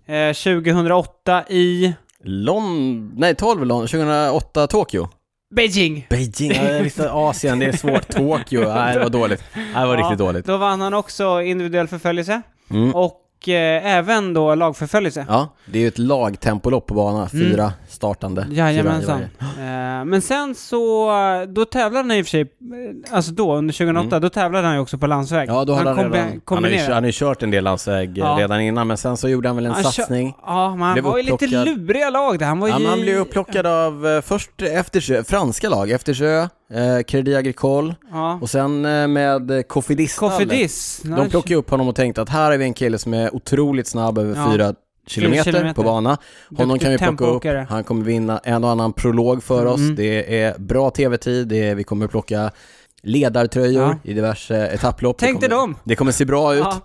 Speaker 2: Eh, 2008 i
Speaker 1: London, nej 12 London, 2008 Tokyo.
Speaker 2: Beijing.
Speaker 1: Beijing, ja, jag visste Asien, det är svårt. Tokyo, nej det var dåligt. Nej, det var
Speaker 2: Ja.
Speaker 1: riktigt dåligt.
Speaker 2: Då vann han också individuell förföljelse
Speaker 1: Mm.
Speaker 2: och eh, även då lagförföljelse.
Speaker 1: Ja, det är ju ett lagtempolopp på bana, fyra startande. fyra i
Speaker 2: Mm. Jajamensan.
Speaker 1: varje.
Speaker 2: Eh, men sen så, eh, då tävlade han i och för sig, eh, alltså då under 2008, då tävlade han ju också på landsväg.
Speaker 1: Mm. Ja, då hade han,
Speaker 2: kombi-
Speaker 1: redan, han har, ju,
Speaker 2: kombinerade.
Speaker 1: han har ju kört en del landsväg eh,
Speaker 2: Ja.
Speaker 1: redan innan, men sen så gjorde han väl en
Speaker 2: Han kör-
Speaker 1: satsning.
Speaker 2: Ja, men han
Speaker 1: Blev
Speaker 2: var ju lite
Speaker 1: upplockad.
Speaker 2: luriga lag där. Han var
Speaker 1: Ja,
Speaker 2: ju...
Speaker 1: men han blev upplockad av eh, först Eftersjö, franska lag, Eftersjö, eh, Crédit Agricole
Speaker 2: Ja.
Speaker 1: och sen eh, med eh, Cofidis.
Speaker 2: Kofidis.
Speaker 1: De plockade upp honom och tänkte att här är vi en kille som är otroligt snabb över
Speaker 2: Ja.
Speaker 1: fyra kilometer, på
Speaker 2: kilometer.
Speaker 1: bana. Honom
Speaker 2: Duktig
Speaker 1: kan vi plocka upp,
Speaker 2: tempoåkare.
Speaker 1: han kommer vinna en och annan prolog för oss.
Speaker 2: Mm.
Speaker 1: Det är bra tv-tid, det är, vi kommer plocka ledartröjor
Speaker 2: Ja.
Speaker 1: i diverse etapplopp.
Speaker 2: Tänk
Speaker 1: det
Speaker 2: dig
Speaker 1: kommer,
Speaker 2: dem.
Speaker 1: Det kommer se bra ut.
Speaker 2: Ja,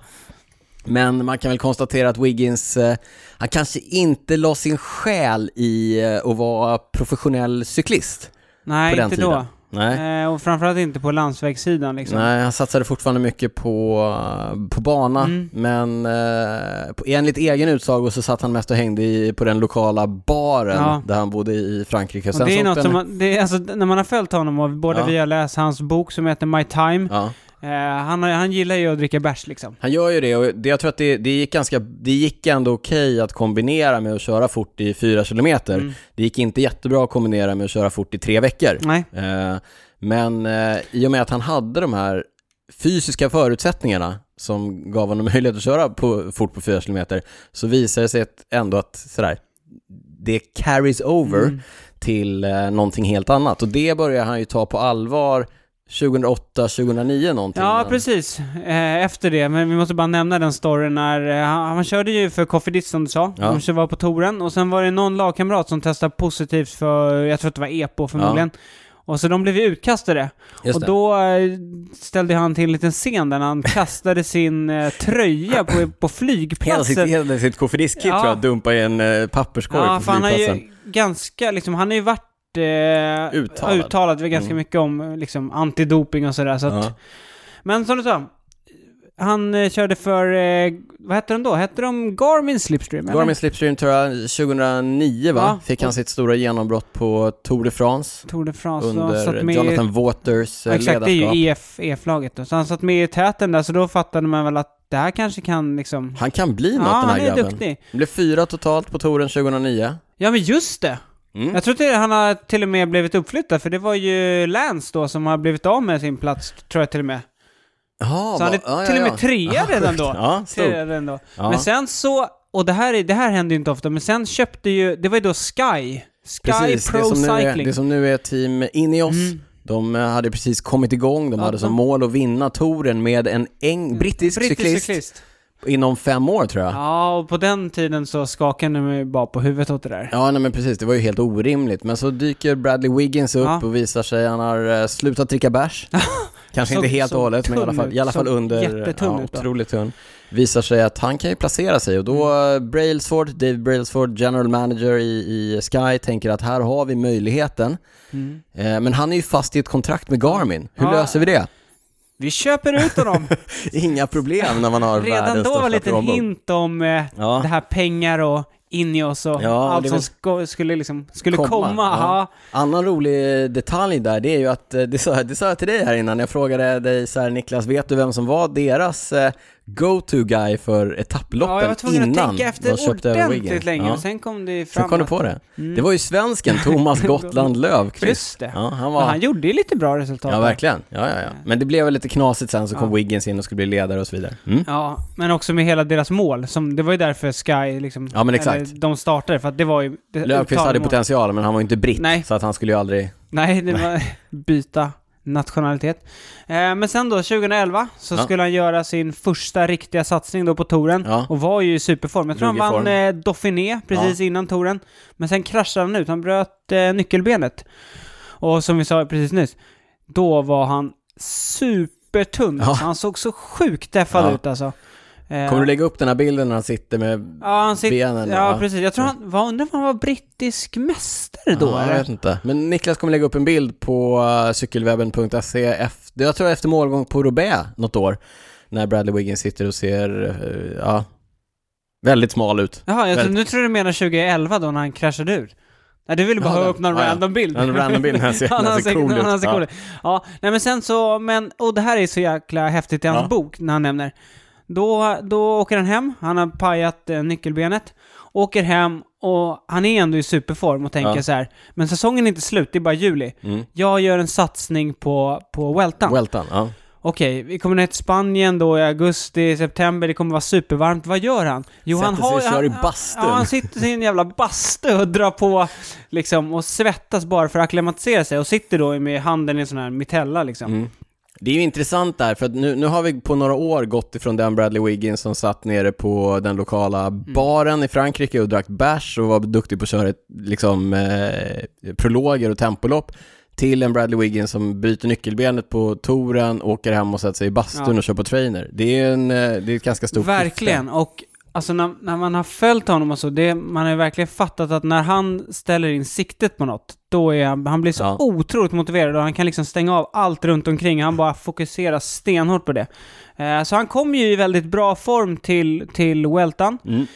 Speaker 1: Men man kan väl konstatera att Wiggins, eh, han kanske inte la sin själ i eh, att vara professionell cyklist
Speaker 2: nej,
Speaker 1: på den
Speaker 2: inte
Speaker 1: tiden.
Speaker 2: då.
Speaker 1: Nej.
Speaker 2: Eh, och framförallt inte på landsvägssidan liksom.
Speaker 1: Nej, han satsade fortfarande mycket på, eh, på bana,
Speaker 2: Mm.
Speaker 1: men eh, på- enligt egen utsago så satt han mest och hängde i, på den lokala baren
Speaker 2: Ja.
Speaker 1: där han bodde i Frankrike.
Speaker 2: Och det
Speaker 1: så
Speaker 2: är
Speaker 1: åkte
Speaker 2: något som
Speaker 1: han-
Speaker 2: man, det är, alltså, när man har följt honom och både
Speaker 1: Ja.
Speaker 2: vi har läst hans bok som heter My Time,
Speaker 1: Ja.
Speaker 2: eh, han, har- han gillar ju att dricka bärs liksom.
Speaker 1: Han gör ju det och det, jag tror att det, det, gick ganska, det gick ändå okej att kombinera med att köra fort i fyra kilometer.
Speaker 2: Mm.
Speaker 1: Det gick inte jättebra att kombinera med att köra fort i tre veckor.
Speaker 2: Nej.
Speaker 1: Eh, Men eh, i och med att han hade de här fysiska förutsättningarna som gav honom möjlighet att köra på, fort på 4 kilometer så visade det sig att- ändå att sådär, det carries over
Speaker 2: Mm.
Speaker 1: till eh, någonting helt annat. Och det börjar han ju ta på allvar 2008, 2009 någonting.
Speaker 2: Ja,
Speaker 1: Men-
Speaker 2: precis. Eh, efter det, men vi måste bara nämna den storyn när eh, han, han körde ju för Kofidis som du sa,
Speaker 1: Ja.
Speaker 2: de kö- var på touren och sen var det någon lagkamrat som testade positivt för, jag tror att det var EPO förmodligen. Och så de blev ju utkastade.
Speaker 1: Just
Speaker 2: och
Speaker 1: det.
Speaker 2: då eh, ställde han till en liten scen där han kastade sin eh, tröja på, på
Speaker 1: Hela sitt,
Speaker 2: flygplatsen.
Speaker 1: hela sitt kofferdiskit
Speaker 2: Ja.
Speaker 1: tror jag dumpa i en eh, papperskorg
Speaker 2: Ja,
Speaker 1: på
Speaker 2: för han har
Speaker 1: flygplatsen.
Speaker 2: ju ganska, liksom, han har ju varit Eh,
Speaker 1: Uttalad.
Speaker 2: uttalat ganska
Speaker 1: Mm.
Speaker 2: mycket om eh, liksom, antidoping och sådär. Så att,
Speaker 1: Ja.
Speaker 2: Men som du sa, han eh, körde för, eh, vad hette de då? Hette de Garmin Slipstream? eller?
Speaker 1: Garmin Slipstream tror jag 2009 va?
Speaker 2: Ja,
Speaker 1: Fick han sitt stora genombrott på Tour de France.
Speaker 2: Tour de France. så han
Speaker 1: under
Speaker 2: Alltså, satt med i,
Speaker 1: Jonathan Waters
Speaker 2: ja,
Speaker 1: eh,
Speaker 2: Exakt, det är
Speaker 1: ledarskap.
Speaker 2: ju EF, EF-laget då. Så han satt med i täten där, så då fattade man väl att det här kanske kan liksom...
Speaker 1: Han kan bli något
Speaker 2: Ja,
Speaker 1: den här
Speaker 2: han är
Speaker 1: grabben.
Speaker 2: duktig.
Speaker 1: Det blev fyra totalt på touren 2009.
Speaker 2: Ja, men just det!
Speaker 1: Mm.
Speaker 2: Jag tror till han har till och med blivit uppflyttad, för det var ju Lance då som har blivit av med sin plats, tror jag till och med.
Speaker 1: Ja,
Speaker 2: Så han är
Speaker 1: va- ja,
Speaker 2: till och
Speaker 1: ja,
Speaker 2: med
Speaker 1: ja.
Speaker 2: trea redan då.
Speaker 1: Ja, stort.
Speaker 2: Trea redan då.
Speaker 1: Ja.
Speaker 2: Men sen så, och det här, är- det här händer ju inte ofta, men sen köpte ju, det var ju då Sky. Sky
Speaker 1: Precis,
Speaker 2: Pro
Speaker 1: det som, nu är,
Speaker 2: Cycling. Mm.
Speaker 1: det som nu är Team Ineos. De eh, hade precis kommit igång, de
Speaker 2: Ja,
Speaker 1: hade som
Speaker 2: de-
Speaker 1: mål att vinna touren med en eng, brittisk, cyklist, inom fem år tror jag. Ja.
Speaker 2: Ja, och på den tiden så skakade man ju bara på huvudet åt det där.
Speaker 1: nej men precis, det var ju helt orimligt. Men så dyker Bradley Wiggins upp
Speaker 2: Ja.
Speaker 1: och visar sig, han har eh, slutat dricka bärs. Kanske
Speaker 2: Såg-
Speaker 1: inte helt och
Speaker 2: såg
Speaker 1: hållet, men i alla
Speaker 2: tunn
Speaker 1: fall,
Speaker 2: ut.
Speaker 1: i alla fall
Speaker 2: Såg
Speaker 1: under,
Speaker 2: jättetunn
Speaker 1: ja,
Speaker 2: ut då.
Speaker 1: otroligt tunn, visar sig att han kan ju placera sig och då
Speaker 2: Mm.
Speaker 1: eh, Brailsford, Dave Brailsford, general manager i, i Sky, tänker att här har vi möjligheten.
Speaker 2: Mm.
Speaker 1: Eh, Men han är ju fast i ett kontrakt med Garmin. Hur
Speaker 2: Ja.
Speaker 1: löser vi det?
Speaker 2: Vi köper ut honom!
Speaker 1: Inga problem när man har
Speaker 2: Redan
Speaker 1: världens
Speaker 2: då var
Speaker 1: största
Speaker 2: en liten
Speaker 1: plånbok.
Speaker 2: hint om eh, det
Speaker 1: Ja.
Speaker 2: här pengar och in i oss och
Speaker 1: Ja, och
Speaker 2: allt
Speaker 1: det är
Speaker 2: som
Speaker 1: väl-
Speaker 2: sko- skulle, liksom, skulle
Speaker 1: Komma,
Speaker 2: komma.
Speaker 1: ja.
Speaker 2: Ja.
Speaker 1: Annan rolig detalj där, det är ju att, eh, det sa, det sa jag till dig här innan, jag frågade dig så här Niklas, vet du vem som var deras eh, go-to-guy för etapploppen
Speaker 2: Ja, jag var tvungen
Speaker 1: innan
Speaker 2: att tänka
Speaker 1: de
Speaker 2: efter
Speaker 1: köpte över Wiggen.
Speaker 2: ordentligt länge
Speaker 1: Ja.
Speaker 2: och sen kom det fram.
Speaker 1: Sen kom du
Speaker 2: att-
Speaker 1: på det. Det var ju svensken Thomas Gotland
Speaker 2: Just
Speaker 1: Löfqvist.
Speaker 2: det.
Speaker 1: Ja, han var...
Speaker 2: Men han gjorde ju lite bra resultat.
Speaker 1: Ja,
Speaker 2: där.
Speaker 1: verkligen. Ja, ja, ja. Men det blev väl lite knasigt sen så kom
Speaker 2: Ja.
Speaker 1: Wiggins in och skulle bli ledare och så vidare. Mm.
Speaker 2: Ja, men också med hela deras mål. Som, det var ju därför Sky liksom...
Speaker 1: Ja, men exakt.
Speaker 2: Eller, de startade, för att det var ju... det-
Speaker 1: Löfqvist
Speaker 2: uttalade
Speaker 1: hade
Speaker 2: mål.
Speaker 1: potential, men han var ju inte britt,
Speaker 2: Nej.
Speaker 1: så att han skulle ju aldrig...
Speaker 2: Nej, det var byta nationalitet. Eh, men sen då, 2011, så
Speaker 1: Ja.
Speaker 2: skulle han göra sin första riktiga satsning då på touren.
Speaker 1: Ja.
Speaker 2: Och var ju i superform. Jag tror han
Speaker 1: Drog i
Speaker 2: vann
Speaker 1: form.
Speaker 2: eh, Dauphiné precis innan touren. Men sen kraschade han ut, han bröt eh, nyckelbenet. Och som vi sa precis nyss, då var han supertunn.
Speaker 1: Ja.
Speaker 2: Alltså, han såg så sjukt deffad
Speaker 1: Ja.
Speaker 2: ut alltså. Eh,
Speaker 1: Kommer du lägga upp den här bilden när han sitter med...
Speaker 2: Ja, han sitter,
Speaker 1: benen,
Speaker 2: ja,
Speaker 1: va?
Speaker 2: precis. Jag tror han, var, undrar om han var brittisk mästare då
Speaker 1: Ja, jag
Speaker 2: eller?
Speaker 1: vet inte. Men Niklas kommer lägga upp en bild på eh, cykelwebben.se, efter, jag tror efter målgång på Roubaix något år, när Bradley Wiggins sitter och ser, eh, ja, väldigt smal ut.
Speaker 2: Jaha, jag tror,
Speaker 1: Väldigt.
Speaker 2: nu tror du menar 2011 då när han kraschade ur. Nej, du ville bara
Speaker 1: Ja,
Speaker 2: ha
Speaker 1: den-
Speaker 2: upp någon
Speaker 1: ja, ja.
Speaker 2: random bild.
Speaker 1: En random bild när han ser, när han ser cool ut.
Speaker 2: Han ser cool ut. Ja, nej men sen så, men, och det här är så jäkla häftigt i hans
Speaker 1: Ja.
Speaker 2: bok när han nämner. Då, då åker han hem, han har pajat eh, nyckelbenet, åker hem och han är ändå i superform och tänker
Speaker 1: Ja.
Speaker 2: så här, men säsongen är inte slut, det är bara juli.
Speaker 1: Mm.
Speaker 2: Jag gör en satsning på, på
Speaker 1: Ja.
Speaker 2: Weltan.
Speaker 1: Weltan, ja.
Speaker 2: Okej, vi kommer ner till Spanien då i augusti, september, det kommer vara supervarmt. Vad gör han? Jo,
Speaker 1: Sätter
Speaker 2: han
Speaker 1: sig och kör
Speaker 2: han-
Speaker 1: i bastun.
Speaker 2: Ja, han sitter i sin jävla bastu och drar på liksom och svettas bara för att acklimatisera sig och sitter då med handen i en sån här mitella
Speaker 1: Mm.
Speaker 2: liksom.
Speaker 1: Det är ju intressant där, för att nu, nu har vi på några år gått ifrån den Bradley Wiggins som satt nere på den lokala
Speaker 2: Mm.
Speaker 1: baren i Frankrike och drack bärs och var duktig på att köra ett, liksom, eh, prologer och tempolopp till en Bradley Wiggins som bryter nyckelbenet på touren, åker hem och sätter sig i bastun
Speaker 2: Ja.
Speaker 1: och kör på trainer. Det är, en, eh, det är ett ganska stort
Speaker 2: Verkligen, och alltså när, när man har följt honom och så, det, man har ju verkligen fattat att när han ställer in siktet på något, då är han, han blir så
Speaker 1: Ja.
Speaker 2: otroligt motiverad och han kan liksom stänga av allt runt omkring, han bara fokuserar stenhårt på det. Eh, så han kom ju i väldigt bra form till, till Weltan,
Speaker 1: Mm.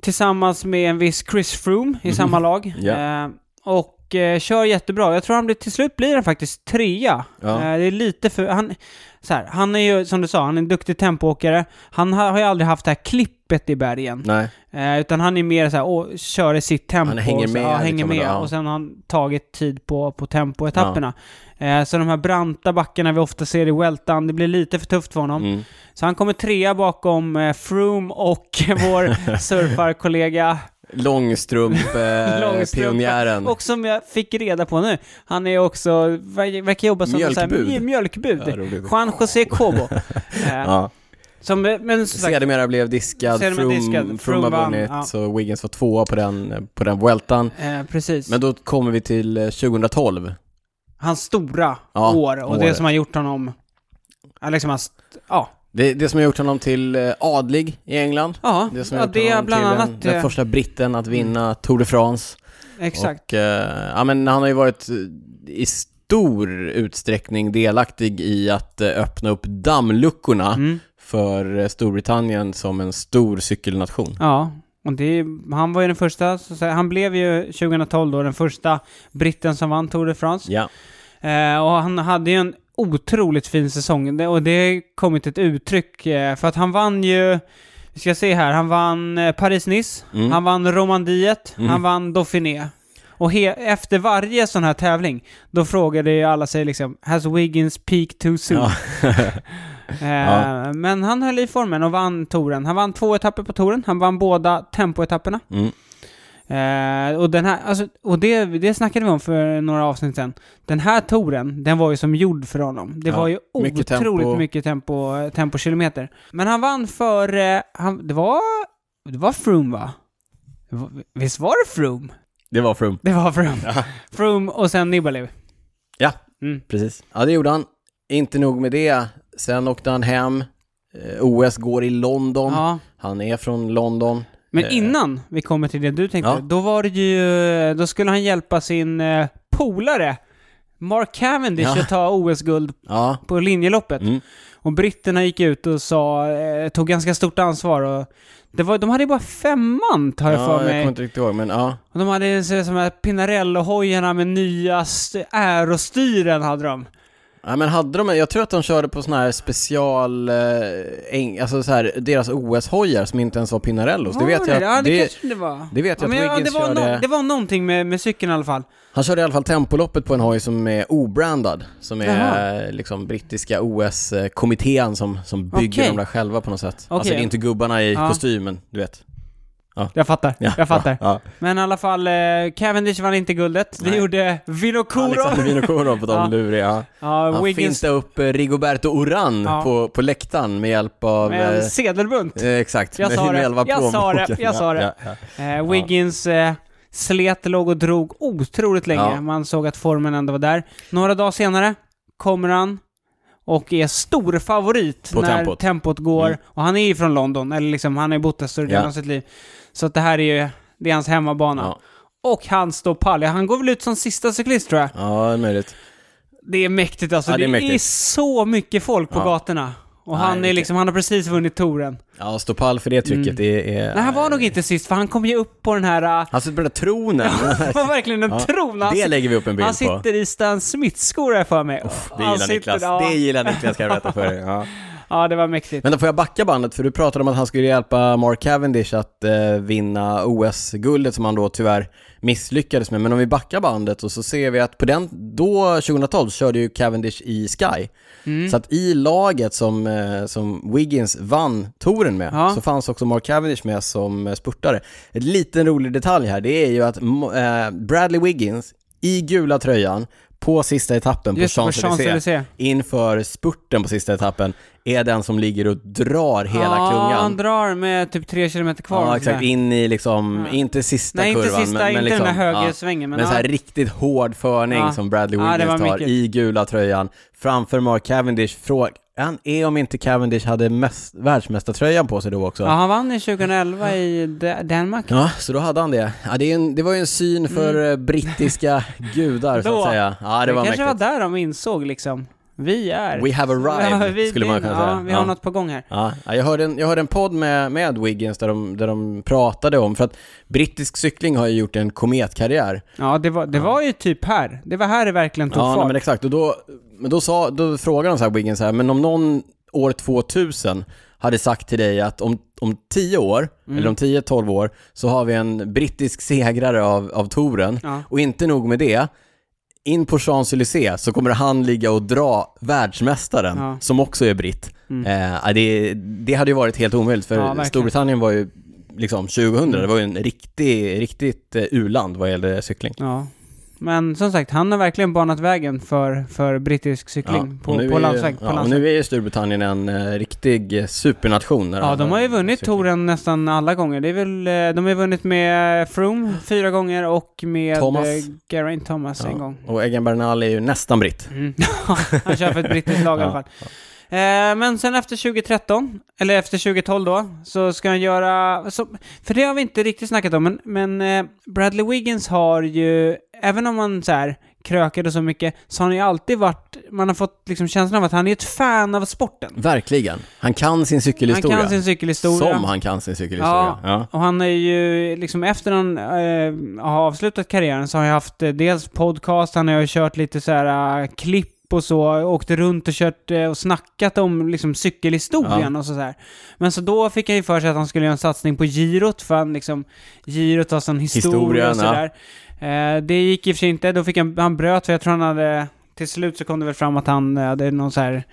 Speaker 2: tillsammans med en viss Chris Froome i samma lag.
Speaker 1: Mhm. Ja.
Speaker 2: Eh, och eh, kör jättebra. Jag tror han blir, till slut blir han faktiskt trea.
Speaker 1: Ja.
Speaker 2: Eh, det är lite för... Han, så här, han är ju, som du sa, han är en duktig tempoåkare. Han har, har ju aldrig haft det här klippet i bergen.
Speaker 1: Nej,
Speaker 2: Eh, utan han är mer så här, åh, kör i sitt tempo.
Speaker 1: Han hänger
Speaker 2: och så,
Speaker 1: med,
Speaker 2: Ja, hänger
Speaker 1: liksom,
Speaker 2: med.
Speaker 1: ja.
Speaker 2: Och sen har han tagit tid på, på tempoetapperna. Eh, så de här branta backarna vi ofta ser i Weltan, det blir lite för tufft för honom.
Speaker 1: Mm.
Speaker 2: Så han kommer trea bakom eh, Froome och vår surfarkollega
Speaker 1: eh,
Speaker 2: Långstrump,
Speaker 1: Långstrump-pionjären.
Speaker 2: Och som jag fick reda på nu, han är också, ver- verkar jobba som
Speaker 1: Mjölkbud.
Speaker 2: Så här, mjölkbud.
Speaker 1: Ja, roligt.
Speaker 2: Juan José Cobo. eh,
Speaker 1: ja.
Speaker 2: som, eh, men som sagt,
Speaker 1: Sedermera blev diskad,
Speaker 2: Sedermera diskad,
Speaker 1: Froome Froome
Speaker 2: Froome
Speaker 1: har
Speaker 2: vann,
Speaker 1: vunnit,
Speaker 2: ja.
Speaker 1: så Wiggins var tvåa på den, på den Weltan.
Speaker 2: eh, precis.
Speaker 1: Men då kommer vi till eh, 2012.
Speaker 2: hans stora
Speaker 1: Ja,
Speaker 2: år och det
Speaker 1: året.
Speaker 2: som har gjort honom... Ja, liksom hans... Ja.
Speaker 1: Det, det som har gjort honom till eh, adlig i England.
Speaker 2: Ja,
Speaker 1: Det
Speaker 2: det,
Speaker 1: som har
Speaker 2: ja,
Speaker 1: gjort
Speaker 2: det är
Speaker 1: honom
Speaker 2: bland
Speaker 1: till
Speaker 2: annat...
Speaker 1: den,
Speaker 2: eh, mm.
Speaker 1: den första britten att vinna Tour de France.
Speaker 2: Exakt.
Speaker 1: Och, eh, ja, men han har ju varit eh, i stor utsträckning delaktig i att eh, öppna upp dammluckorna
Speaker 2: Mm.
Speaker 1: för eh, Storbritannien som en stor cykelnation.
Speaker 2: Ja. Och det, är- han var ju den första, så att säga, han blev ju 2012 då den första britten som vann Tour de France.
Speaker 1: Ja,
Speaker 2: Eh, och han hade ju en otroligt fin säsong Det- och det kom ju till ett uttryck eh, för att han vann ju, vi ska se här, han vann eh, Paris-Nice,
Speaker 1: Mm.
Speaker 2: han vann Romandiet,
Speaker 1: Mm.
Speaker 2: han vann Dauphiné. Och he- efter varje sån här tävling, då frågade ju alla sig liksom “Has Wiggins peak too soon?”
Speaker 1: Ja.
Speaker 2: eh,
Speaker 1: Ja.
Speaker 2: Men han höll i formen och vann touren. Han vann två etapper på touren, han vann båda tempoetapperna.
Speaker 1: mm.
Speaker 2: Eh, och den här, alltså, och det, det snackade vi om för några avsnitt sedan. Den här touren, den var ju som gjord för honom. Det
Speaker 1: Ja,
Speaker 2: var ju
Speaker 1: mycket
Speaker 2: otroligt
Speaker 1: tempo.
Speaker 2: mycket tempo, eh, tempokilometer. Men han vann för, eh, han, det var, det var Froome va? Det var- Visst var det Froome?
Speaker 1: det var Froome.
Speaker 2: Det var Froome. Froome och sen Nibali.
Speaker 1: Ja,
Speaker 2: Mm.
Speaker 1: precis. Ja, det gjorde han. Inte nog med det. Sen åkte han hem. Eh, OS går i London.
Speaker 2: Ja.
Speaker 1: Han är från London.
Speaker 2: Men
Speaker 1: Eh.
Speaker 2: innan vi kommer till det du tänkte,
Speaker 1: Ja.
Speaker 2: då var det ju, då skulle han hjälpa sin eh, polare Mark Cavendish
Speaker 1: Ja.
Speaker 2: att ta OS-guld
Speaker 1: Ja,
Speaker 2: på linjeloppet.
Speaker 1: Mm.
Speaker 2: Och britterna gick ut och sa, eh, tog ganska stort ansvar och det var, de hade ju bara fem man har jag
Speaker 1: ja
Speaker 2: för
Speaker 1: jag
Speaker 2: mig.
Speaker 1: kommer inte riktigt ihåg, men ja.
Speaker 2: Och de hade så, som här Pinarello-hojarna med nya s- aerostyren hade de.
Speaker 1: Ja, men hade de, jag tror att de körde på sådana här special, eh, eng, alltså så här, deras OS-hojar som inte ens var Pinarellos. Det
Speaker 2: Var
Speaker 1: vet jag
Speaker 2: Ja,
Speaker 1: att,
Speaker 2: det,
Speaker 1: det,
Speaker 2: kanske det var.
Speaker 1: det vet jag att
Speaker 2: men,
Speaker 1: Wiggins
Speaker 2: det, var
Speaker 1: körde.
Speaker 2: nå- det var någonting med, med cykeln i alla fall.
Speaker 1: han körde i alla fall Tempoloppet på en hoj som är obrandad, som är
Speaker 2: Jaha.
Speaker 1: eh, liksom brittiska OS-kommittén som, som bygger
Speaker 2: Okej.
Speaker 1: de där själva på något sätt. Alltså
Speaker 2: Okej.
Speaker 1: det är inte gubbarna i
Speaker 2: Ja.
Speaker 1: kostymen, du vet.
Speaker 2: Jag fattar,
Speaker 1: Ja,
Speaker 2: jag fattar.
Speaker 1: Ja, ja.
Speaker 2: Men i alla fall, eh, Cavendish vann inte guldet. Det
Speaker 1: Nej.
Speaker 2: gjorde Vinokurov.
Speaker 1: Alexander Vinokurov på de
Speaker 2: Ja.
Speaker 1: luriga. Ja.
Speaker 2: Ja,
Speaker 1: Han
Speaker 2: Wiggins
Speaker 1: fintade upp eh, Rigoberto Oran
Speaker 2: Ja.
Speaker 1: på, på läktaren med hjälp av...
Speaker 2: med
Speaker 1: eh,
Speaker 2: en sedelbunt.
Speaker 1: eh, Exakt,
Speaker 2: Jag
Speaker 1: med-
Speaker 2: sa
Speaker 1: med
Speaker 2: det.
Speaker 1: hjälp av
Speaker 2: Jag sa det.
Speaker 1: plånboken.
Speaker 2: Jag sa det.
Speaker 1: Ja, ja, ja.
Speaker 2: Eh, Wiggins eh, slet, låg och drog otroligt länge.
Speaker 1: Ja.
Speaker 2: Man såg att formen ändå var där. Några dagar senare kommer han och är stor favorit
Speaker 1: På
Speaker 2: när
Speaker 1: tempot.
Speaker 2: tempot, går.
Speaker 1: Mm.
Speaker 2: Och han är ju från London, eller liksom, han har ju bott där större delen
Speaker 1: Ja.
Speaker 2: av sitt liv. Så att det här är ju, det är hans hemmabana.
Speaker 1: Ja,
Speaker 2: Och han står pall. Ja, Han går väl ut som sista cyklist tror jag.
Speaker 1: ja det är möjligt.
Speaker 2: Det är mäktigt alltså.
Speaker 1: Ja, det
Speaker 2: det,
Speaker 1: är
Speaker 2: är
Speaker 1: mäktigt.
Speaker 2: så mycket folk på
Speaker 1: Ja.
Speaker 2: gatorna. Och
Speaker 1: Nej,
Speaker 2: han, är
Speaker 1: vilket-
Speaker 2: liksom, han har precis vunnit touren.
Speaker 1: Ja, stå pall för det trycket, det är...
Speaker 2: Mm. Nej, han var nog inte sist, för han kom ju upp på den här... äh,
Speaker 1: Han sitter på den där tronen.
Speaker 2: Det var verkligen en
Speaker 1: Ja,
Speaker 2: tron. Alltså, Han,
Speaker 1: det
Speaker 2: sit-
Speaker 1: lägger vi upp en bild
Speaker 2: han
Speaker 1: på.
Speaker 2: sitter i Stan Smith-skor här för mig.
Speaker 1: Det
Speaker 2: Han
Speaker 1: gillar Niklas,
Speaker 2: ja.
Speaker 1: det gillar Niklas kan jag berätta för dig. Ja.
Speaker 2: ja, det var mäktigt.
Speaker 1: Men då får jag backa bandet, för du pratade om att han skulle hjälpa Mark Cavendish att eh, vinna OS-guldet som han då tyvärr misslyckades med. Men om vi backar bandet och så ser vi att på den, då 2012 körde ju Cavendish i Sky.
Speaker 2: Mm.
Speaker 1: Så att i laget som, eh, som Wiggins vann touren med
Speaker 2: Ja.
Speaker 1: så fanns också Mark Cavendish med som eh, spurtare. En liten rolig detalj här, det är ju att Mo- eh, Bradley Wiggins i gula tröjan på sista etappen på
Speaker 2: Just det, på
Speaker 1: Champs-Élysées
Speaker 2: Champs-Élysées.
Speaker 1: inför spurten på sista etappen är den som ligger och drar hela
Speaker 2: ja, han
Speaker 1: klungan.
Speaker 2: drar med typ tre kilometer kvar.
Speaker 1: Ja,
Speaker 2: och
Speaker 1: exakt.
Speaker 2: sådär.
Speaker 1: In i liksom,
Speaker 2: Ja.
Speaker 1: inte sista
Speaker 2: Nej, inte
Speaker 1: kurvan. liksom,
Speaker 2: sista, inte den där högersvängen, men
Speaker 1: men så här
Speaker 2: ja.
Speaker 1: riktigt hård förning
Speaker 2: Ja.
Speaker 1: som Bradley
Speaker 2: Ja, det
Speaker 1: Wiggins
Speaker 2: var
Speaker 1: tar
Speaker 2: mycket.
Speaker 1: i gula tröjan framför Mark Cavendish. Frågan är om inte Cavendish hade mäst, världsmästartröjan på sig då också.
Speaker 2: Ja, han vann i 2011 i Da- Danmark.
Speaker 1: Ja, så då hade han det. Ja, det, är en, det var ju en syn för eh, brittiska gudar så
Speaker 2: Mm. Då.
Speaker 1: att säga. Ja, det var
Speaker 2: kanske
Speaker 1: mäktigt.
Speaker 2: var där de insåg liksom, vi är...
Speaker 1: We have
Speaker 2: Ja,
Speaker 1: arrived,
Speaker 2: vi-
Speaker 1: skulle man kunna säga.
Speaker 2: Ja, vi har något på gång här.
Speaker 1: Ja, ja, jag hörde en, jag hörde en podd med, med Wiggins där de, där de pratade om, för att brittisk cykling har ju gjort en kometkarriär.
Speaker 2: Ja, det var, det var ju typ här. Det var här det verkligen tog
Speaker 1: Ja, nej,
Speaker 2: fart.
Speaker 1: men exakt. Och då, men då, sa, då frågade de så här Wiggins så här, men om någon år 2000 hade sagt till dig att om, om 10 år,
Speaker 2: Mm.
Speaker 1: eller om 10-12 år, så har vi en brittisk segrare av, av touren.
Speaker 2: Ja.
Speaker 1: Och inte nog med det, in på Champs-Élysées så kommer han ligga och dra världsmästaren,
Speaker 2: Ja. Mm.
Speaker 1: som också är britt. Eh, ja, det, det hade ju varit helt omöjligt, för
Speaker 2: Ja, verkligen.
Speaker 1: Storbritannien var ju liksom 2000, det var ju en riktig, riktigt eh, u-land vad gäller cykling.
Speaker 2: Ja. Men som sagt, han har verkligen banat vägen för, för brittisk cykling
Speaker 1: och
Speaker 2: på,
Speaker 1: nu
Speaker 2: på
Speaker 1: är ju-
Speaker 2: landsväg. På
Speaker 1: ja, och
Speaker 2: landsväg.
Speaker 1: nu är ju Storbritannien en eh, riktig eh, supernation. när det
Speaker 2: Ja, de
Speaker 1: handlar
Speaker 2: har ju
Speaker 1: om
Speaker 2: vunnit
Speaker 1: cykling.
Speaker 2: touren nästan alla gånger. Det är väl, eh, de har ju vunnit med eh, Froome fyra gånger och med
Speaker 1: Thomas.
Speaker 2: eh, Geraint Thomas en
Speaker 1: Ja,
Speaker 2: gång.
Speaker 1: Och Egan Bernal är ju nästan britt.
Speaker 2: Mm. han kör för ett brittiskt lag i
Speaker 1: Ja,
Speaker 2: alla fall. Eh, men sen efter 2013, eller efter 2012 då, så ska han göra... Så, för det har vi inte riktigt snackat om, men, men eh, Bradley Wiggins har ju, även om han så här krökade så mycket, så har han ju alltid varit... Man har fått liksom känslan av att han är ett fan av sporten.
Speaker 1: Verkligen. Han kan sin
Speaker 2: Han
Speaker 1: cykelhistoria.
Speaker 2: kan sin cykelhistoria.
Speaker 1: Som han kan sin cykelhistoria.
Speaker 2: Ja.
Speaker 1: Ja.
Speaker 2: Och han är ju, liksom efter han eh, har avslutat karriären så har han ju haft eh, dels podcast, han har ju kört lite så här eh, klipp och så, åkt runt och kört eh, och snackat om liksom cykelhistorien och så där. Men så då fick han ju för sig att han skulle göra en satsning på girot, för han liksom, girot har sån historia
Speaker 1: Historien,
Speaker 2: och
Speaker 1: ja.
Speaker 2: sådär. Eh, det gick i och för sig inte, då fick han, han bröt, för jag tror han hade, till slut så kom det väl fram att han eh, hade någon så här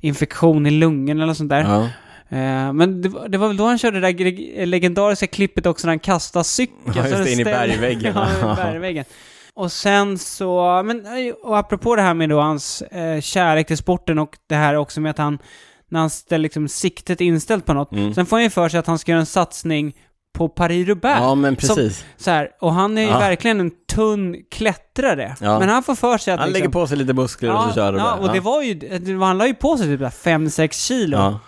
Speaker 2: infektion i lungorna eller något sånt där.
Speaker 1: Ja.
Speaker 2: Eh, men det, var- det var väl då han körde det där gre- legendariska klippet också när han kastar cykeln.
Speaker 1: Ja, just
Speaker 2: så
Speaker 1: det,
Speaker 2: den
Speaker 1: in i
Speaker 2: ställer-
Speaker 1: bergväggen.
Speaker 2: ja, i bergväggen. Och sen så, men eh, och apropå det här med då hans eh, kärlek till sporten och det här också med att han, när han ställer liksom siktet inställt på något,
Speaker 1: Mm.
Speaker 2: sen får han ju för sig att han ska göra en satsning på Paris-Roubaix.
Speaker 1: ja, men precis.
Speaker 2: Så här, och han är ju
Speaker 1: Ja.
Speaker 2: verkligen en tunn klättrare.
Speaker 1: Ja.
Speaker 2: Men han får för sig att
Speaker 1: Han
Speaker 2: liksom,
Speaker 1: lägger på sig lite muskler och så kör de
Speaker 2: ja,
Speaker 1: där.
Speaker 2: och det
Speaker 1: Ja.
Speaker 2: var ju, det- han la ju på sig typ 5-6 kilo.
Speaker 1: Ja.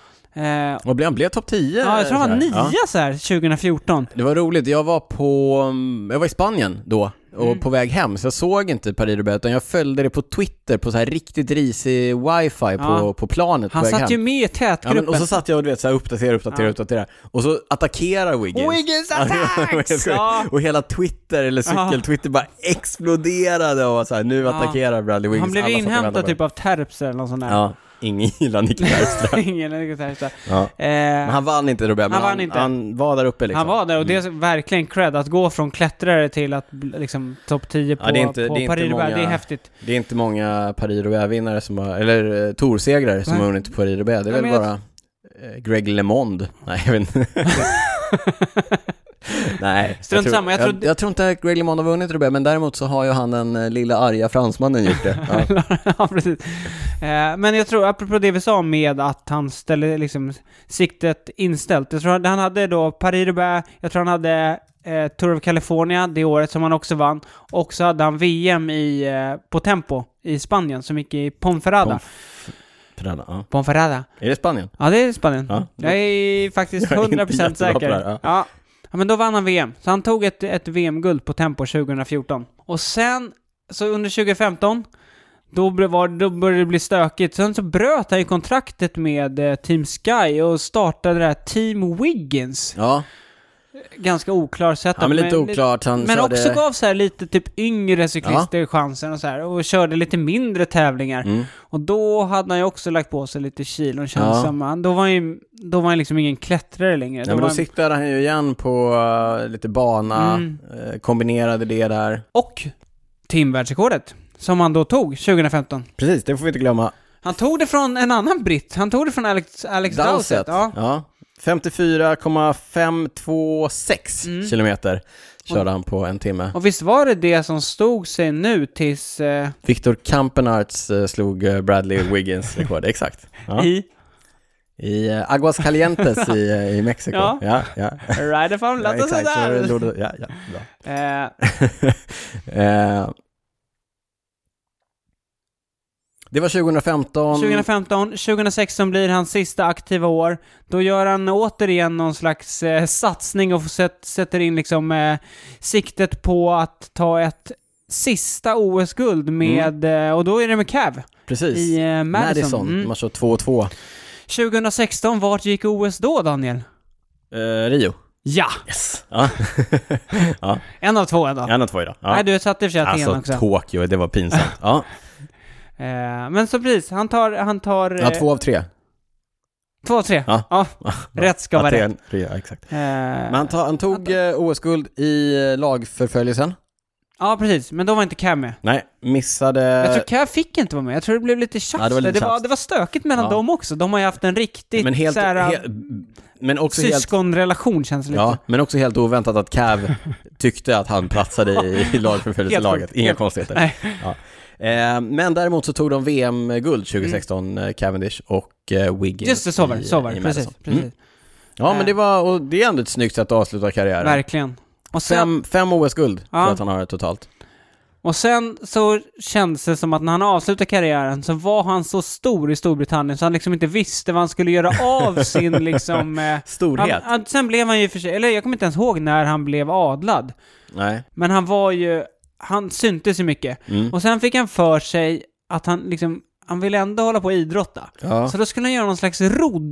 Speaker 2: Eh,
Speaker 1: Och blev han blev topp 10?
Speaker 2: Ja, jag tror han var
Speaker 1: sådär. Ja.
Speaker 2: nia så här 2014.
Speaker 1: Det var roligt, jag var på, mm, jag var i Spanien då och på väg hem, så jag såg inte Paris Roubaix utan jag följde det på Twitter på så här riktigt risig wifi
Speaker 2: Ja.
Speaker 1: på, på planet
Speaker 2: Han
Speaker 1: på väg hem.
Speaker 2: satt ju med i
Speaker 1: Ja,
Speaker 2: tätgruppen.
Speaker 1: men, och så satt jag och du vet, så här, uppdatera, uppdatera,
Speaker 2: Ja.
Speaker 1: uppdatera. Och så attackerar Wiggins.
Speaker 2: Wiggins
Speaker 1: Ja, det var- det var helt
Speaker 2: attacks!
Speaker 1: sjukt.
Speaker 2: Ja.
Speaker 1: Och hela Twitter, eller cykel-Twitter, bara exploderade och var så här, nu attackerar Bradley Wiggins.
Speaker 2: han blev
Speaker 1: Alla satt och väntade
Speaker 2: inhämtad
Speaker 1: på
Speaker 2: typ
Speaker 1: det.
Speaker 2: av Terps eller något sånt där.
Speaker 1: Ja, ingen gillar Nick Bergström.
Speaker 2: Ingen eller något sånt där.
Speaker 1: ja.
Speaker 2: Eh,
Speaker 1: Men han vann inte Robert, men
Speaker 2: Han
Speaker 1: han,
Speaker 2: vann
Speaker 1: han,
Speaker 2: inte.
Speaker 1: var där uppe liksom.
Speaker 2: Han var där och det är verkligen cred att gå från klättrare till att bl- liksom topp 10 på,
Speaker 1: Ja, det är inte-
Speaker 2: på
Speaker 1: det är inte
Speaker 2: Paris Roubaix. Det är
Speaker 1: många-
Speaker 2: häftigt.
Speaker 1: Det är inte många Paris Roubaix-vinnare som har, eller eh, Tour-segrare som
Speaker 2: Nej.
Speaker 1: har vunnit Paris Roubaix. Det är
Speaker 2: Nej,
Speaker 1: väl
Speaker 2: men jag-
Speaker 1: bara eh, Greg LeMond. Nej, jag vet inte. Nej,
Speaker 2: Strunt samma, jag
Speaker 1: jag,
Speaker 2: trodde-
Speaker 1: jag, tror inte att Greg LeMond har vunnit Roubaix, men däremot så har ju han den eh, lilla arga fransmannen gjort det. Ja.
Speaker 2: ja, precis. Eh, men jag tror, apropå det vi sa med att han ställde liksom siktet inställt. Jag tror att han hade då Paris Roubaix, jag tror han hade eh, Tour of California det året som han också vann. Och så hade han VM i, eh, på Tempo i Spanien som gick i Ponferrada.
Speaker 1: Ponf- Tränare, ja.
Speaker 2: Ponferrada.
Speaker 1: Är det Spanien?
Speaker 2: Ja, det är Spanien.
Speaker 1: Ja.
Speaker 2: Jag är faktiskt
Speaker 1: Jag är inte
Speaker 2: 100%
Speaker 1: jättebra på
Speaker 2: säker.
Speaker 1: det här, ja.
Speaker 2: Ja. ja, men då vann han VM. Så han tog ett, ett VM-guld på Tempo 2014. Och sen, så under 2015, då, ble- var, då började det bli stökigt. Sen så bröt han ju kontraktet med eh, Team Sky och startade det här Team Wiggins.
Speaker 1: Ja,
Speaker 2: Ganska oklar setup.
Speaker 1: ja men lite oklart. Han
Speaker 2: Men
Speaker 1: körde-
Speaker 2: också gav så här lite typ yngre cyklister chansen och så här. Och körde lite mindre tävlingar.
Speaker 1: Mm.
Speaker 2: Och då hade han ju också lagt på sig lite kilon känns det som. Då var han ju, då var han liksom ingen klättrare längre.
Speaker 1: Nej, men
Speaker 2: var
Speaker 1: då
Speaker 2: han,
Speaker 1: siktade han ju igen på eh, lite bana,
Speaker 2: Mm.
Speaker 1: eh, kombinerade det där.
Speaker 2: Och timvärldsrekordet. Som han då tog 2015.
Speaker 1: Precis, det får vi inte glömma.
Speaker 2: Han tog det från en annan britt. Han tog det från Alex, Alex Dowsett.
Speaker 1: Dowset.
Speaker 2: Ja.
Speaker 1: Ja. 54,526
Speaker 2: Mm.
Speaker 1: kilometer körde han på en timme.
Speaker 2: Och visst var det det som stod sig nu tills... Eh,
Speaker 1: Viktor Kampenarts eh, slog eh, Bradley Wiggins rekord, exakt. Ja. I,
Speaker 2: I...
Speaker 1: eh, Aguas Calientes i, eh, i Mexiko.
Speaker 2: Ja.
Speaker 1: Ja, ja. ja.
Speaker 2: Rider
Speaker 1: ja,
Speaker 2: from Latta
Speaker 1: exakt. Så det
Speaker 2: Sudar.
Speaker 1: gjorde- ja, ja, bra.
Speaker 2: alltså Eh,
Speaker 1: Eh, det var 2015.
Speaker 2: 2015, 2016 blir hans sista aktiva år. Då gör han återigen någon slags eh, satsning och sätt, sätter in liksom eh, siktet på att ta ett sista OS-guld
Speaker 1: Mm.
Speaker 2: med, eh, och då är det med Cav
Speaker 1: Precis.
Speaker 2: i eh, Madison.
Speaker 1: Madison,
Speaker 2: Mm.
Speaker 1: man kör 2-2.
Speaker 2: 2016, vart gick OS då Daniel?
Speaker 1: Eh, Rio.
Speaker 2: Ja!
Speaker 1: Yes. Ja,
Speaker 2: En av två ändå.
Speaker 1: gärna två idag. Ja.
Speaker 2: Nej, du satte i och för sig Aten
Speaker 1: Alltså
Speaker 2: också.
Speaker 1: Tokyo, det var pinsamt. Ja,
Speaker 2: Eh, men så precis, han tar, han tar...
Speaker 1: ja
Speaker 2: eh,
Speaker 1: två av tre.
Speaker 2: två av tre.
Speaker 1: Ja.
Speaker 2: Ja, rätt ska vara rätt.
Speaker 1: Aten, tre, ja, exakt.
Speaker 2: Eh,
Speaker 1: Men han, ta, han tog eh, OS-guld i eh, lagförföljelsen.
Speaker 2: ja, precis. Men då var inte Cav med.
Speaker 1: Nej, missade...
Speaker 2: Jag tror Cav fick inte vara med, jag tror det blev lite tjafs.
Speaker 1: Eh, Ja, det var
Speaker 2: det, var
Speaker 1: lite
Speaker 2: det, var,
Speaker 1: tjafs.
Speaker 2: stökigt mellan
Speaker 1: Ja.
Speaker 2: dem också. De har ju haft en riktigt
Speaker 1: men, helt,
Speaker 2: såhär,
Speaker 1: he, men, också helt,
Speaker 2: syskonrelation känns det lite.
Speaker 1: ja, men också helt oväntat att Cav tyckte att han platsade i, i
Speaker 2: Helt
Speaker 1: lagförföljelselaget.
Speaker 2: sjukt.
Speaker 1: Inga
Speaker 2: Helt-
Speaker 1: konstigheter.
Speaker 2: Nej.
Speaker 1: Ja. Eh, men däremot så tog de VM-guld 2016, eh, Cavendish och eh, Wiggins
Speaker 2: Mm. Just det, så var
Speaker 1: i-
Speaker 2: det. Så var
Speaker 1: i
Speaker 2: det.
Speaker 1: Madison.
Speaker 2: Precis,
Speaker 1: Mm.
Speaker 2: precis.
Speaker 1: Ja, men det var, och det är ändå ett snyggt sätt att avsluta karriären.
Speaker 2: Verkligen. Och sen,
Speaker 1: Fem, fem OS-guld
Speaker 2: Ja.
Speaker 1: tror jag att han har totalt.
Speaker 2: och sen så kändes det som att när han avslutade karriären så var han så stor i Storbritannien så han liksom inte visste vad han skulle göra av sin liksom... Eh, han,
Speaker 1: Storhet?
Speaker 2: han, sen blev han ju för sig, eller jag kommer inte ens ihåg när han blev adlad.
Speaker 1: Nej.
Speaker 2: Men han var ju, han syntes ju mycket.
Speaker 1: Mm.
Speaker 2: Och sen fick han för sig att han liksom, han ville ändå hålla på och idrotta.
Speaker 1: Ja.
Speaker 2: Så då skulle han göra någon slags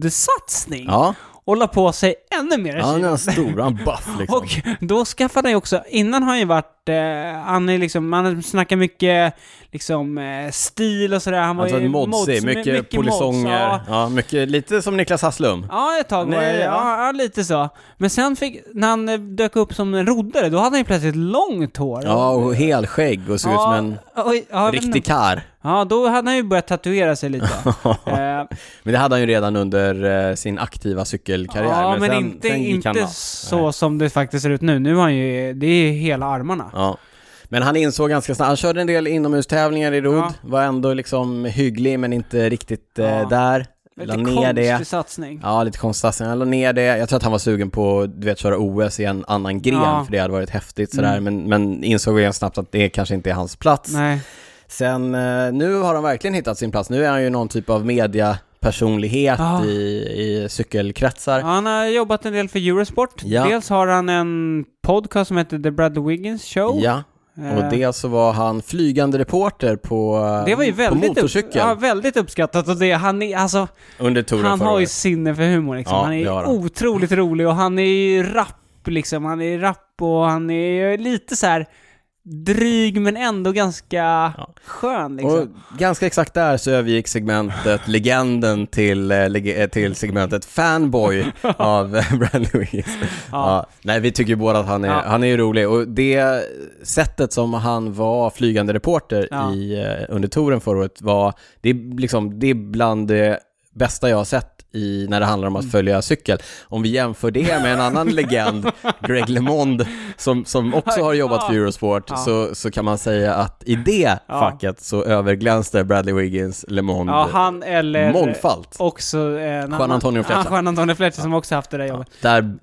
Speaker 2: roddsatsning
Speaker 1: Ja,
Speaker 2: och la på sig ännu mer
Speaker 1: han är
Speaker 2: kilo.
Speaker 1: en stor, han är buff liksom.
Speaker 2: Och då skaffade han ju också, innan har han ju varit, eh, han är liksom, han snackar mycket liksom eh, stil och sådär. Han var
Speaker 1: Alltså
Speaker 2: ju
Speaker 1: en modsig, mycket,
Speaker 2: mods,
Speaker 1: polisonger.
Speaker 2: ja.
Speaker 1: ja. mycket, lite som Niklas Hasslum.
Speaker 2: Ja, ett tag var
Speaker 1: Nej,
Speaker 2: det, ja. ja, lite så. Men sen fick, när han eh, dök upp som en roddare, då hade han ju plötsligt långt hår.
Speaker 1: Ja, och helskägg och såg ut som en
Speaker 2: oj, ja, jag vet
Speaker 1: riktig
Speaker 2: inte.
Speaker 1: kar.
Speaker 2: Ja, då hade han ju börjat tatuera sig lite. eh,
Speaker 1: Men det hade han ju redan under eh, sin aktiva cykelkarriär.
Speaker 2: Ja, men,
Speaker 1: sen,
Speaker 2: inte,
Speaker 1: sen gick han
Speaker 2: inte
Speaker 1: av.
Speaker 2: så som det faktiskt ser ut nu. Nu har han ju, det är ju hela armarna.
Speaker 1: Ja. Men han insåg ganska snabbt, han körde en del inomhustävlingar i rodd,
Speaker 2: Ja.
Speaker 1: var ändå liksom hygglig men inte riktigt eh,
Speaker 2: Ja.
Speaker 1: där. La
Speaker 2: Lite
Speaker 1: ner
Speaker 2: konstig
Speaker 1: det.
Speaker 2: satsning.
Speaker 1: Ja, lite konstigt. Han la ner det. Jag tror att han var sugen på, du vet, köra OS i en annan gren,
Speaker 2: Ja. Mm.
Speaker 1: för det hade varit häftigt sådär. Men, men insåg ganska snabbt att det kanske inte är hans plats.
Speaker 2: Nej.
Speaker 1: Sen, eh, nu har han verkligen hittat sin plats. Nu är han ju någon typ av mediapersonlighet
Speaker 2: Ja.
Speaker 1: i, i cykelkretsar.
Speaker 2: Ja, Han har jobbat en del för Eurosport.
Speaker 1: Ja.
Speaker 2: Dels har han en podcast som heter The Bradley Wiggins Show.
Speaker 1: Ja, Och dels så var han flygande reporter på,
Speaker 2: Oh. Eh. Det var ju
Speaker 1: på
Speaker 2: väldigt, upp,
Speaker 1: motorcykel
Speaker 2: ja, väldigt uppskattat och det, han är, alltså,
Speaker 1: under touren
Speaker 2: han
Speaker 1: förra
Speaker 2: har ju
Speaker 1: året.
Speaker 2: sinne för humor liksom.
Speaker 1: Ja,
Speaker 2: han
Speaker 1: det har
Speaker 2: är
Speaker 1: han.
Speaker 2: otroligt rolig och han är ju rapp liksom. Han är rapp och han är lite så här dryg men ändå ganska
Speaker 1: Ja.
Speaker 2: skön liksom.
Speaker 1: Och ganska exakt där så övergick segmentet legenden till, eh, leg- eh, till segmentet fanboy av eh, Brad Lewis. Ja. Nej, vi tycker ju båda att han är,
Speaker 2: Ja.
Speaker 1: han är ju rolig och det sättet som han var flygande reporter
Speaker 2: Ja.
Speaker 1: i, eh, under touren förra året var, det är, liksom, det är bland det bästa jag har sett i, när det handlar
Speaker 2: Mm.
Speaker 1: om att följa cykel. Om vi jämför det med en annan legend, Greg LeMond, som, som också har jobbat för Eurosport,
Speaker 2: Ja.
Speaker 1: så, så kan man säga att i det
Speaker 2: Ja.
Speaker 1: facket så överglänste Bradley Wiggins LeMond
Speaker 2: ja, han eller...
Speaker 1: mångfalt.
Speaker 2: Också en annan...
Speaker 1: Antonio Fletcher.
Speaker 2: Ja, Juan Antonio Fletcher som också haft det där jobbet.
Speaker 1: Där,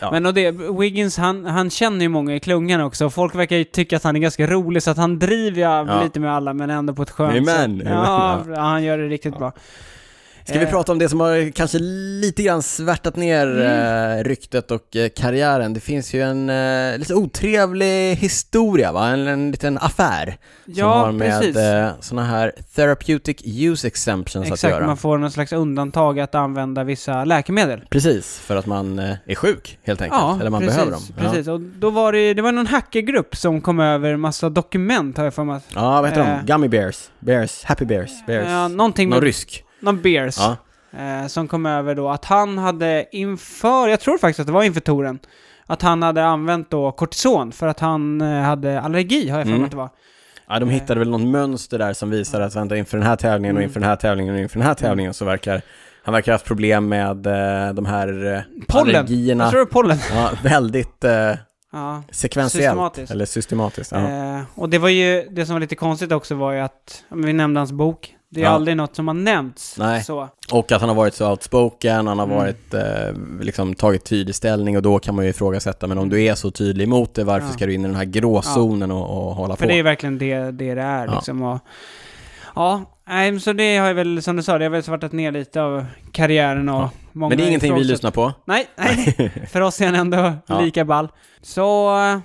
Speaker 1: ja.
Speaker 2: Men och det, Wiggins han, han känner ju många i klungan också. och Folk verkar ju tycka att han är ganska rolig så att han driver ju
Speaker 1: Ja.
Speaker 2: lite med alla men ändå på ett skönt
Speaker 1: Amen,
Speaker 2: sätt.
Speaker 1: amen,
Speaker 2: Ja, ja, han gör det riktigt bra.
Speaker 1: Ska vi
Speaker 2: Eh,
Speaker 1: prata om det som har kanske lite grann svärtat ner
Speaker 2: Mm.
Speaker 1: eh, ryktet och eh, karriären? Det finns ju en eh, lite otrevlig historia, va? En, en liten affär som
Speaker 2: Ja,
Speaker 1: har med
Speaker 2: precis.
Speaker 1: eh, såna här therapeutic use exemptions att
Speaker 2: Exakt,
Speaker 1: göra.
Speaker 2: man får någon slags undantag att använda vissa läkemedel.
Speaker 1: Precis, för att man eh, är sjuk helt enkelt, eller man
Speaker 2: precis,
Speaker 1: behöver dem.
Speaker 2: Precis, och då var det, det var någon hackergrupp som kom över massa dokument har jag för mig. att-
Speaker 1: Ja, ja vad heter
Speaker 2: Eh.
Speaker 1: de? Gummy bears, bears, happy bears, bears.
Speaker 2: Eh, någonting
Speaker 1: Någon
Speaker 2: med,
Speaker 1: rysk.
Speaker 2: någon beers.
Speaker 1: Ja.
Speaker 2: eh, som kom över då att han hade inför, jag tror faktiskt att det var inför touren, att han hade använt då kortison för att han eh, hade allergi har jag för mig
Speaker 1: Mm.
Speaker 2: att det var.
Speaker 1: Ja,
Speaker 2: Eh.
Speaker 1: de hittade väl något mönster där som visar att vänta, inför den här tävlingen och inför den här tävlingen och inför den här tävlingen så verkar han verkar ha haft problem med eh, de här eh,
Speaker 2: Pollen!
Speaker 1: allergierna.
Speaker 2: Jag tror det var pollen.
Speaker 1: Ja, väldigt eh,
Speaker 2: Ja.
Speaker 1: sekventiellt.
Speaker 2: Systematiskt.
Speaker 1: Eller systematiskt. Ja.
Speaker 2: Eh, och det var ju, det som var lite konstigt också var ju att, vi nämnde hans bok, det är
Speaker 1: Ja.
Speaker 2: aldrig något som har nämnts.
Speaker 1: Nej.
Speaker 2: Så.
Speaker 1: Och att han har varit så outspoken, han har
Speaker 2: Mm.
Speaker 1: varit, eh, liksom tagit tydlig ställning och då kan man ju ifrågasätta, men om du är så tydlig mot det, varför
Speaker 2: Ja.
Speaker 1: ska du in i den här gråzonen och, och hålla
Speaker 2: För
Speaker 1: på?
Speaker 2: det är verkligen det det, det är
Speaker 1: Ja.
Speaker 2: liksom. Och, ja, nej, men så det har jag väl, som du sa, det har väl svartat ner lite av karriären och
Speaker 1: Ja.
Speaker 2: många
Speaker 1: men det är ingenting vi
Speaker 2: ifrågasätter-
Speaker 1: lyssnar på.
Speaker 2: Nej, nej. för oss är han ändå
Speaker 1: Ja.
Speaker 2: lika ball. Så eh,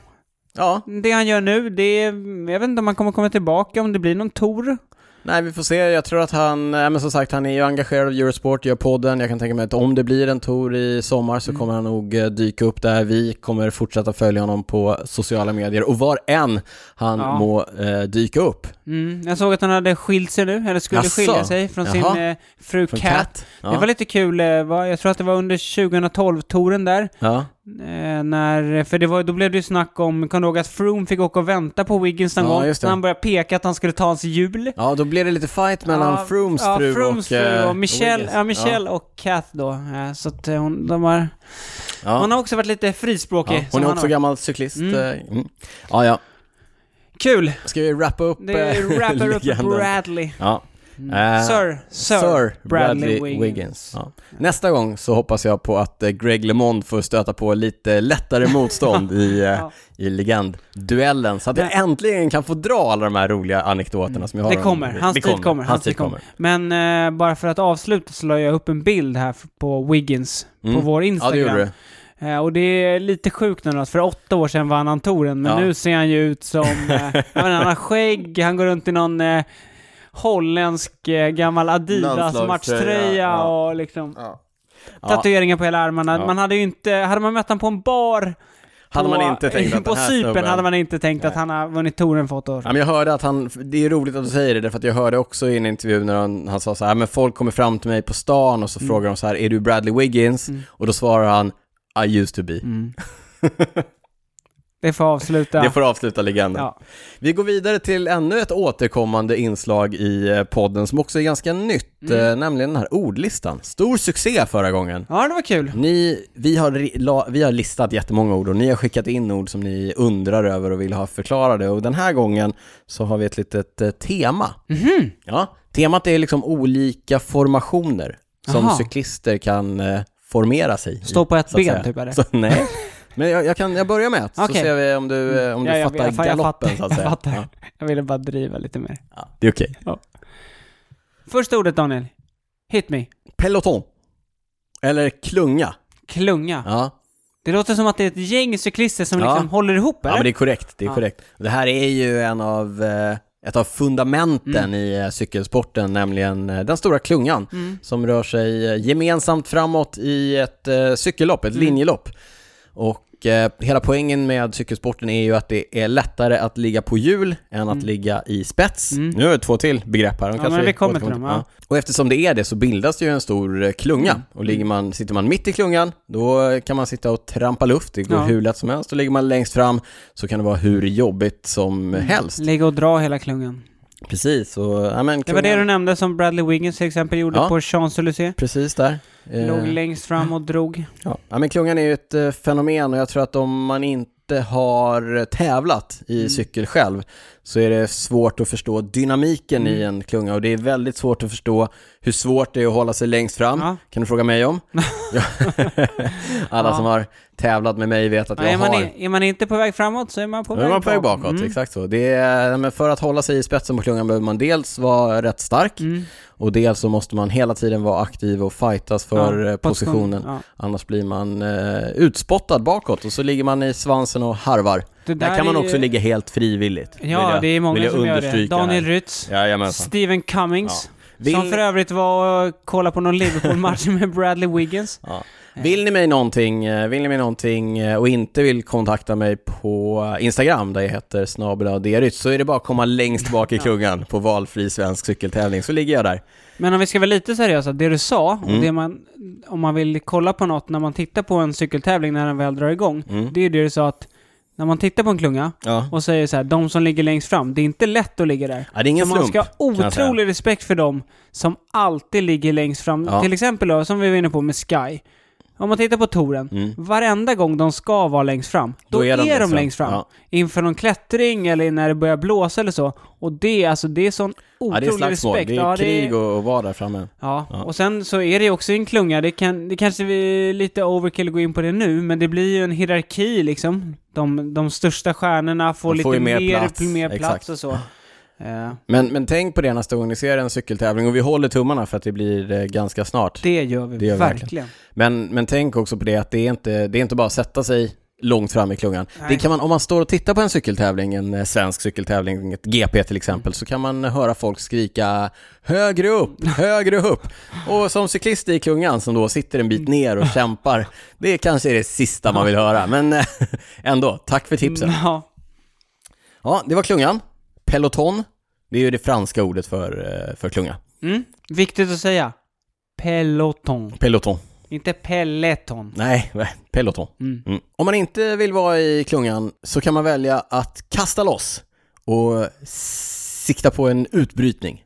Speaker 1: Ja,
Speaker 2: det han gör nu, det är, jag vet inte om han kommer komma tillbaka, om det blir någon tour.
Speaker 1: Nej, vi får se. Jag tror att han, eh, men som sagt, han är ju engagerad av Eurosport, gör podden. Jag kan tänka mig att om det blir en tour i sommar
Speaker 2: Mm.
Speaker 1: så kommer han nog eh, dyka upp där. Vi kommer fortsätta följa honom på sociala medier och var än han
Speaker 2: Ja.
Speaker 1: må eh, dyka upp.
Speaker 2: Mm, jag såg att han hade skilt sig nu, eller skulle
Speaker 1: Jaså?
Speaker 2: skilja sig från sin
Speaker 1: Jaha.
Speaker 2: eh, fru
Speaker 1: Från
Speaker 2: Cat.
Speaker 1: Ja.
Speaker 2: Det var lite kul, eh, va? jag tror att det var under 2012-touren där.
Speaker 1: ja.
Speaker 2: Eh, när, för det var, då blev det ju snack om, kan du ihåg att Froome fick åka och vänta på Wiggins någon
Speaker 1: Ja,
Speaker 2: gång?
Speaker 1: just det.
Speaker 2: När han började peka att han skulle ta hans jul.
Speaker 1: ja, då blev det lite fight mellan
Speaker 2: Ja,
Speaker 1: Froomes
Speaker 2: ja,
Speaker 1: fru
Speaker 2: Froomes
Speaker 1: och... eh,
Speaker 2: fru och Michelle,
Speaker 1: Wiggins.
Speaker 2: ja, Michelle och Cat då. Eh, så att eh, hon, de har...
Speaker 1: Ja.
Speaker 2: Hon
Speaker 1: Ja.
Speaker 2: har också varit lite frispråkig.
Speaker 1: Hon
Speaker 2: som
Speaker 1: är
Speaker 2: han
Speaker 1: också
Speaker 2: har.
Speaker 1: gammal cyklist.
Speaker 2: Mm.
Speaker 1: eh, Mm. Ja, ja.
Speaker 2: Kul!
Speaker 1: Ska vi wrappa upp
Speaker 2: Det är
Speaker 1: eh,
Speaker 2: rapper upp
Speaker 1: legenden?
Speaker 2: Bradley.
Speaker 1: Ja.
Speaker 2: Mm.
Speaker 1: Eh,
Speaker 2: Sir, Sir, Bradley, Wiggins.
Speaker 1: Ja. Nästa gång så hoppas jag på att eh, Greg LeMond får stöta på lite lättare motstånd i, eh,
Speaker 2: Ja.
Speaker 1: i legendduellen så att jag äntligen kan få dra alla de här roliga anekdoterna som jag har.
Speaker 2: Mm. Det
Speaker 1: om-
Speaker 2: kommer, hans
Speaker 1: Det
Speaker 2: tid kommer, hans tid kommer. Men eh, bara för att avsluta så la jag upp en bild här f- på Wiggins
Speaker 1: Mm.
Speaker 2: på vår
Speaker 1: Ja, det
Speaker 2: Instagram.
Speaker 1: gjorde du.
Speaker 2: Eh, och det är lite sjukt nu att för åtta år sedan vann han touren, men
Speaker 1: Ja.
Speaker 2: nu ser han ju ut som... Eh, jag vet inte, han har skägg, han går runt i någon eh, holländsk eh, gammal Adidas
Speaker 1: Landslagströja,
Speaker 2: matchtröja
Speaker 1: ja.
Speaker 2: och liksom...
Speaker 1: Ja,
Speaker 2: Tatueringar på hela armarna.
Speaker 1: Ja.
Speaker 2: Man hade ju inte... Hade man mött honom på en bar
Speaker 1: hade
Speaker 2: på,
Speaker 1: man inte tänkt att
Speaker 2: På
Speaker 1: den här
Speaker 2: Cypern
Speaker 1: snubben-
Speaker 2: hade man inte tänkt att
Speaker 1: Nej.
Speaker 2: han har vunnit touren för åtta år
Speaker 1: Ja, men jag hörde att han, det är roligt att du säger det, därför att jag hörde också i en intervju när han, han sa så här, men folk kommer fram till mig på stan och så
Speaker 2: Mm.
Speaker 1: frågar de så här, är du Bradley Wiggins? Och då svarar han, I used to be.
Speaker 2: Mm. Det får avsluta.
Speaker 1: Det får avsluta legenden.
Speaker 2: Ja.
Speaker 1: Vi går vidare till ännu ett återkommande inslag i eh, podden som också är ganska nytt,
Speaker 2: Mm.
Speaker 1: eh, nämligen den här ordlistan. Stor succé förra gången.
Speaker 2: ja, det var kul.
Speaker 1: Ni, vi, har, ri- la- vi har listat jättemånga ord och ni har skickat in ord som ni undrar över och vill ha förklarade och den här gången så har vi ett litet eh, tema.
Speaker 2: Mhm.
Speaker 1: Ja, temat är liksom olika formationer som
Speaker 2: Aha.
Speaker 1: cyklister kan eh, formera sig i,
Speaker 2: Stå på ett
Speaker 1: så att
Speaker 2: ben,
Speaker 1: säga.
Speaker 2: typ, är det?
Speaker 1: Så, nej, men jag, jag, kan, jag börjar med ett, så
Speaker 2: Okej.
Speaker 1: ser vi om du, eh, om du
Speaker 2: Ja, jag-
Speaker 1: fattar
Speaker 2: jag fa- jag
Speaker 1: galoppen
Speaker 2: fattar.
Speaker 1: så att säga.
Speaker 2: Jag fattar.
Speaker 1: Ja,
Speaker 2: Jag ville bara driva lite mer.
Speaker 1: ja, det är okej.
Speaker 2: Första ordet Daniel. Hit me.
Speaker 1: Peloton. Eller klunga.
Speaker 2: Klunga.
Speaker 1: Ja.
Speaker 2: Det låter som att det är ett gäng cyklister som
Speaker 1: Ja.
Speaker 2: liksom håller ihop,
Speaker 1: Ja,
Speaker 2: eller?
Speaker 1: men det är korrekt. Det är
Speaker 2: Ja.
Speaker 1: korrekt. Det här är ju en av, eh, ett av fundamenten
Speaker 2: Mm.
Speaker 1: i eh, cykelsporten, nämligen eh, den stora klungan
Speaker 2: Mm.
Speaker 1: som rör sig eh, gemensamt framåt i ett eh, cykellopp, ett
Speaker 2: Mm.
Speaker 1: linjelopp. Och eh, hela poängen med cykelsporten är ju att det är lättare att ligga på hjul än att ligga i spets. Nu är det två till begrepp här. de
Speaker 2: Mm. Ja, Mm.
Speaker 1: kanske
Speaker 2: men vi kommer till
Speaker 1: återkommer
Speaker 2: dem,
Speaker 1: Och eftersom det är det så bildas det ju en stor eh, klunga. Och ligger man, sitter man mitt i klungan, då eh, kan man sitta och trampa luft. Det går
Speaker 2: Ja.
Speaker 1: hur lätt som helst. Och ligger man längst fram så kan det vara hur jobbigt som
Speaker 2: Mm.
Speaker 1: helst.
Speaker 2: Ligga och dra hela klungan.
Speaker 1: Precis, och ja, men
Speaker 2: Det var
Speaker 1: klungan-
Speaker 2: det du nämnde som Bradley Wiggins till exempel gjorde
Speaker 1: Ja.
Speaker 2: på Champs-Élysées.
Speaker 1: Precis där. Eh,
Speaker 2: Låg längst fram och drog.
Speaker 1: Ja. ja, men klungan är ju ett eh, fenomen och jag tror att om man inte har tävlat i
Speaker 2: Mm.
Speaker 1: cykel själv så är det svårt att förstå dynamiken i
Speaker 2: Mm.
Speaker 1: en klunga och det är väldigt svårt att förstå hur svårt det är att hålla sig längst fram.
Speaker 2: Ja.
Speaker 1: Kan du fråga mig om? Ja. Alla
Speaker 2: Ja.
Speaker 1: som har tävlat med mig vet att
Speaker 2: Ja,
Speaker 1: jag
Speaker 2: är, man,
Speaker 1: har...
Speaker 2: i- är man inte på väg framåt så är man på
Speaker 1: Nu
Speaker 2: väg
Speaker 1: är man på väg bakåt,
Speaker 2: Mm.
Speaker 1: exakt så. Det är, nej, men för att hålla sig i spetsen på klungan behöver man dels vara rätt stark
Speaker 2: Mm.
Speaker 1: och dels så måste man hela tiden vara aktiv och fightas för
Speaker 2: Ja,
Speaker 1: eh, positionen.
Speaker 2: Ja.
Speaker 1: Annars blir man eh, utspottad bakåt och så ligger man i svansen och harvar.
Speaker 2: Det
Speaker 1: Där, kan
Speaker 2: är
Speaker 1: man också
Speaker 2: ju-
Speaker 1: ligga helt frivilligt.
Speaker 2: Ja, det är många som gör det. Daniel Rytz,
Speaker 1: Jajamensan.
Speaker 2: Steven Cummings, som
Speaker 1: alltså. Vill-
Speaker 2: för övrigt var och kollade på någon Liverpool-match med Bradley Wiggins.
Speaker 1: Ja. Vill ni mig någonting, eh, vill ni mig någonting eh, och inte vill kontakta mig på eh, Instagram där jag heter snabeladeryt så är det bara att komma längst bak i klungan på valfri svensk cykeltävling så ligger jag där.
Speaker 2: Men om vi ska vara lite seriösa, det du sa,
Speaker 1: Mm.
Speaker 2: och det man, om man vill kolla på något när man tittar på en cykeltävling när den väl drar igång,
Speaker 1: Mm.
Speaker 2: det är det du sa att när man tittar på en klunga
Speaker 1: Ja.
Speaker 2: och säger så här, de som ligger längst fram, det är inte lätt att ligga där.
Speaker 1: Ja, det är ingen
Speaker 2: så man
Speaker 1: slump.
Speaker 2: ska ha
Speaker 1: jag säga.
Speaker 2: otrolig respekt för dem som alltid ligger längst fram.
Speaker 1: Ja.
Speaker 2: Till exempel då, som vi var inne på med Sky. Om man tittar på touren,
Speaker 1: Mm.
Speaker 2: varenda gång de ska vara längst fram, då, är de, längst, fram.
Speaker 1: Ja.
Speaker 2: Inför någon klättring eller när det börjar blåsa eller så. Och det, är alltså, det är sån
Speaker 1: Ja,
Speaker 2: otrolig
Speaker 1: det är slagsmål,
Speaker 2: respekt.
Speaker 1: det är
Speaker 2: Ja,
Speaker 1: krig och, och vara där framme.
Speaker 2: Ja,
Speaker 1: Ja.
Speaker 2: och sen så är det ju också en klunga. Det, kan, det kanske vi lite overkill att gå in på det nu, men det blir ju en hierarki liksom. De, de största stjärnorna får
Speaker 1: De
Speaker 2: lite
Speaker 1: får ju mer
Speaker 2: mer,
Speaker 1: plats.
Speaker 2: mer
Speaker 1: Exakt.
Speaker 2: plats och så. Eh,
Speaker 1: Men, men tänk på det nästa gång ni ser en cykeltävling och vi håller tummarna för att det blir eh, ganska snart.
Speaker 2: det gör vi
Speaker 1: Det gör vi verkligen.
Speaker 2: verkligen.
Speaker 1: Men, men tänk också på det att det är inte, det är inte bara att sätta sig långt fram i klungan.
Speaker 2: Nej.
Speaker 1: Det kan man, om man står och tittar på en cykeltävling, en eh, svensk cykeltävling, ett GP till exempel, så kan man höra folk skrika högre upp, högre upp. Och som cyklist i klungan som då sitter en bit ner och kämpar, det kanske är det sista man vill höra. Men eh, ändå, tack för tipsen.
Speaker 2: Ja,
Speaker 1: Ja, det var klungan. Peloton, det är ju det franska ordet för, eh, för klunga.
Speaker 2: mm. Viktigt att säga. Peloton.
Speaker 1: Peloton.
Speaker 2: Inte pelleton.
Speaker 1: Nej, peloton.
Speaker 2: Mm.
Speaker 1: Mm. Om man inte vill vara i klungan så kan man välja att kasta loss och sikta på en utbrytning.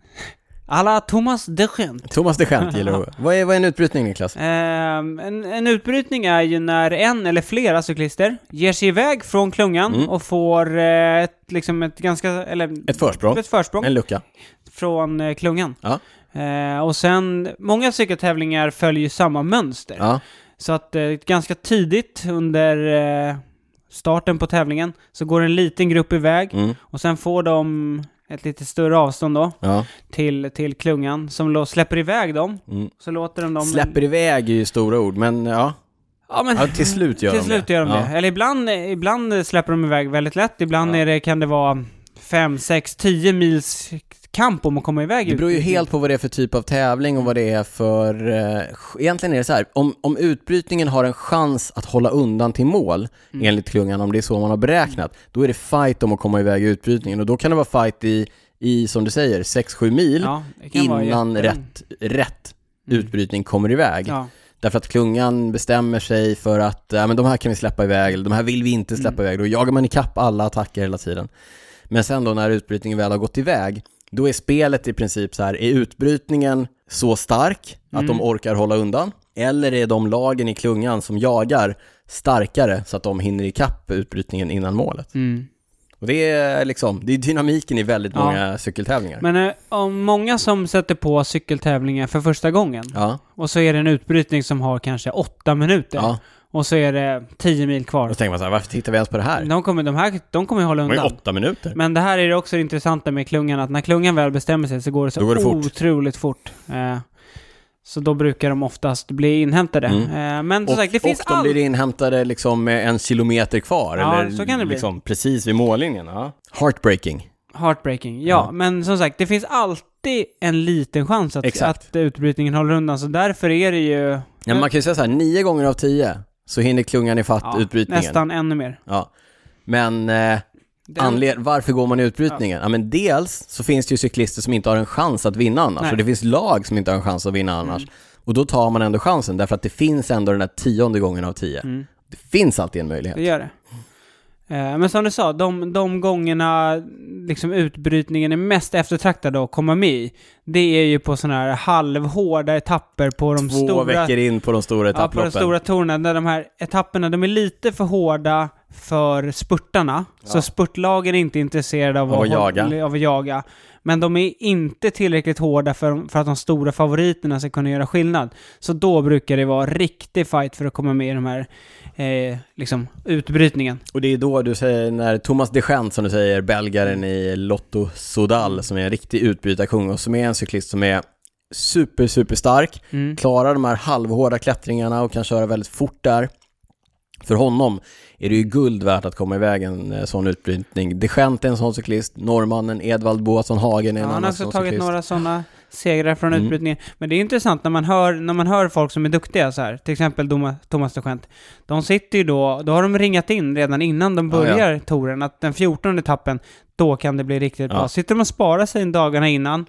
Speaker 2: Alla Thomas Deschamps.
Speaker 1: Thomas de Gent gillar att... Vad är, vad är en utbrytning Niklas?
Speaker 2: Ehm, en, en utbrytning är ju när en eller flera cyklister ger sig iväg från klungan och får eh, ett, liksom ett ganska, eller
Speaker 1: Mm. Ett försprång,
Speaker 2: ett försprång
Speaker 1: en lucka.
Speaker 2: från eh, klungan.
Speaker 1: Ja.
Speaker 2: Eh, och sen, många cykeltävlingar följer ju samma mönster.
Speaker 1: Ja.
Speaker 2: Så att eh, ganska tidigt under eh, starten på tävlingen så går en liten grupp iväg
Speaker 1: Mm.
Speaker 2: och sen får de ett lite större avstånd då
Speaker 1: Ja.
Speaker 2: till, till klungan som då släpper iväg dem.
Speaker 1: Mm.
Speaker 2: Så låter de dem...
Speaker 1: Släpper iväg är ju stora ord, men ja,
Speaker 2: Ja, men
Speaker 1: ja till slut gör
Speaker 2: Till
Speaker 1: de
Speaker 2: slut
Speaker 1: det.
Speaker 2: gör de
Speaker 1: ja.
Speaker 2: det. Eller ibland, ibland släpper de iväg väldigt lätt. Ibland
Speaker 1: Ja.
Speaker 2: är det, kan det vara 5, 6, 10 mils kamp om att komma iväg.
Speaker 1: Det
Speaker 2: ut.
Speaker 1: beror ju helt på vad det är för typ av tävling och vad det är för... Eh, sch- egentligen är det så här, om, om utbrytningen har en chans att hålla undan till mål,
Speaker 2: Mm.
Speaker 1: enligt klungan, om det är så man har beräknat, då är det fight om att komma iväg i utbrytningen. Och då kan det vara fight i, i som du säger, 6-7 mil
Speaker 2: Ja, det kan vara
Speaker 1: innan
Speaker 2: jätte- Mm.
Speaker 1: rätt, rätt utbrytning kommer iväg.
Speaker 2: Ja.
Speaker 1: Därför att klungan bestämmer sig för att äh, men de här kan vi släppa iväg, eller de här vill vi inte
Speaker 2: Mm.
Speaker 1: släppa iväg. Då jagar man ikapp alla attacker hela tiden. Men sen då när utbrytningen väl har gått iväg, då är spelet i princip så här, är utbrytningen så stark att
Speaker 2: Mm.
Speaker 1: de orkar hålla undan? Eller är de lagen i klungan som jagar starkare så att de hinner ikapp utbrytningen innan målet?
Speaker 2: Mm.
Speaker 1: Och det är liksom, det är dynamiken i väldigt
Speaker 2: Ja.
Speaker 1: många cykeltävlingar.
Speaker 2: Men eh, om många som sätter på cykeltävlingar för första gången
Speaker 1: Ja,
Speaker 2: och så är det en utbrytning som har kanske 8 minuter
Speaker 1: ja.
Speaker 2: och så är det 10 mil kvar.
Speaker 1: Då tänker man så här, varför tittar vi ens på det här?
Speaker 2: De kommer, de här, de kommer ju hålla
Speaker 1: Det var ju
Speaker 2: undan.
Speaker 1: åtta minuter.
Speaker 2: Men det här är ju också det intressanta med klungan, att när klungan väl bestämmer sig så går det så
Speaker 1: Då går det fort.
Speaker 2: otroligt fort. Eh, Så då brukar de oftast bli inhämtade. Eh, Men som
Speaker 1: Mm. Och,
Speaker 2: sagt, det finns
Speaker 1: och de
Speaker 2: all...
Speaker 1: blir inhämtade liksom med en kilometer kvar.
Speaker 2: Ja,
Speaker 1: eller
Speaker 2: så kan det bli.
Speaker 1: liksom precis vid mållinjen. Ja. Heartbreaking.
Speaker 2: Heartbreaking. Ja, men som sagt, det finns alltid en liten chans att,
Speaker 1: Exakt.
Speaker 2: att utbrytningen håller undan. Så därför är det ju
Speaker 1: Ja, man kan ju säga så här, nio gånger av tio så hinner klungan ifatt
Speaker 2: ja,
Speaker 1: utbrytningen.
Speaker 2: nästan ännu mer.
Speaker 1: Ja. Men eh,
Speaker 2: Den-
Speaker 1: anled- varför går man i utbrytningen? Ja. men dels så finns det ju cyklister som inte har en chans att vinna annars
Speaker 2: Nej. Mm.
Speaker 1: och det finns lag som inte har en chans att vinna annars. Och då tar man ändå chansen därför att det finns ändå den där tionde gången av tio.
Speaker 2: Mm.
Speaker 1: Det finns alltid en möjlighet.
Speaker 2: Det gör det. Eh, Men som du sa, de, de gångerna liksom utbrytningen är mest eftertraktad att komma med i, det är ju på sådana här halvhårda etapper på de
Speaker 1: Två
Speaker 2: stora...
Speaker 1: veckor in på de stora
Speaker 2: Ja, på de
Speaker 1: etapploppen.
Speaker 2: stora tornen, där de här etapperna, de är lite för hårda för spurtarna. Så spurtlagen är inte intresserade av,
Speaker 1: Av att
Speaker 2: hå-
Speaker 1: jaga.
Speaker 2: av att jaga. Men de är inte tillräckligt hårda för, för att de stora favoriterna ska kunna göra skillnad. Så då brukar det vara riktig fight för att komma med i de här eh, liksom, utbrytningen.
Speaker 1: Och det är då du säger, när Thomas de Gent, som du säger, belgaren i Lotto Sodal, som är en riktig utbrytarkung och som är en cyklist som är super, super stark,
Speaker 2: Mm.
Speaker 1: klarar de här halvhårda klättringarna och kan köra väldigt fort där. För honom är det ju guld värt att komma iväg en eh, sån utbrytning. De Gent är en sån cyklist, norrmannen Edvald Boasson Hagen är
Speaker 2: Ja,
Speaker 1: en
Speaker 2: han har
Speaker 1: annan
Speaker 2: också
Speaker 1: sån
Speaker 2: tagit
Speaker 1: cyklist.
Speaker 2: några sådana segrar från
Speaker 1: Mm.
Speaker 2: utbrytningen. Men det är intressant när man hör, när man hör folk som är duktiga så här, till exempel Doma- Thomas de Gent. De sitter ju då, då har de ringat in redan innan de
Speaker 1: Ja,
Speaker 2: börjar touren att den 14 etappen, då kan det bli riktigt bra.
Speaker 1: Ja.
Speaker 2: Sitter de och sparar sig dagarna innan,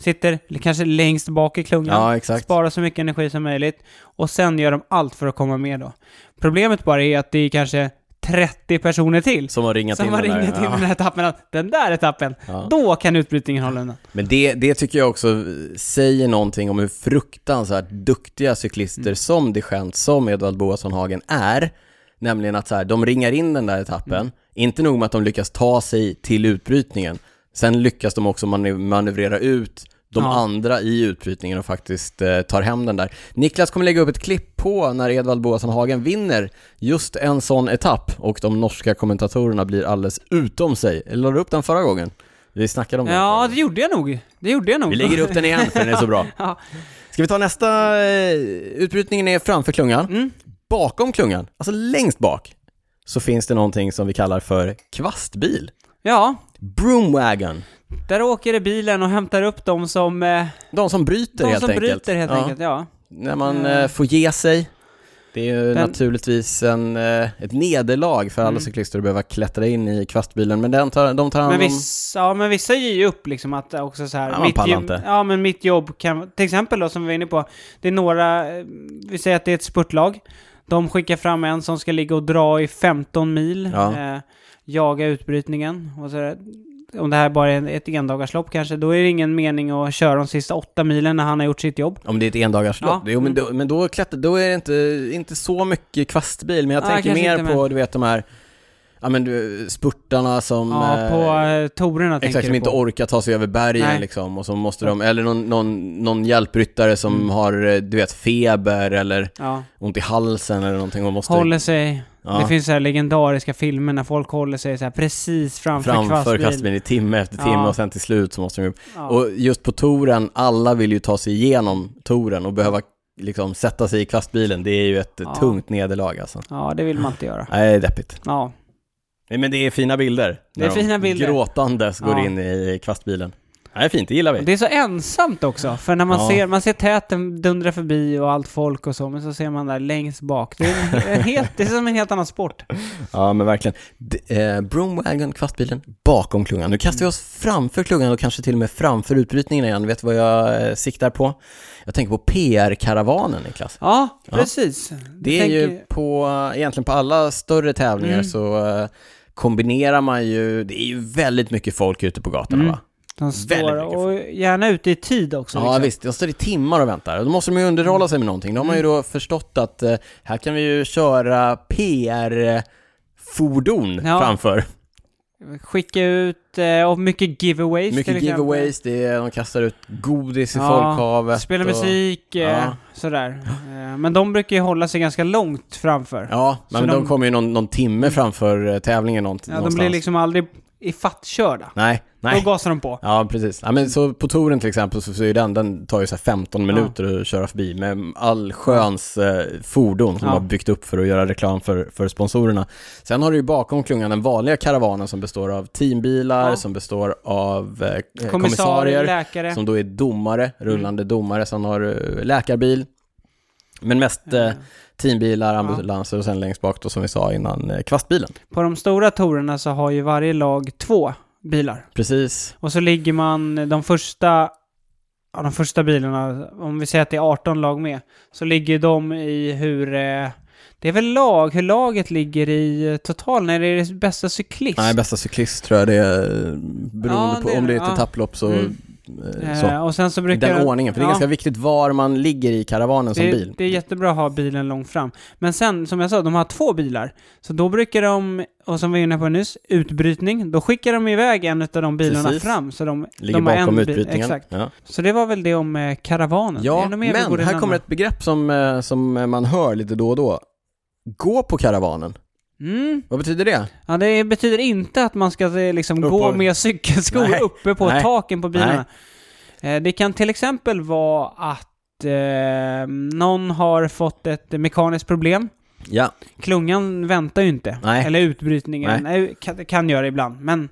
Speaker 2: sitter l- kanske längst bak i klungan,
Speaker 1: Ja, exakt.
Speaker 2: sparar så mycket energi som möjligt och sen gör de allt för att komma med då. Problemet bara är att det är kanske 30 personer till
Speaker 1: Som har ringat
Speaker 2: som
Speaker 1: in
Speaker 2: har
Speaker 1: den där.
Speaker 2: ringat in
Speaker 1: Ja.
Speaker 2: den här etappen att den där etappen,
Speaker 1: Ja.
Speaker 2: då kan utbrytningen hålla undan.
Speaker 1: Men det, det tycker jag också säger någonting om hur fruktansvärt duktiga cyklister
Speaker 2: Mm.
Speaker 1: som Deschamps, som Edvald Boasson Hagen är. Nämligen att så här, de ringar in den där etappen,
Speaker 2: Mm.
Speaker 1: inte nog med att de lyckas ta sig till utbrytningen, sen lyckas de också manu- manövrera ut de
Speaker 2: Ja.
Speaker 1: andra i utbrytningen och faktiskt eh, tar hem den där. Niklas kommer lägga upp ett klipp på när Edvald Boasson Hagen vinner just en sån etapp och de norska kommentatorerna blir alldeles utom sig. Jag lade upp den förra gången. Vi snackade om den förra
Speaker 2: Ja,
Speaker 1: gången.
Speaker 2: det gjorde jag nog. Det gjorde jag nog.
Speaker 1: Vi lägger upp den igen för den är så bra.
Speaker 2: Ja.
Speaker 1: Ska vi ta nästa? eh, Utbrytningen är framför klungan.
Speaker 2: Mm.
Speaker 1: Bakom klungan, alltså längst bak, så finns det någonting som vi kallar för kvastbil.
Speaker 2: ja,
Speaker 1: Broomwagon.
Speaker 2: där åker det bilen och hämtar upp de som... Eh,
Speaker 1: De som bryter
Speaker 2: de
Speaker 1: helt
Speaker 2: som
Speaker 1: enkelt.
Speaker 2: bryter helt
Speaker 1: Ja,
Speaker 2: enkelt, ja.
Speaker 1: När man eh, får ge sig. Det är ju
Speaker 2: Den- Mm.
Speaker 1: naturligtvis en, eh, ett nederlag för alla cyklister att behöva klättra in i kvastbilen, men den tar, de tar hand
Speaker 2: Men
Speaker 1: om...
Speaker 2: vissa, ja, men vissa ger ju upp liksom att också så här...
Speaker 1: Ja, man pallar
Speaker 2: jobb,
Speaker 1: inte.
Speaker 2: ja, men mitt jobb kan... Till exempel då, som vi var inne på, det är några... eh, Vi säger att det är ett spurtlag. De skickar fram en som ska ligga och dra i 15 mil,
Speaker 1: Ja.
Speaker 2: eh, jaga utbrytningen och så där. Om det här bara är ett endagarslopp kanske, då är det ingen mening att köra de sista åtta milen när han har gjort sitt jobb.
Speaker 1: Om det är ett endagarslopp?
Speaker 2: Ja. Mm.
Speaker 1: Jo, men, då, men då, klättrar, då är det inte, inte så mycket kvastbil, men jag
Speaker 2: Ja,
Speaker 1: tänker
Speaker 2: kanske
Speaker 1: mer
Speaker 2: inte,
Speaker 1: på, du vet, de här ja, men, du, spurtarna som...
Speaker 2: Ja,
Speaker 1: eh,
Speaker 2: på eh, torerna tänker
Speaker 1: Exakt,
Speaker 2: du
Speaker 1: som
Speaker 2: på.
Speaker 1: inte orkar ta sig över bergen
Speaker 2: Nej.
Speaker 1: liksom, och så måste de, eller någon, någon, någon hjälpryttare som
Speaker 2: Mm.
Speaker 1: har, eh, du vet, feber eller
Speaker 2: Ja,
Speaker 1: ont i halsen eller någonting och måste
Speaker 2: håller sig.
Speaker 1: Ja.
Speaker 2: Det finns så här legendariska filmer när folk håller sig så här precis framför,
Speaker 1: framför
Speaker 2: kvastbil.
Speaker 1: kvastbilen i timme efter timme
Speaker 2: Ja.
Speaker 1: och sen till slut så måste de ju...
Speaker 2: Ja.
Speaker 1: Och just på touren, alla vill ju ta sig igenom touren och behöva liksom sätta sig i kvastbilen, det är ju ett eh,
Speaker 2: Ja.
Speaker 1: tungt nederlag alltså.
Speaker 2: ja, det vill man inte göra.
Speaker 1: Nej, det är deppigt.
Speaker 2: Ja,
Speaker 1: Nej, men det är fina bilder.
Speaker 2: Det är
Speaker 1: När de
Speaker 2: fina bilder.
Speaker 1: Gråtandes går
Speaker 2: Ja.
Speaker 1: in i kvastbilen. Nej, fint, det gillar vi.
Speaker 2: och det är så ensamt också, för när man
Speaker 1: Ja.
Speaker 2: ser, man ser täten dundra förbi och allt folk och så, men så ser man där längst bak. Det är, en, en helt, det är som en helt annan sport.
Speaker 1: Ja, men verkligen. D- eh, Broomwagon, kvastbilen, bakom klungan. Nu kastar vi oss framför klungan och kanske till och med framför utbrytningen igen. Vet du vad jag eh, siktar på? Jag tänker på PR-karavanen, Niklas.
Speaker 2: Ja, precis.
Speaker 1: Det är ju på, eh, egentligen på alla större tävlingar
Speaker 2: Mm.
Speaker 1: så eh, kombinerar man ju, det är ju väldigt mycket folk ute på gatorna
Speaker 2: Mm.
Speaker 1: va?
Speaker 2: De står
Speaker 1: väldigt mycket
Speaker 2: och gärna ute i tid också.
Speaker 1: Ja
Speaker 2: liksom.
Speaker 1: visst, de står i timmar och väntar. Och Då måste de ju underhålla sig med någonting. De har ju
Speaker 2: Mm.
Speaker 1: då förstått att eh, här kan vi ju köra PR-fordon
Speaker 2: Ja.
Speaker 1: framför.
Speaker 2: Skicka ut, eh, och mycket giveaways till
Speaker 1: Mycket
Speaker 2: exempel.
Speaker 1: giveaways, det är, de kastar ut godis i
Speaker 2: Ja,
Speaker 1: folkhavet.
Speaker 2: Spela
Speaker 1: och-
Speaker 2: musik, eh,
Speaker 1: Ja.
Speaker 2: sådär. Eh, Men de brukar ju hålla sig ganska långt framför. Ja,
Speaker 1: Ja,
Speaker 2: Så
Speaker 1: men de,
Speaker 2: de- Mm.
Speaker 1: kommer ju någon, någon timme framför eh, tävlingen någon,
Speaker 2: de liksom-
Speaker 1: någonstans.
Speaker 2: blir liksom aldrig ifattkörda.
Speaker 1: Nej,
Speaker 2: Då
Speaker 1: Nej.
Speaker 2: gasar de på.
Speaker 1: Ja, precis. Ja, men så på touren till exempel så, så är ju den, den tar ju så här 15 minuter att köra förbi med all sköns eh, fordon som
Speaker 2: Ja.
Speaker 1: de har byggt upp för att göra reklam för, för sponsorerna. Sen har du ju bakom klungan den vanliga karavanen som består av teambilar,
Speaker 2: Ja.
Speaker 1: som består av eh, kommissarier,
Speaker 2: Kommissarier, läkare.
Speaker 1: som då är domare, rullande domare. Sen har du eh, läkarbil, men mest
Speaker 2: Mm.
Speaker 1: eh, teambilar, ambulanser och sen längst bak då som vi sa innan, eh, kvastbilen.
Speaker 2: På de stora tourerna så har ju varje lag två bilar.
Speaker 1: Precis.
Speaker 2: Och så ligger man de första, ja, de första bilarna, om vi säger att det är 18 lag med, så ligger de i hur, eh, det är väl lag, hur laget ligger i eh, totalen, eller är det bästa cyklist?
Speaker 1: Nej, bästa cyklist tror jag det är, eh, beroende
Speaker 2: Ja,
Speaker 1: på
Speaker 2: det är
Speaker 1: om det är
Speaker 2: det,
Speaker 1: ett
Speaker 2: ja.
Speaker 1: etapplopp så,
Speaker 2: Mm.
Speaker 1: eh, så.
Speaker 2: Eh, och sen så brukar
Speaker 1: Den ordningen, för det är
Speaker 2: ja,
Speaker 1: ganska viktigt var man ligger i karavanen som
Speaker 2: det,
Speaker 1: bil.
Speaker 2: Det är jättebra att ha bilen långt fram. Men sen, som jag sa, de har två bilar. Så då brukar de, och som vi var inne på nyss, utbrytning. Då skickar de iväg en av de bilarna
Speaker 1: Precis.
Speaker 2: fram. Så de,
Speaker 1: Ligger
Speaker 2: de har
Speaker 1: bakom
Speaker 2: en bil-
Speaker 1: utbrytningen.
Speaker 2: Exakt.
Speaker 1: Ja,
Speaker 2: Så det var väl det om eh, karavanen. Är
Speaker 1: ja
Speaker 2: det något mer vi går
Speaker 1: men här
Speaker 2: igenom?
Speaker 1: kommer ett begrepp som, eh, som man hör lite då och då. Gå på karavanen.
Speaker 2: Mm.
Speaker 1: Vad betyder det?
Speaker 2: Ja, det betyder inte att man ska eh, liksom
Speaker 1: Upp
Speaker 2: gå
Speaker 1: och-
Speaker 2: med cykelskor
Speaker 1: Nej.
Speaker 2: uppe på
Speaker 1: Nej.
Speaker 2: taken på bilarna. Eh, det kan till exempel vara att eh, någon har fått ett mekaniskt problem.
Speaker 1: Ja,
Speaker 2: Klungan väntar ju inte.
Speaker 1: Nej.
Speaker 2: Eller utbrytningen. Nej. Kan, kan göra ibland, men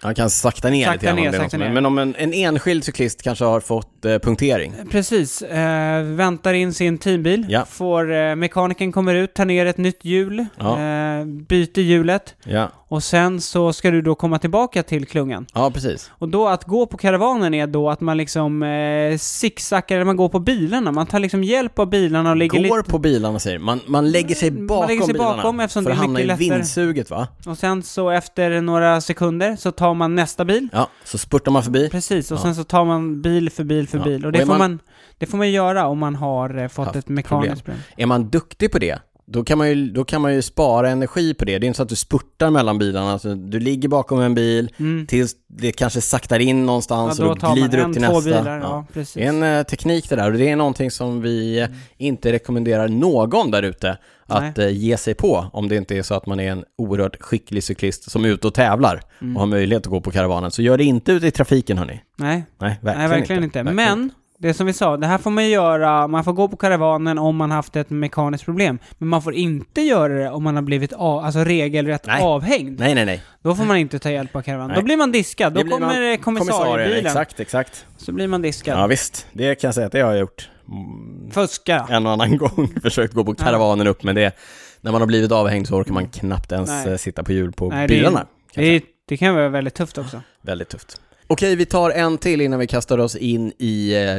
Speaker 1: han kan sakta ner
Speaker 2: Sakta
Speaker 1: lite grann om
Speaker 2: ner,
Speaker 1: det är något
Speaker 2: sakta
Speaker 1: som är-
Speaker 2: ner.
Speaker 1: Men om en, en enskild cyklist kanske har fått eh, punktering.
Speaker 2: precis. Eh, väntar in sin teambil.
Speaker 1: Ja.
Speaker 2: Får, eh, mekaniken kommer ut, tar ner ett nytt hjul.
Speaker 1: Ja.
Speaker 2: Eh, byter hjulet.
Speaker 1: Ja,
Speaker 2: Och sen så ska du då komma tillbaka till klungan.
Speaker 1: ja precis.
Speaker 2: Och då att gå på karavanen är då att man liksom eh, zigzaggar, eller man går på bilarna. Man tar liksom hjälp av bilarna och ligger
Speaker 1: Går
Speaker 2: lite...
Speaker 1: på bilarna säger man. Man lägger sig
Speaker 2: Man
Speaker 1: bakom
Speaker 2: lägger sig
Speaker 1: bilarna.
Speaker 2: bakom eftersom
Speaker 1: för
Speaker 2: det
Speaker 1: att
Speaker 2: är
Speaker 1: hamna i
Speaker 2: mycket lättare.
Speaker 1: vindsuget va?
Speaker 2: Och sen så efter några sekunder så tar man nästa bil.
Speaker 1: Ja, så spurtar man förbi.
Speaker 2: Precis, och sen så tar man bil för bil för
Speaker 1: Ja.
Speaker 2: bil. Och
Speaker 1: Och
Speaker 2: det
Speaker 1: är
Speaker 2: får man...
Speaker 1: man-
Speaker 2: det får man göra om man har eh, fått
Speaker 1: Haft
Speaker 2: ett mekaniskt problem.
Speaker 1: Är man duktig på det, då kan man ju, då kan man ju spara energi på det. Det är inte så att du spurtar mellan bilarna. Alltså, du ligger bakom en bil
Speaker 2: Mm.
Speaker 1: tills det kanske saktar in någonstans och då glider upp till
Speaker 2: två
Speaker 1: nästa.
Speaker 2: bilar. Ja,
Speaker 1: Ja.
Speaker 2: precis.
Speaker 1: Det är en eh, teknik det där och det är någonting som vi eh, inte rekommenderar någon där ute att eh, ge sig på om det inte är så att man är en oerhört skicklig cyklist som är ute och tävlar
Speaker 2: Mm.
Speaker 1: och har möjlighet att gå på karavanen. Så gör det inte ute i trafiken hörni.
Speaker 2: Nej,
Speaker 1: Nej, verkligen,
Speaker 2: nej, verkligen inte. Men, det som vi sa, det här får man ju göra, man får gå på karavanen om man haft ett mekaniskt problem. Men man får inte göra det om man har blivit av, alltså regelrätt
Speaker 1: Nej.
Speaker 2: avhängd.
Speaker 1: Nej, nej, nej.
Speaker 2: Då får man inte ta hjälp av karavanen.
Speaker 1: Nej.
Speaker 2: Då blir man diskad, då
Speaker 1: Det blir man-
Speaker 2: kommer eh, kommissariebilen.
Speaker 1: Exakt, exakt.
Speaker 2: Så blir man diskad.
Speaker 1: Ja, visst. Det kan jag säga att det har jag gjort. Mm,
Speaker 2: Fuska.
Speaker 1: en och annan gång försökt gå på karavanen upp, men det, när man har blivit avhängd så orkar man knappt ens
Speaker 2: Nej.
Speaker 1: eh, sitta på hjul på
Speaker 2: Nej, det är-
Speaker 1: bilarna. kan jag
Speaker 2: Det, det kan vara väldigt tufft också.
Speaker 1: Väldigt tufft. Okej, vi tar en till innan vi kastar oss in i eh,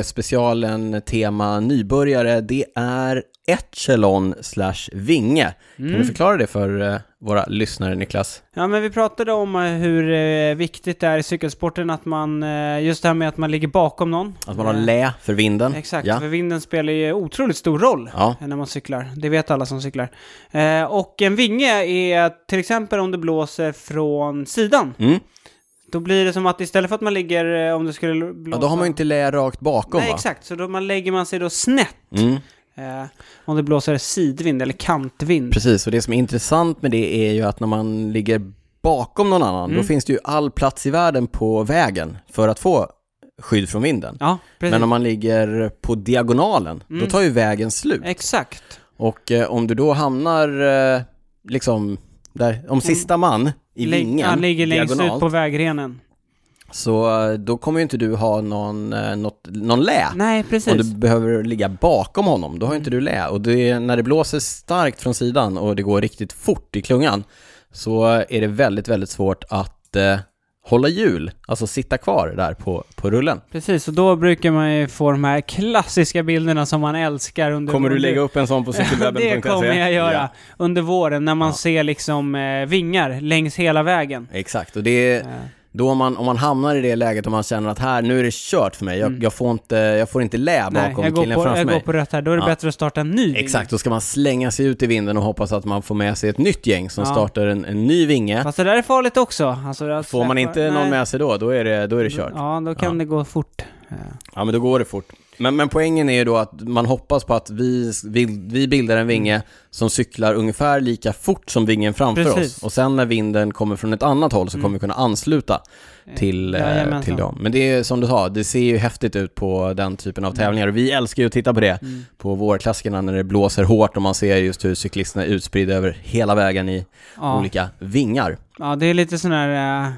Speaker 1: lyssnarfrågespecialen tema nybörjare. Det är echelon slash vinge. Kan
Speaker 2: Mm.
Speaker 1: du förklara det för eh, våra lyssnare, Niklas?
Speaker 2: Ja, men vi pratade om eh, hur eh, viktigt det är i cykelsporten att man, eh, just det här med att man ligger bakom någon.
Speaker 1: Att man har
Speaker 2: Eh,
Speaker 1: lä för vinden?
Speaker 2: Exakt,
Speaker 1: Ja.
Speaker 2: för vinden spelar ju otroligt stor roll
Speaker 1: ja.
Speaker 2: eh, när man cyklar. Det vet alla som cyklar. Eh, och en vinge är till exempel om det blåser från sidan.
Speaker 1: Mm.
Speaker 2: Då blir det som att istället för att man ligger, eh, om det skulle blåsa...
Speaker 1: ja, då har man ju inte lä rakt bakom
Speaker 2: Nej,
Speaker 1: va?
Speaker 2: exakt. Så då man lägger man sig då snett.
Speaker 1: Mm.
Speaker 2: Eh, om det blåser sidvind eller kantvind.
Speaker 1: Precis, och det som är intressant med det är ju att när man ligger bakom någon annan,
Speaker 2: Mm.
Speaker 1: då finns det ju all plats i världen på vägen för att få skydd från vinden.
Speaker 2: Ja, precis. Mm.
Speaker 1: Men om man ligger på diagonalen, då tar ju vägen slut.
Speaker 2: Exakt.
Speaker 1: Och eh, om du då hamnar eh, liksom där, om sista man i
Speaker 2: Mm. Lägg-
Speaker 1: vingen,
Speaker 2: Han ligger längst ut
Speaker 1: diagonalt,
Speaker 2: på vägrenen.
Speaker 1: så eh, då kommer ju inte du ha någon, eh, något, någon lä.
Speaker 2: Nej, precis.
Speaker 1: Om du behöver ligga bakom honom, då har inte du lä. Och det, är- när det blåser starkt från sidan och det går riktigt fort i klungan så är det väldigt, väldigt svårt att eh, hålla hjul, alltså sitta kvar där på, på rullen.
Speaker 2: Precis, och då brukar man ju få de här klassiska bilderna som man älskar under under-
Speaker 1: upp en sån på
Speaker 2: det
Speaker 1: E?
Speaker 2: kommer jag göra. Under våren när man ser liksom eh, vingar längs hela vägen.
Speaker 1: Exakt, och det är då om man, om man hamnar i det läget och man känner att här, nu är det kört för mig, jag, jag, får, inte, jag får inte lä
Speaker 2: Mm. Nej,
Speaker 1: bakom
Speaker 2: jag går,
Speaker 1: killen
Speaker 2: på,
Speaker 1: framför
Speaker 2: jag går
Speaker 1: mig.
Speaker 2: på rött här. Då är det
Speaker 1: Ja.
Speaker 2: bättre att starta en ny
Speaker 1: Exakt, då ska man slänga sig ut i vinden och hoppas att man får med sig ett nytt gäng som startar en, en ny vinge.
Speaker 2: vinge. Fast det där är farligt också. Alltså, att
Speaker 1: Får man
Speaker 2: släppa-
Speaker 1: inte någon
Speaker 2: nej.
Speaker 1: med sig då, då är det, då är det kört.
Speaker 2: Ja, då kan det gå fort. Eh,
Speaker 1: Ja, men då går det fort. Men, men poängen är ju då att man hoppas på att vi, vi, vi bildar en vinge som cyklar ungefär lika fort som vingen framför
Speaker 2: Precis. Mm.
Speaker 1: oss. Och sen när vinden kommer från ett annat håll så kommer vi kunna ansluta till, eh,
Speaker 2: Jajamensan.
Speaker 1: till dem. Men det är som du sa, det ser ju häftigt ut på den typen
Speaker 2: Mm.
Speaker 1: av tävlingar. Och vi älskar ju att titta på det på vårklassikerna när det blåser hårt och man ser just hur cyklisterna är utspridda över hela vägen i
Speaker 2: Ja.
Speaker 1: olika vingar.
Speaker 2: Ja, det är lite sån här eh,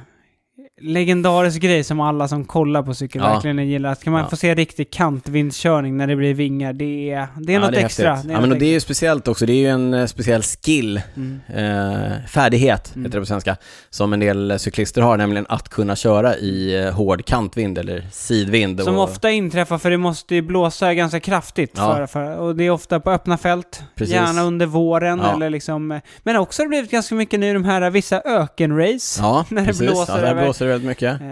Speaker 2: legendarisk grej som alla som kollar på cykel
Speaker 1: Ja.
Speaker 2: verkligen gillar. Att kan man
Speaker 1: Ja.
Speaker 2: få se riktig kantvindskörning när det blir vingar, det är, det är något
Speaker 1: det är
Speaker 2: extra.
Speaker 1: häftigt.
Speaker 2: Det är
Speaker 1: ja,
Speaker 2: något
Speaker 1: men och det är
Speaker 2: extra.
Speaker 1: ju speciellt också, det är ju en eh, speciell skill,
Speaker 2: Mm.
Speaker 1: eh, färdighet heter det på svenska, som en del eh, cyklister har, nämligen att kunna köra i eh, hård kantvind eller sidvind.
Speaker 2: Som
Speaker 1: och,
Speaker 2: ofta inträffar, för det måste ju blåsa ganska kraftigt.
Speaker 1: Ja.
Speaker 2: För, för, och det är ofta på öppna fält,
Speaker 1: Precis.
Speaker 2: gärna under våren
Speaker 1: Ja.
Speaker 2: eller liksom... eh, Men också har det blivit ganska mycket nu de här eh, vissa ökenrace.
Speaker 1: Ja,
Speaker 2: när det
Speaker 1: precis.
Speaker 2: blåser
Speaker 1: ja, där
Speaker 2: över.
Speaker 1: blåser det väldigt mycket.
Speaker 2: Eh,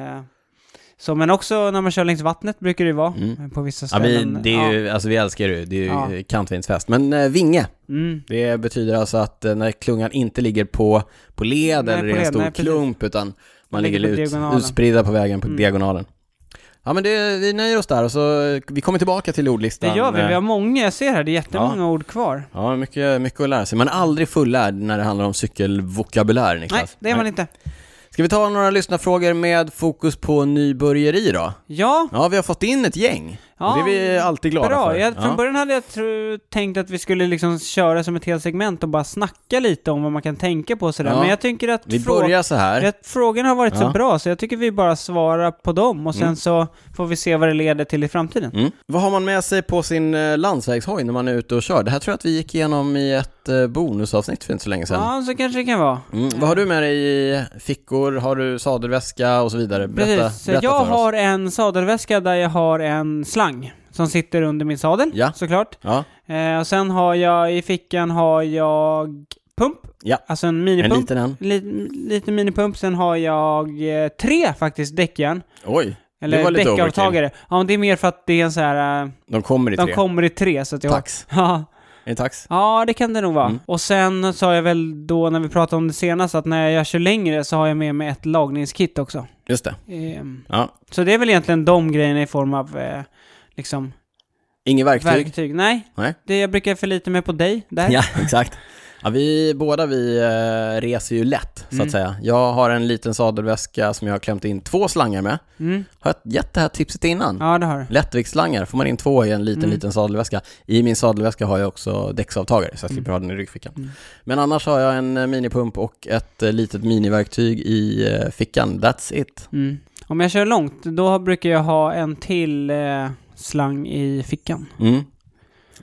Speaker 2: så, men också när man kör längs vattnet brukar det ju vara,
Speaker 1: Mm.
Speaker 2: eh, på vissa
Speaker 1: Ja,
Speaker 2: ställen.
Speaker 1: vi, det är ju, alltså, vi älskar det ju, det är ju
Speaker 2: Ja.
Speaker 1: eh, kantvindsfest. Men eh, vinge,
Speaker 2: Ja. Mm.
Speaker 1: Det betyder alltså att eh, när klungan inte ligger på, på led
Speaker 2: Nej,
Speaker 1: eller
Speaker 2: på
Speaker 1: i en
Speaker 2: led,
Speaker 1: stor
Speaker 2: nej, precis.
Speaker 1: klump utan man ligger,
Speaker 2: Ligger på
Speaker 1: ut,
Speaker 2: diagonalen.
Speaker 1: utspridda på vägen på
Speaker 2: Mm.
Speaker 1: diagonalen. Ja men det, vi nöjer oss där och så eh, vi kommer tillbaka till
Speaker 2: Det
Speaker 1: ordlistan.
Speaker 2: gör vi, vi har många, jag ser här, det är jättemånga
Speaker 1: eh, Ja.
Speaker 2: ord kvar.
Speaker 1: Ja, mycket, mycket att lära sig. Man är aldrig fullärd när det handlar om cykelvokabulär, Niklas.
Speaker 2: Nej, det är man inte.
Speaker 1: Ska vi ta några lyssnarfrågor med fokus på nybörjeri då?
Speaker 2: Ja,
Speaker 1: Ja, vi har fått in ett gäng.
Speaker 2: Ja,
Speaker 1: och det är vi alltid glada
Speaker 2: bra.
Speaker 1: för.
Speaker 2: Jag, från
Speaker 1: Ja.
Speaker 2: början hade jag tro, tänkt att vi skulle liksom köra som ett helt segment och bara snacka lite om vad man kan tänka på och sådär.
Speaker 1: Ja.
Speaker 2: Men jag tänker att
Speaker 1: Vi
Speaker 2: frå-
Speaker 1: börjar så här.
Speaker 2: jag- frågorna har varit
Speaker 1: Ja.
Speaker 2: så bra så jag tycker vi bara svarar på dem och sen så får vi se vad det leder till i framtiden.
Speaker 1: Mm. Vad har man med sig på sin eh, landsvägshoj när man är ute och kör? Det här tror jag att vi gick igenom i ett eh, bonusavsnitt för inte så länge sedan.
Speaker 2: Ja, så kanske det kan vara.
Speaker 1: Mm. Vad har du med dig i fickor? Har du sadelväska och så vidare? Berätta,
Speaker 2: Precis.
Speaker 1: berätta
Speaker 2: jag
Speaker 1: för oss.
Speaker 2: har en sadelväska där jag har en slang som sitter under min sadel,
Speaker 1: Ja.
Speaker 2: såklart.
Speaker 1: Ja,
Speaker 2: Eh, och sen har jag, i fickan har jag pump.
Speaker 1: Ja.
Speaker 2: Alltså en
Speaker 1: en
Speaker 2: minipump.
Speaker 1: liten en.
Speaker 2: Lite, lite minipump, sen har jag eh, tre faktiskt däckjärn.
Speaker 1: Oj, det var
Speaker 2: Eller
Speaker 1: lite overkill.
Speaker 2: däckavtagare. Ja, men det är mer för att det är en så här... eh,
Speaker 1: De kommer i
Speaker 2: De
Speaker 1: tre.
Speaker 2: kommer i tre, så att jag...
Speaker 1: Tax.
Speaker 2: Ja,
Speaker 1: Är det tax?
Speaker 2: ja, det kan det nog vara.
Speaker 1: Mm.
Speaker 2: Och sen sa jag väl då när vi pratade om det senast att när jag kör längre så har jag med mig ett lagningskit också.
Speaker 1: Just det.
Speaker 2: Ehm,
Speaker 1: Ja.
Speaker 2: Så det är väl egentligen de grejerna i form av eh, liksom
Speaker 1: Inget verktyg.
Speaker 2: verktyg. Nej,
Speaker 1: Nej.
Speaker 2: det jag brukar förlita mig på dig där.
Speaker 1: Ja, exakt. Ja, vi båda vi eh, reser ju lätt, så att
Speaker 2: Mm.
Speaker 1: säga. Jag har en liten sadelväska som jag har klämt in två slangar med.
Speaker 2: Mm.
Speaker 1: Har jag gett det här tipset innan?
Speaker 2: Ja, det har du.
Speaker 1: Lättviktsslangar, får man in två i en liten,
Speaker 2: Mm.
Speaker 1: liten sadelväska. I min sadelväska har jag också däcksavtagare, så jag slipper ha den i ryggfickan.
Speaker 2: Mm.
Speaker 1: Men annars har jag en eh, minipump och ett eh, litet miniverktyg i eh, fickan. That's it.
Speaker 2: Mm. Om jag kör långt, då brukar jag ha en till eh, slang i fickan.
Speaker 1: Mm.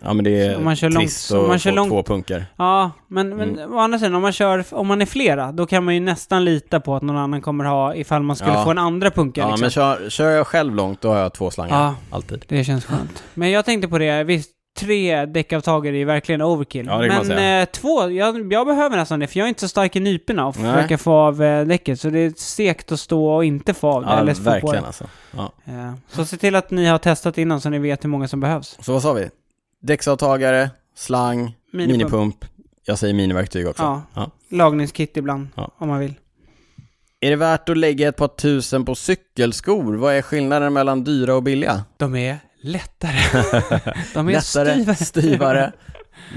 Speaker 1: Ja men det är
Speaker 2: Så om man kör
Speaker 1: trist
Speaker 2: långt- om
Speaker 1: att
Speaker 2: man kör
Speaker 1: få
Speaker 2: långt-
Speaker 1: två punkter.
Speaker 2: Ja, men, men
Speaker 1: Mm.
Speaker 2: å andra sidan, om man, kör, om man är flera, då kan man ju nästan lita på att någon annan kommer ha ifall man skulle
Speaker 1: Ja.
Speaker 2: få en andra punka.
Speaker 1: Ja
Speaker 2: liksom.
Speaker 1: men kör, kör jag själv långt, då har jag två slangar.
Speaker 2: Ja,
Speaker 1: Alltid.
Speaker 2: det känns skönt. Men jag tänkte på det, visst, tre däckavtagare är ju verkligen overkill.
Speaker 1: Ja, det kan man
Speaker 2: men
Speaker 1: säga.
Speaker 2: eh, två, jag, jag behöver nästan det, för jag är inte så stark i nyporna och
Speaker 1: Nej.
Speaker 2: försöka få av eh, däcket. Så det är segt att stå och inte få av det.
Speaker 1: Ja,
Speaker 2: eller få på
Speaker 1: verkligen
Speaker 2: det.
Speaker 1: alltså. Ja.
Speaker 2: Eh, Så se till att ni har testat innan så ni vet hur många som behövs.
Speaker 1: Så vad sa vi? Däcksavtagare, slang,
Speaker 2: Minipump.
Speaker 1: minipump. Jag säger miniverktyg också.
Speaker 2: Ja.
Speaker 1: Ja.
Speaker 2: Lagningskit ibland,
Speaker 1: Ja.
Speaker 2: om man vill.
Speaker 1: Är det värt att lägga ett par tusen på cykelskor? Vad är skillnaden mellan dyra och billiga?
Speaker 2: De är lättare. De är
Speaker 1: Lättare,
Speaker 2: styvare.
Speaker 1: styvare,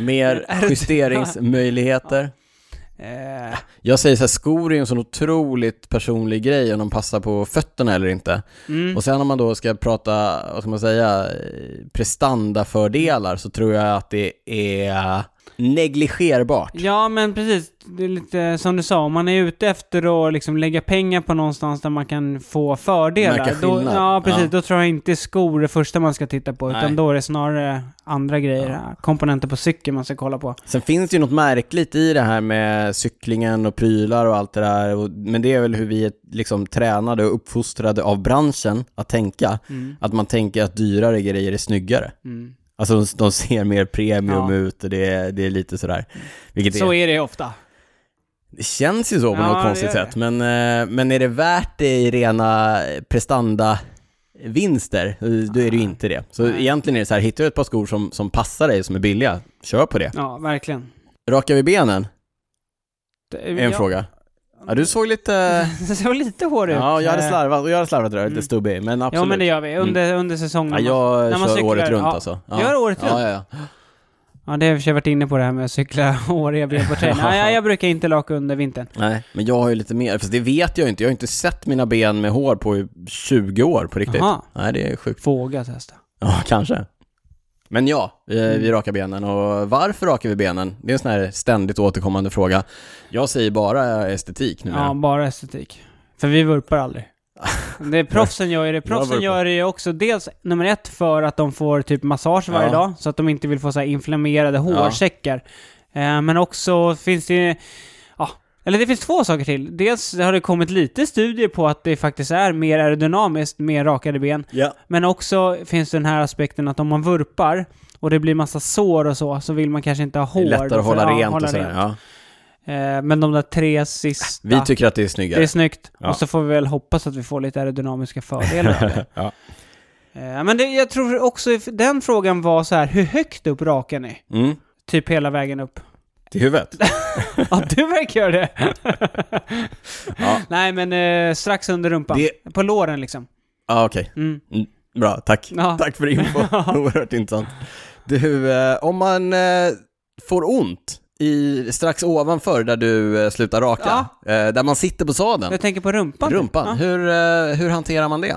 Speaker 1: mer
Speaker 2: Är det-
Speaker 1: justeringsmöjligheter.
Speaker 2: Eh,
Speaker 1: Jag säger så här, skor är en sån otroligt personlig grej om de passar på fötterna eller inte.
Speaker 2: mm.
Speaker 1: Och sen om man då ska prata, vad ska man säga, eh, prestandafördelar så tror jag att det är negligerbart.
Speaker 2: Ja, men precis. Det är lite som du sa, om man är ute efter att liksom lägga pengar på någonstans där man kan få
Speaker 1: Märka
Speaker 2: fördelar. Då,
Speaker 1: skillnad.
Speaker 2: ja, precis.
Speaker 1: Ja.
Speaker 2: Då tror jag inte skor är det första man ska titta på,
Speaker 1: Nej.
Speaker 2: utan då är det snarare andra grejer, komponenter på cykeln man ska kolla på.
Speaker 1: Sen finns det ju något märkligt i det här med cyklingen och prylar och allt det där. Och, men det är väl hur vi är liksom tränade och uppfostrade av branschen att tänka.
Speaker 2: Mm.
Speaker 1: Att man tänker att dyrare grejer är snyggare.
Speaker 2: Mm.
Speaker 1: Alltså de, de ser mer premium
Speaker 2: Ja.
Speaker 1: ut och det, är- det är lite sådär. Vilket
Speaker 2: Så
Speaker 1: är,
Speaker 2: är det ofta.
Speaker 1: det känns ju så på
Speaker 2: Ja,
Speaker 1: något
Speaker 2: det
Speaker 1: konstigt
Speaker 2: gör det.
Speaker 1: sätt. Men, eh, men är det värt det i rena prestanda vinster, då är det ju inte det. Så
Speaker 2: Nej.
Speaker 1: egentligen är det så här, hittar du ett par skor som, som passar dig, som är billiga, kör på det.
Speaker 2: Ja, verkligen.
Speaker 1: Rakar vi benen? Är en
Speaker 2: ja,
Speaker 1: fråga. Ja, du såg lite...
Speaker 2: Det såg lite hårig ut.
Speaker 1: Ja, jag hade
Speaker 2: Eh,
Speaker 1: slarvat, och jag hade slarvat där, lite stubbig, men absolut. Mm.
Speaker 2: Ja, men det gör vi. Under, under säsongen.
Speaker 1: Ja, jag
Speaker 2: När man
Speaker 1: kör
Speaker 2: cyklar,
Speaker 1: året runt
Speaker 2: ja.
Speaker 1: alltså.
Speaker 2: Gör året
Speaker 1: Ja,
Speaker 2: runt?
Speaker 1: ja, ja.
Speaker 2: Ja, det har jag i och för sig varit inne på det här med att cykla håriga ben på träning. Nej, jag- jag brukar inte laka under vintern.
Speaker 1: Nej, men jag har ju lite mer, för det vet jag ju inte. Jag har inte sett mina ben med hår på i 20 år på riktigt.
Speaker 2: Jaha.
Speaker 1: Nej, det är sjukt.
Speaker 2: Våga testa.
Speaker 1: Ja, kanske. Men ja, vi,
Speaker 2: Mm.
Speaker 1: vi rakar benen och varför rakar vi benen? Det är en sån här ständigt återkommande fråga. Jag säger bara estetik nu.
Speaker 2: Ja, bara estetik. För vi vurpar aldrig. Det är proffsen gör ju det. Proffsen
Speaker 1: vurpar.
Speaker 2: gör det ju också dels nummer ett för att de får typ massage varje
Speaker 1: Ja.
Speaker 2: dag, så att de inte vill få så här inflammerade hårsäckar. Eh, men också finns det ju... Ja, eller det finns två saker till. Dels har det kommit lite studier på att det faktiskt är mer aerodynamiskt med rakade ben.
Speaker 1: ja.
Speaker 2: Men också finns den här aspekten att om man vurpar och det blir massa sår och så, så vill man kanske inte ha hår.
Speaker 1: Det är lättare
Speaker 2: Då
Speaker 1: att
Speaker 2: får-
Speaker 1: hålla
Speaker 2: ja,
Speaker 1: rent och sådär.
Speaker 2: rent.
Speaker 1: Ja.
Speaker 2: Eh, Men de där tre sista...
Speaker 1: Vi tycker att det är snyggare.
Speaker 2: Det är snyggt.
Speaker 1: Ja.
Speaker 2: Och så får vi väl hoppas att vi får lite aerodynamiska fördelar av det.
Speaker 1: Ja.
Speaker 2: Eh, Men det, jag tror också if- den frågan var så här, hur högt upp raken är?
Speaker 1: Mm.
Speaker 2: Typ hela vägen upp.
Speaker 1: Till huvudet.
Speaker 2: Ja, du verkar göra det.
Speaker 1: Ja.
Speaker 2: Nej, men eh, strax under rumpan.
Speaker 1: Det-
Speaker 2: På låren liksom.
Speaker 1: Ja, okej.
Speaker 2: Mm.
Speaker 1: Mm, Bra, tack.
Speaker 2: Ja.
Speaker 1: Tack för info. Oerhört intressant. Du, eh, om man eh, får ont i, strax ovanför där du eh, slutar raka, eh, där man sitter på sadeln,
Speaker 2: Jag tänker på rumpan. typ.
Speaker 1: rumpan,
Speaker 2: Ja.
Speaker 1: hur, eh, hur hanterar man det?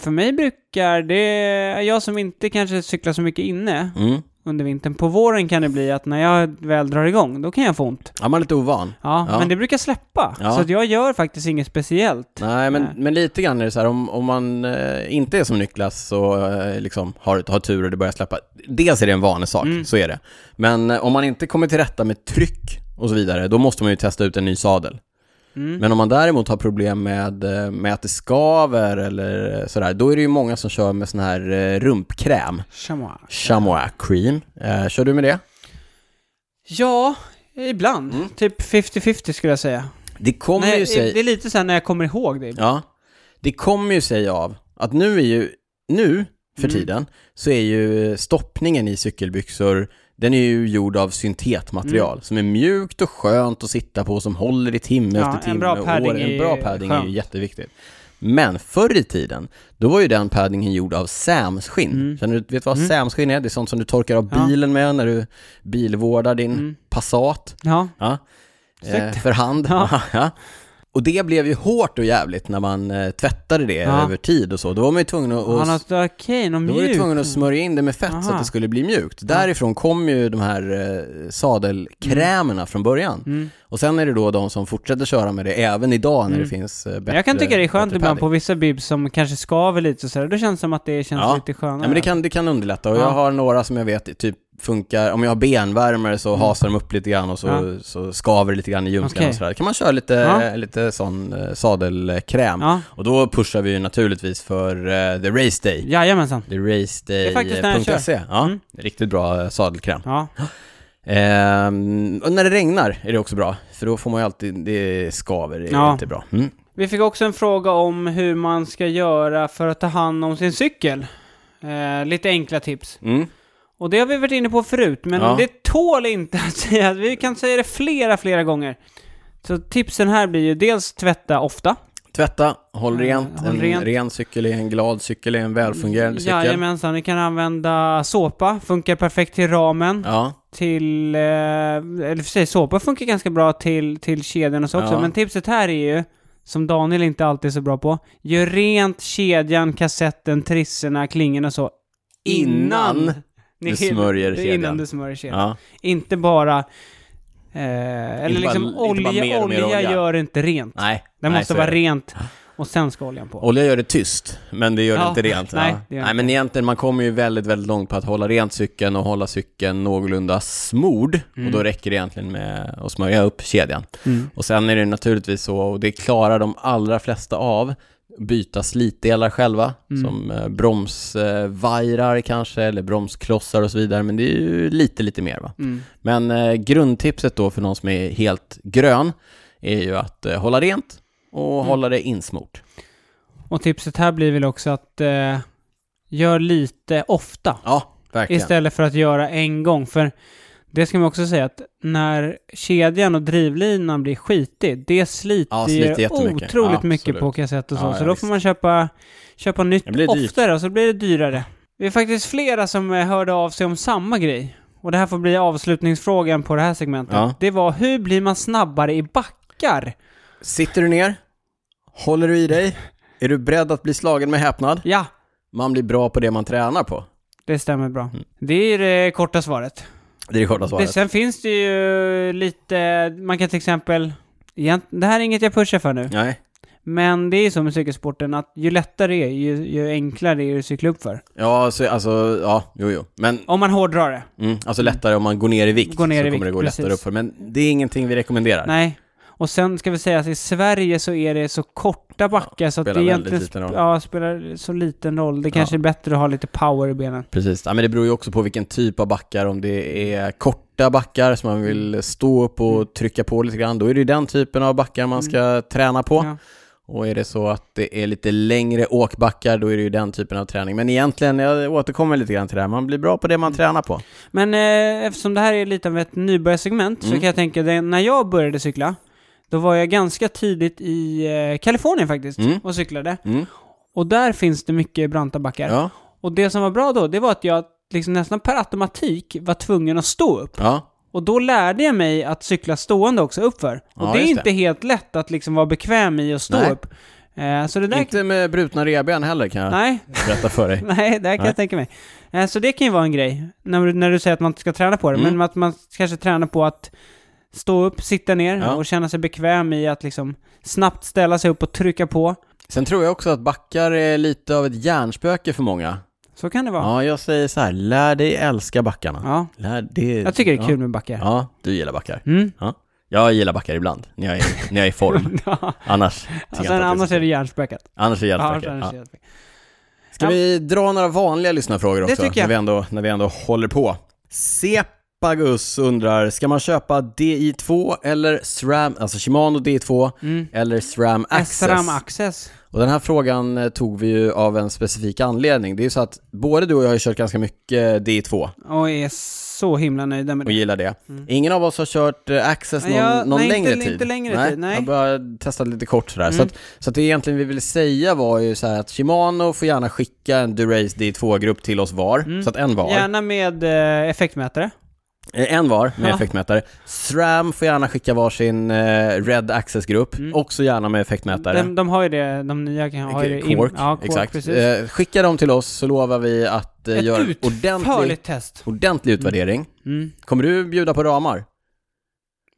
Speaker 2: För mig brukar det, jag som inte kanske cyklar så mycket inne
Speaker 1: Mm.
Speaker 2: under vintern, på våren kan det bli att när jag väl drar igång, då kan jag få ont.
Speaker 1: Ja, man är lite ovan.
Speaker 2: Ja,
Speaker 1: Ja.
Speaker 2: men det brukar släppa.
Speaker 1: Ja.
Speaker 2: Så att jag gör faktiskt inget speciellt.
Speaker 1: Nej, men,
Speaker 2: Nej.
Speaker 1: men lite grann är det så här, om, om man eh, inte är som Niklas och eh, liksom har, har tur och det börjar släppa. Dels är det en vanesak,
Speaker 2: Mm.
Speaker 1: så är det. Men eh, om man inte kommer till rätta med tryck och så vidare, då måste man ju testa ut en ny sadel.
Speaker 2: Mm.
Speaker 1: Men om man däremot har problem med, eh, med att det skaver eller eh, sådär, då är det ju många som kör med sån här eh, rumpkräm.
Speaker 2: Chamois.
Speaker 1: Chamois cream. Eh, kör du med det?
Speaker 2: Ja, ibland. Typ 50-50 skulle jag säga.
Speaker 1: Det Mm. kommer ju
Speaker 2: Nej,
Speaker 1: sig...
Speaker 2: det är lite så här när jag kommer ihåg det.
Speaker 1: Ja, det kommer ju sig av att nu är ju, nu för
Speaker 2: Mm.
Speaker 1: tiden, så är ju stoppningen i cykelbyxor, den är ju gjord av syntetmaterial
Speaker 2: Mm.
Speaker 1: som är mjukt och skönt att sitta på, som håller i timme
Speaker 2: Ja,
Speaker 1: efter
Speaker 2: en
Speaker 1: timme
Speaker 2: bra
Speaker 1: och
Speaker 2: padding
Speaker 1: år.
Speaker 2: är
Speaker 1: En
Speaker 2: ju
Speaker 1: bra padding är ju
Speaker 2: skönt.
Speaker 1: jätteviktigt. Men förr i tiden, då var ju den paddingen gjord av sämskinn. Känner du, vet du vad sämskinn är? Det är sånt som du torkar av
Speaker 2: Mm. Ja. Mm.
Speaker 1: bilen med när du bilvårdar din Passat.
Speaker 2: Ja.
Speaker 1: Ja. Eh,
Speaker 2: Snyggt.
Speaker 1: för hand. Ja. Och det blev ju hårt och jävligt när man eh, tvättade det
Speaker 2: Ja.
Speaker 1: över tid och så. Då var man ju tvungen att,
Speaker 2: Han har
Speaker 1: att,
Speaker 2: okej, någon
Speaker 1: då var du
Speaker 2: mjuk.
Speaker 1: tvungen att smörja in det med fett så att
Speaker 2: Aha.
Speaker 1: det skulle bli mjukt. Därifrån kom ju de här eh, sadelkrämerna
Speaker 2: Mm.
Speaker 1: från början. Och sen är det då de som fortsätter köra med det även idag när det finns eh, bättre
Speaker 2: Mm. Men jag kan tycka det är skönt
Speaker 1: bättre
Speaker 2: ibland
Speaker 1: padding.
Speaker 2: på vissa bibs som kanske skaver lite och sådär. Då känns det som att det känns
Speaker 1: Ja.
Speaker 2: lite skönare.
Speaker 1: Ja, men det kan, det kan underlätta och jag
Speaker 2: Ja.
Speaker 1: har några som jag vet typ funkar, om jag har benvärmare så hasar de upp lite grann och så,
Speaker 2: Mm. Ja.
Speaker 1: så skaver det lite grann i ljumsken
Speaker 2: Okej.
Speaker 1: och sådär. Då kan man köra lite,
Speaker 2: Ja.
Speaker 1: lite sån eh, sadelkräm.
Speaker 2: Ja.
Speaker 1: Och då pushar vi ju naturligtvis för eh, The Race Day.
Speaker 2: Jajamensan.
Speaker 1: The
Speaker 2: är faktiskt den jag
Speaker 1: raceday.se. Ja,
Speaker 2: Mm.
Speaker 1: Riktigt bra eh, sadelkräm.
Speaker 2: Ja.
Speaker 1: Ehm, och när det regnar är det också bra, för då får man ju alltid, det skaver, det är
Speaker 2: Ja.
Speaker 1: inte bra. Mm.
Speaker 2: Vi fick också en fråga om hur man ska göra för att ta hand om sin cykel. Eh, lite enkla tips.
Speaker 1: Mm.
Speaker 2: Och det har vi varit inne på förut, men
Speaker 1: Ja.
Speaker 2: det tål inte att säga. Vi kan säga det flera, flera gånger. Så tipsen här blir ju dels tvätta ofta.
Speaker 1: Tvätta, håll
Speaker 2: Mm,
Speaker 1: rent.
Speaker 2: håll
Speaker 1: en
Speaker 2: rent.
Speaker 1: ren cykel är en glad cykel, är en välfungerande cykel.
Speaker 2: Jajamensan, ni kan använda såpa, funkar perfekt till ramen.
Speaker 1: Ja,
Speaker 2: Till, eh, eller för sig, såpa funkar ganska bra till, till kedjan och så också.
Speaker 1: Ja.
Speaker 2: Men tipset här är ju, som Daniel inte alltid är så bra på, gör rent kedjan, kassetten, trisserna, klingorna och så.
Speaker 1: Innan
Speaker 2: ni-
Speaker 1: du smörjer kedjan.
Speaker 2: Innan du smörjer kedjan.
Speaker 1: ja.
Speaker 2: Inte bara... Eh, eller
Speaker 1: Inte bara-
Speaker 2: liksom
Speaker 1: inte bara
Speaker 2: olja,
Speaker 1: mer och mer
Speaker 2: olja
Speaker 1: olja.
Speaker 2: gör inte rent.
Speaker 1: Nej.
Speaker 2: Den
Speaker 1: nej, så
Speaker 2: måste
Speaker 1: är
Speaker 2: vara
Speaker 1: det.
Speaker 2: rent och sen ska oljan på.
Speaker 1: Olja gör det tyst, men det gör det
Speaker 2: Ja,
Speaker 1: inte rent.
Speaker 2: nej,
Speaker 1: ja.
Speaker 2: det gör
Speaker 1: nej,
Speaker 2: det
Speaker 1: men egentligen, man kommer ju väldigt, väldigt långt på att hålla rent cykeln och hålla cykeln någorlunda smord. Och då räcker det egentligen med att smörja upp kedjan.
Speaker 2: Mm.
Speaker 1: Och sen är det naturligtvis så, och det klarar de allra flesta av, byta slitdelar själva,
Speaker 2: Mm.
Speaker 1: som eh, bromsvajrar kanske, eller bromsklossar och så vidare, men det är ju lite, lite mer va.
Speaker 2: Mm.
Speaker 1: Men eh, grundtipset då för någon som är helt grön är ju att eh, hålla rent och
Speaker 2: Mm.
Speaker 1: hålla det insmort.
Speaker 2: Och tipset här blir väl också att eh, gör lite ofta
Speaker 1: Ja, verkligen.
Speaker 2: istället för att göra en gång. För Det ska man också säga att när kedjan och drivlinan blir skitig, det sliter,
Speaker 1: Ja,
Speaker 2: ju
Speaker 1: sliter jättemycket.
Speaker 2: otroligt
Speaker 1: Ja,
Speaker 2: mycket
Speaker 1: absolut.
Speaker 2: på kassett och så.
Speaker 1: Ja,
Speaker 2: så
Speaker 1: ja,
Speaker 2: då får
Speaker 1: visst.
Speaker 2: man köpa, köpa
Speaker 1: Det
Speaker 2: nytt
Speaker 1: blir dyrt.
Speaker 2: oftare och så blir det dyrare. Det är faktiskt flera som eh, hörde av sig om samma grej. Och det här får bli avslutningsfrågan på det här segmentet.
Speaker 1: Ja.
Speaker 2: Det var hur blir man snabbare i backar?
Speaker 1: Sitter du ner? Håller du i dig? Är du beredd att bli slagen med häpnad?
Speaker 2: Ja,
Speaker 1: Man blir bra på det man tränar på.
Speaker 2: det stämmer bra.
Speaker 1: Mm.
Speaker 2: Det är det korta svaret.
Speaker 1: Det är det korta
Speaker 2: Det,
Speaker 1: svaret.
Speaker 2: sen finns det ju lite, man kan till exempel, egent- det här är inget jag pushar för nu,
Speaker 1: Nej.
Speaker 2: men det är ju så med cykelsporten att ju lättare det är, ju, ju enklare är det att cykla upp för.
Speaker 1: Ja, så, alltså, ja, jo, jo. Men,
Speaker 2: Om man hårdrar det.
Speaker 1: mm, alltså lättare om man går ner i vikt
Speaker 2: Går ner
Speaker 1: så
Speaker 2: i
Speaker 1: kommer
Speaker 2: vikt,
Speaker 1: det gå
Speaker 2: precis.
Speaker 1: lättare uppför. Men det är ingenting vi rekommenderar.
Speaker 2: Nej. Och sen ska vi säga att i Sverige så är det så korta backar så att det
Speaker 1: spelar väldigt
Speaker 2: egentligen
Speaker 1: liten
Speaker 2: sp-
Speaker 1: roll.
Speaker 2: ja, spelar så liten roll. Det kanske är bättre att ha lite power i benen.
Speaker 1: Precis. Ja, men det beror ju också på vilken typ av backar. Om det är korta backar som man vill stå upp och trycka på lite grann, då är det ju den typen av backar man ska träna på.
Speaker 2: Ja.
Speaker 1: Och är det så att det är lite längre åkbackar, då är det ju den typen av träning. Men egentligen, jag återkommer lite grann till det här, man blir bra på det
Speaker 2: Mm.
Speaker 1: man tränar på.
Speaker 2: Men eh, eftersom det här är lite av ett nybörjarsegment
Speaker 1: Mm.
Speaker 2: så kan jag tänka dig, när jag började cykla, då var jag ganska tidigt i eh, Kalifornien faktiskt
Speaker 1: Mm.
Speaker 2: och cyklade.
Speaker 1: Mm.
Speaker 2: Och där finns det mycket branta backar.
Speaker 1: Ja,
Speaker 2: Och det som var bra då, det var att jag liksom nästan per automatik var tvungen att stå upp.
Speaker 1: ja,
Speaker 2: Och då lärde jag mig att cykla stående också uppför. Och
Speaker 1: Ja,
Speaker 2: det är
Speaker 1: just
Speaker 2: inte
Speaker 1: det.
Speaker 2: helt lätt att liksom vara bekväm i att stå
Speaker 1: Nej.
Speaker 2: upp. Eh, så det där...
Speaker 1: Inte med brutna revben heller kan jag
Speaker 2: Nej,
Speaker 1: berätta för dig.
Speaker 2: Nej, det här kan
Speaker 1: Nej.
Speaker 2: jag tänka mig. Eh, Så det kan ju vara en grej, när du, när du säger att man inte ska träna på det,
Speaker 1: Mm.
Speaker 2: men att man kanske tränar på att stå upp, sitta ner
Speaker 1: Ja.
Speaker 2: och känna sig bekväm i att liksom snabbt ställa sig upp och trycka på.
Speaker 1: Sen tror jag också att backar är lite av ett hjärnspöke för många.
Speaker 2: Så kan det vara. Ja.
Speaker 1: Ja, jag säger så här, lär dig älska backarna. Lär dig...
Speaker 2: Jag tycker det är
Speaker 1: ja.
Speaker 2: kul med backar.
Speaker 1: Ja, du gillar backar.
Speaker 2: Mm.
Speaker 1: Ja. Jag gillar backar ibland, när jag är, när jag är i form.
Speaker 2: Ja.
Speaker 1: Annars tycker jag
Speaker 2: Sen
Speaker 1: inte att
Speaker 2: Alltså, annars
Speaker 1: så
Speaker 2: är det
Speaker 1: kul.
Speaker 2: hjärnspökat.
Speaker 1: Annars är det
Speaker 2: Ja,
Speaker 1: hjärnspöke.
Speaker 2: annars
Speaker 1: Ja.
Speaker 2: är det
Speaker 1: Ska
Speaker 2: Ja.
Speaker 1: vi dra några vanliga lyssnarfrågor
Speaker 2: Det
Speaker 1: också?
Speaker 2: tycker
Speaker 1: När
Speaker 2: jag.
Speaker 1: vi ändå, när vi ändå håller på. Sepagus undrar, ska man köpa DI2 eller SRAM, alltså Shimano DI2
Speaker 2: Mm.
Speaker 1: eller SRAM Access?
Speaker 2: SRAM Access.
Speaker 1: Och den här frågan eh, tog vi ju av en specifik anledning. Det är ju så att både du och jag har ju kört ganska mycket DI2
Speaker 2: Och är så himla nöjda med
Speaker 1: och
Speaker 2: det.
Speaker 1: gillar det. Ingen av oss har kört eh, Access någon,
Speaker 2: Mm. Nej, jag-
Speaker 1: någon
Speaker 2: nej, inte-
Speaker 1: längre
Speaker 2: inte
Speaker 1: tid.
Speaker 2: längre tid, nej.
Speaker 1: Jag
Speaker 2: Mm.
Speaker 1: bara testade lite kort sådär. Så, att, så att det egentligen vi ville säga var ju så här att Shimano får gärna skicka en Durace D2-grupp till oss var. Så att en var.
Speaker 2: Mm. Gärna med eh, effektmätare.
Speaker 1: Eh, En var med
Speaker 2: Ja.
Speaker 1: effektmätare. SRAM får gärna skicka var sin eh, Red Access-grupp,
Speaker 2: Mm.
Speaker 1: också gärna med effektmätare. Eh,
Speaker 2: De, de har ju det, de nya kan ha ju det. in-
Speaker 1: Quark,
Speaker 2: ja, Quark,
Speaker 1: exakt.
Speaker 2: Precis.
Speaker 1: Eh, skicka dem till oss så lovar vi att eh,
Speaker 2: Ett
Speaker 1: göra en ordentlig,
Speaker 2: utförligt test.
Speaker 1: ordentlig utvärdering.
Speaker 2: Mm.
Speaker 1: Kommer du bjuda på ramar?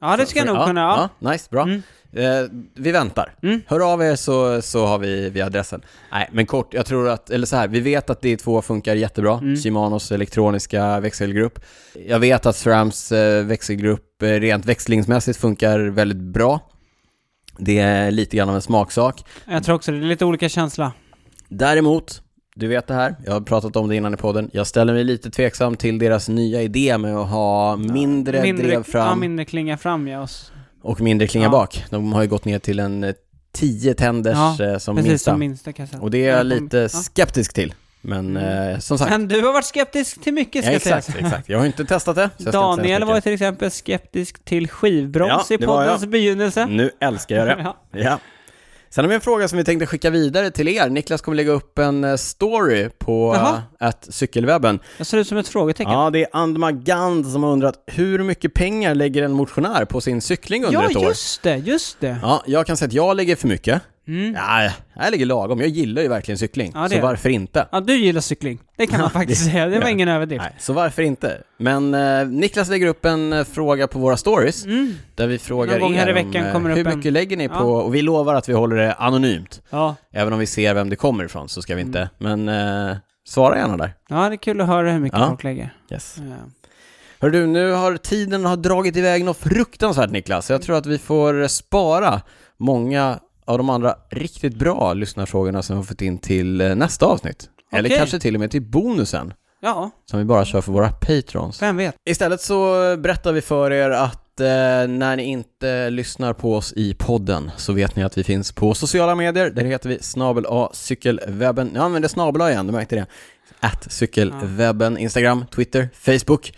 Speaker 2: Ja, det ska jag nog
Speaker 1: ja,
Speaker 2: kunna. Ja.
Speaker 1: ja, Nice, bra.
Speaker 2: Mm.
Speaker 1: Eh, vi väntar.
Speaker 2: Mm.
Speaker 1: Hör av er så, så har vi, vi adressen. Nej, men kort, jag tror att, eller så här, vi vet att D2 funkar jättebra,
Speaker 2: Mm.
Speaker 1: Shimanos elektroniska växelgrupp. Jag vet att SRAMs eh, växelgrupp eh, rent växlingsmässigt funkar väldigt bra. Det är lite grann av en smaksak.
Speaker 2: Jag tror också det. Det är lite olika känsla.
Speaker 1: Däremot, du vet det här, jag har pratat om det innan i podden, jag ställer mig lite tveksam till deras nya idé med att ha mindre, drev
Speaker 2: ja,
Speaker 1: fram
Speaker 2: mindre klinga fram, ja. Oss.
Speaker 1: och mindre klinga
Speaker 2: Ja.
Speaker 1: bak. De har ju gått ner till en eh, 10 tänders
Speaker 2: Ja,
Speaker 1: eh, som
Speaker 2: Precis,
Speaker 1: minsta.
Speaker 2: som minsta kassett.
Speaker 1: Och det är jag lite
Speaker 2: Ja.
Speaker 1: skeptisk till. Men eh, som sagt,
Speaker 2: Men du har varit skeptisk till mycket,
Speaker 1: ja,
Speaker 2: ska jag
Speaker 1: exakt,
Speaker 2: säga.
Speaker 1: exakt. Jag har inte testat det. så jag ska inte säga
Speaker 2: Daniel
Speaker 1: så
Speaker 2: var ju
Speaker 1: mycket.
Speaker 2: till exempel skeptisk till skivbroms
Speaker 1: Ja,
Speaker 2: i
Speaker 1: det var
Speaker 2: poddens begynnelse.
Speaker 1: Nu älskar jag det.
Speaker 2: Ja.
Speaker 1: Ja. Sen har vi en fråga som vi tänkte skicka vidare till er. Niklas kommer lägga upp en eh, story på
Speaker 2: Jaha.
Speaker 1: eh, att cykelwebben.
Speaker 2: Jag ser ut som ett frågetecken.
Speaker 1: Ja, det är Andma Gand som har undrat hur mycket pengar lägger en motionär på sin cykling under ett år?
Speaker 2: ja just det, just det.
Speaker 1: Ja, jag kan säga att jag lägger för mycket.
Speaker 2: Mm.
Speaker 1: Nej, jag lägger lagom. Jag gillar ju verkligen cykling,
Speaker 2: Ja, det
Speaker 1: så
Speaker 2: gör jag.
Speaker 1: varför inte?
Speaker 2: Ja, du gillar cykling. Det kan man faktiskt säga. Det var
Speaker 1: ja.
Speaker 2: ingen överdrift.
Speaker 1: Nej, så varför inte? Men eh, Niklas lägger upp en eh, fråga på våra stories, där vi frågar
Speaker 2: Mm. Någon gång
Speaker 1: er
Speaker 2: här i
Speaker 1: om,
Speaker 2: veckan
Speaker 1: eh,
Speaker 2: kommer det
Speaker 1: hur
Speaker 2: upp en-
Speaker 1: mycket lägger ni
Speaker 2: Ja.
Speaker 1: på, och vi lovar att vi håller det anonymt.
Speaker 2: Ja.
Speaker 1: Även om vi ser vem det kommer ifrån så ska vi inte,
Speaker 2: Mm.
Speaker 1: men eh, svara gärna där.
Speaker 2: ja, det är kul att höra hur mycket
Speaker 1: Ja.
Speaker 2: folk lägger.
Speaker 1: Yes.
Speaker 2: Ja.
Speaker 1: Hör du, nu har tiden har dragit iväg något fruktansvärt Niklas, så jag tror att vi får spara många av de andra riktigt bra lyssnarfrågorna som vi har fått in till eh, nästa avsnitt. Eller
Speaker 2: Okej.
Speaker 1: kanske till och med till bonusen,
Speaker 2: ja,
Speaker 1: som vi bara kör för våra patrons.
Speaker 2: vem vet.
Speaker 1: Istället så berättar vi för er att eh, när ni inte lyssnar på oss i podden så vet ni att vi finns på sociala medier. Där heter vi snabel A cykelwebben. Jag använder snabel A igen, du märkte det. Att cykelwebben, Instagram, Twitter, Facebook.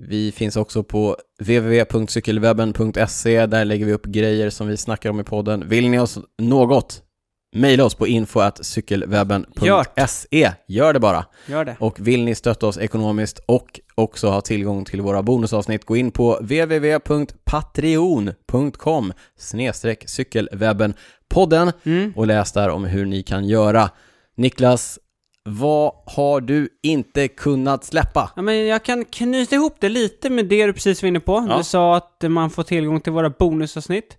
Speaker 1: Vi finns också på www.cykelwebben.se. Där lägger vi upp grejer som vi snackar om i podden. Vill ni oss något? Mejla oss på info.cykelwebben.se. Gör det bara.
Speaker 2: Gör det.
Speaker 1: Och vill ni stötta oss ekonomiskt och också ha tillgång till våra bonusavsnitt, gå in på www.patreon.com snedstreck cykelwebben podden
Speaker 2: Mm.
Speaker 1: och läs där om hur ni kan göra. Niklas, vad har du inte kunnat släppa?
Speaker 2: Ja, men jag kan knyta ihop det lite med det du precis var inne på.
Speaker 1: Ja.
Speaker 2: Du sa att man får tillgång till våra bonusavsnitt.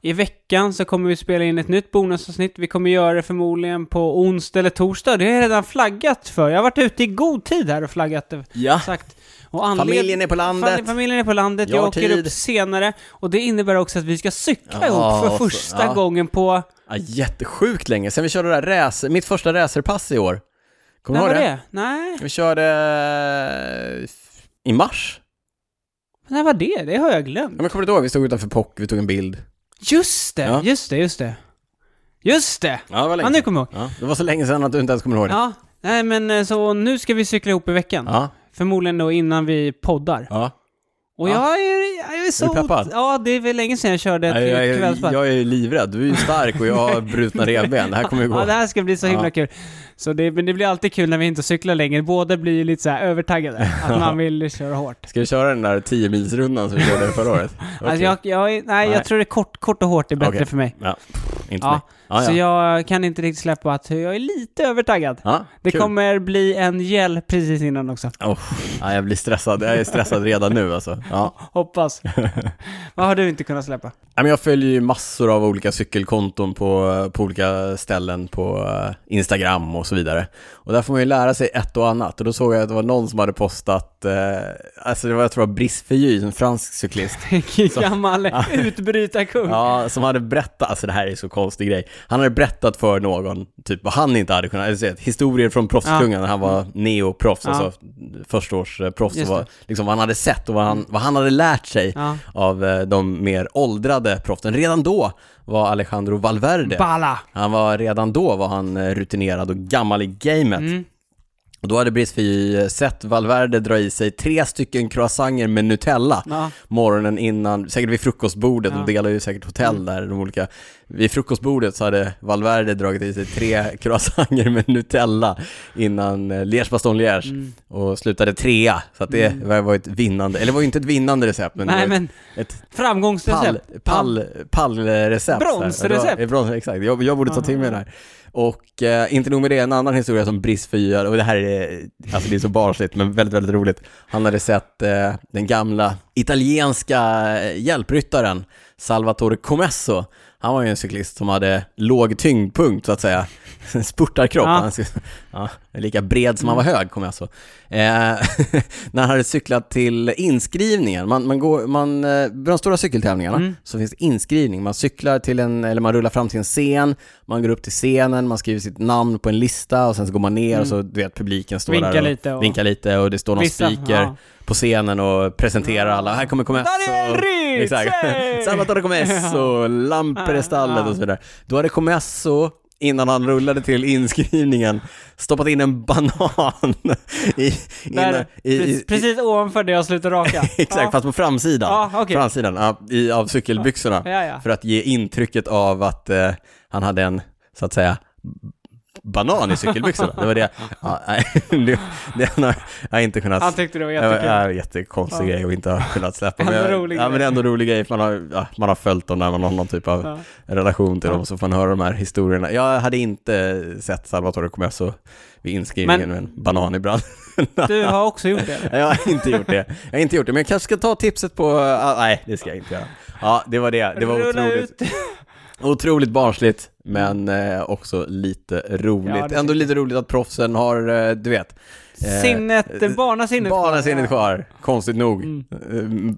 Speaker 2: I veckan så kommer vi spela in ett nytt bonusavsnitt. Vi kommer göra det förmodligen på onsdag eller torsdag. Det har jag redan flaggat för. Jag har varit ute i god tid här och flaggat det.
Speaker 1: Ja.
Speaker 2: Exakt. Och anled-
Speaker 1: Familjen är på landet.
Speaker 2: Fam- Familjen är på landet.
Speaker 1: Jag
Speaker 2: Jag,
Speaker 1: har
Speaker 2: åker
Speaker 1: tid.
Speaker 2: upp senare. Och det innebär också att vi ska cykla
Speaker 1: Ja,
Speaker 2: ihop för
Speaker 1: och så-
Speaker 2: första
Speaker 1: ja.
Speaker 2: gången på...
Speaker 1: Ja, jättesjukt länge sen vi körde det där racer, mitt första racerpass i år. Kommer
Speaker 2: När
Speaker 1: du
Speaker 2: var
Speaker 1: ihåg
Speaker 2: det?
Speaker 1: det?
Speaker 2: Nej,
Speaker 1: Vi körde eh, i mars.
Speaker 2: när var det? Det har jag glömt.
Speaker 1: Ja, men kommer du inte ihåg? Vi stod utanför POC, vi tog en bild.
Speaker 2: Just det,
Speaker 1: Ja.
Speaker 2: just det, just det. Just det!
Speaker 1: Ja, det var
Speaker 2: Ja, nu kommer jag ihåg.
Speaker 1: Ja, det var så länge sedan att du inte ens kommer ihåg det.
Speaker 2: Ja, nej men eh, så nu ska vi cykla ihop i veckan.
Speaker 1: Ja.
Speaker 2: Förmodligen då innan vi poddar.
Speaker 1: ja.
Speaker 2: Och
Speaker 1: Ja.
Speaker 2: jag är, jag är så...
Speaker 1: Är du peppad?
Speaker 2: Ja, det är väl länge sedan jag körde ett
Speaker 1: Nej, jag, är-
Speaker 2: kvällspass.
Speaker 1: jag är ju livrädd. Du är ju stark och jag har brutna revben. Det här kommer ju
Speaker 2: Ja,
Speaker 1: gå.
Speaker 2: det här ska bli så himla
Speaker 1: Ja.
Speaker 2: kul. Så det, men det blir alltid kul när vi inte cyklar längre. Båda blir ju lite så här övertaggade. Att man vill köra hårt.
Speaker 1: Ska vi köra den där 10 milsrundan som vi körde förra året?
Speaker 2: Alltså
Speaker 1: Okej.
Speaker 2: jag, jag, är- nej,
Speaker 1: Nej.
Speaker 2: jag tror det är kort, kort och hårt är bättre
Speaker 1: Okej.
Speaker 2: för mig.
Speaker 1: Ja, pff, inte
Speaker 2: Ja,
Speaker 1: ja. Ja,
Speaker 2: Så
Speaker 1: ja.
Speaker 2: jag kan inte riktigt släppa att jag är lite övertaggad.
Speaker 1: ja,
Speaker 2: Det
Speaker 1: kul.
Speaker 2: kommer bli en gel precis innan också.
Speaker 1: Oh, ja, jag blir stressad. Jag är stressad redan nu alltså. Ja.
Speaker 2: Hoppas. Vad har du inte kunnat släppa?
Speaker 1: Ja, men Jag följer ju massor av olika cykelkonton på, på olika ställen på eh, Instagram och så vidare. Och där får man ju lära sig ett och annat. Och då såg jag att det var någon som hade postat, eh, alltså det var jag tror det var Brice Feuille, en fransk cyklist.
Speaker 2: Gammal utbrytarkung.
Speaker 1: Ja, som hade berättat, alltså det här är så konstig grej. Han hade berättat för någon, typ vad han inte hade kunnat, eller så här, historier från proffskungen när han var neoproffs,
Speaker 2: Ja.
Speaker 1: alltså förstaårsproffs,
Speaker 2: Just
Speaker 1: och vad, liksom vad han hade sett och vad han, vad han hade lärt sig
Speaker 2: Ja.
Speaker 1: av eh, de mer åldrade proffsen. Redan då var Alejandro Valverde,
Speaker 2: Balla.
Speaker 1: han var redan då var han eh, rutinerad och gammal i gamet.
Speaker 2: Mm.
Speaker 1: Och då hade Brice Feuille sett Valverde dra i sig tre stycken croissanter med Nutella
Speaker 2: Ja.
Speaker 1: morgonen innan, säkert vid frukostbordet,
Speaker 2: Ja. Mm.
Speaker 1: de delar ju säkert hotell där, de olika. Vid frukostbordet så hade Valverde dragit i sig tre croissanter med Nutella innan eh, Liège Baston Liège
Speaker 2: Mm.
Speaker 1: och slutade trea. Så att det var ett vinnande, eller det var ju inte ett vinnande recept, men
Speaker 2: Nej
Speaker 1: det var
Speaker 2: men,
Speaker 1: ett, ett pall,
Speaker 2: framgångsrecept.
Speaker 1: pall, pallrecept.
Speaker 2: Bronsrecept.
Speaker 1: Så här. Det var- Brons, exakt, jag, jag borde ta till mig det här. Och eh, inte nog med det, en annan historia som Brice Fyar, och det här är, alltså det är så barnsligt men väldigt, väldigt roligt. Han hade sett eh, den gamla italienska eh, hjälpryttaren Salvatore Comesso. Han var ju en cyklist som hade låg tyngdpunkt så att säga. En Spurtarkropp,
Speaker 2: Ja.
Speaker 1: han, ja, lika bred som han var
Speaker 2: Mm.
Speaker 1: hög Comesso. Eh, när han hade cyklat till inskrivningen. Man, man går, man, eh, vid de stora cykeltävlingarna
Speaker 2: Mm.
Speaker 1: så finns det inskrivning. Man cyklar till en, eller man rullar fram till en scen, man går upp till scenen, man skriver sitt namn på en lista och sen så går man ner och så du vet publiken står
Speaker 2: Mm. Vinkar
Speaker 1: där och
Speaker 2: lite och-
Speaker 1: vinkar lite och det står någon
Speaker 2: Vissa,
Speaker 1: speaker
Speaker 2: ja.
Speaker 1: på scenen och presenterar alla. Här kommer Comesso.
Speaker 2: Daniel Ritz,
Speaker 1: Exakt.
Speaker 2: hej!
Speaker 1: Salvatore Comesso, Lamperestallet och så vidare. Då hade Comesso innan han rullade till inskrivningen, stoppat in en banan i, innan,
Speaker 2: Där,
Speaker 1: i, i,
Speaker 2: precis, precis ovanför det jag slutar raka.
Speaker 1: Exakt,
Speaker 2: Ja.
Speaker 1: fast på framsidan.
Speaker 2: Ja, okej.
Speaker 1: framsidan ja, i, av cykelbyxorna.
Speaker 2: Ja, ja.
Speaker 1: För att ge intrycket av att eh, han hade en, så att säga, b- banan i cykelbyxorna. Det var det, ja, nej, det, det har jag inte kunnat...
Speaker 2: Han tyckte det var
Speaker 1: det
Speaker 2: jättekul.
Speaker 1: var en äh, jättekonstig
Speaker 2: Ja.
Speaker 1: grej och inte har kunnat släppa.
Speaker 2: Ändå
Speaker 1: jag-
Speaker 2: rolig
Speaker 1: ja, men
Speaker 2: grej.
Speaker 1: det är ändå en rolig grej, för man har, ja, man har följt dem när man har någon typ av
Speaker 2: Ja.
Speaker 1: relation till
Speaker 2: Ja.
Speaker 1: dem, så får man höra de här historierna. Jag hade inte sett Salvatore Comesso vid inskrivningen
Speaker 2: Men-
Speaker 1: med en banan i brand.
Speaker 2: Du har också gjort det.
Speaker 1: Nej, Jag har inte gjort det. Jag har inte gjort det, men jag kanske ska ta tipset på... ah, nej, det ska jag inte göra. Ja, det var det. Det var
Speaker 2: Rulla
Speaker 1: otroligt,
Speaker 2: ut.
Speaker 1: otroligt barnsligt, men eh, också lite roligt.
Speaker 2: Ja, det
Speaker 1: Ändå
Speaker 2: tycker
Speaker 1: lite roligt att proffsen har, eh, du vet, eh,
Speaker 2: Sinnet, barnasinnet.
Speaker 1: barnasinnet kvar. Konstigt nog.
Speaker 2: Mm.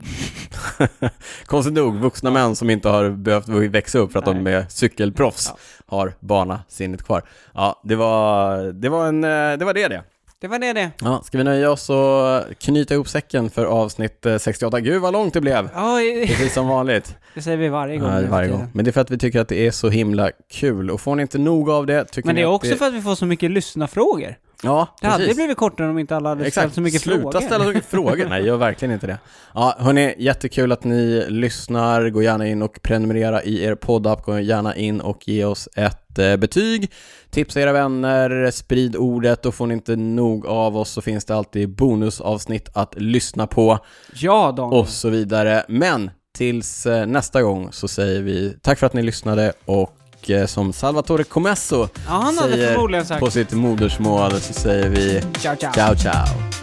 Speaker 1: Eh, Konstigt nog, vuxna män som inte har behövt växa upp för att de
Speaker 2: Nej.
Speaker 1: är cykelproffs har barnasinnet kvar. Ja, det var det. Var en, eh, det, var det, det.
Speaker 2: Det var det det.
Speaker 1: Ja, ska vi nöja oss och knyta ihop säcken för avsnitt eh, 68? Gud vad långt det blev!
Speaker 2: Ja, i-
Speaker 1: Precis som vanligt.
Speaker 2: det säger vi varje gång.
Speaker 1: Ja,
Speaker 2: nu för
Speaker 1: varje gång.
Speaker 2: tiden.
Speaker 1: Men det är för att vi tycker att det är så himla kul. Och får ni inte nog av det, tycker
Speaker 2: Men det
Speaker 1: ni
Speaker 2: är
Speaker 1: att
Speaker 2: också för att vi får så mycket lyssnarfrågor.
Speaker 1: Ja,
Speaker 2: Det hade
Speaker 1: precis.
Speaker 2: blivit kortare om inte alla hade ställt så mycket
Speaker 1: Sluta
Speaker 2: frågor.
Speaker 1: ställa så mycket frågor. Nej, gör verkligen inte det. Ja, hörni, jättekul att ni lyssnar. Gå gärna in och prenumerera i er poddapp. Gå gärna in och ge oss ett eh, betyg. Tipsa era vänner, sprid ordet och får ni inte nog av oss så finns det alltid bonusavsnitt att lyssna på
Speaker 2: Ja, Daniel.
Speaker 1: och så vidare. Men tills eh, nästa gång så säger vi tack för att ni lyssnade och eh, som Salvatore Comesso
Speaker 2: Ja, han hade
Speaker 1: säger
Speaker 2: förmodligen sagt
Speaker 1: på sitt modersmål så säger vi
Speaker 2: ciao, ciao.
Speaker 1: ciao ciao.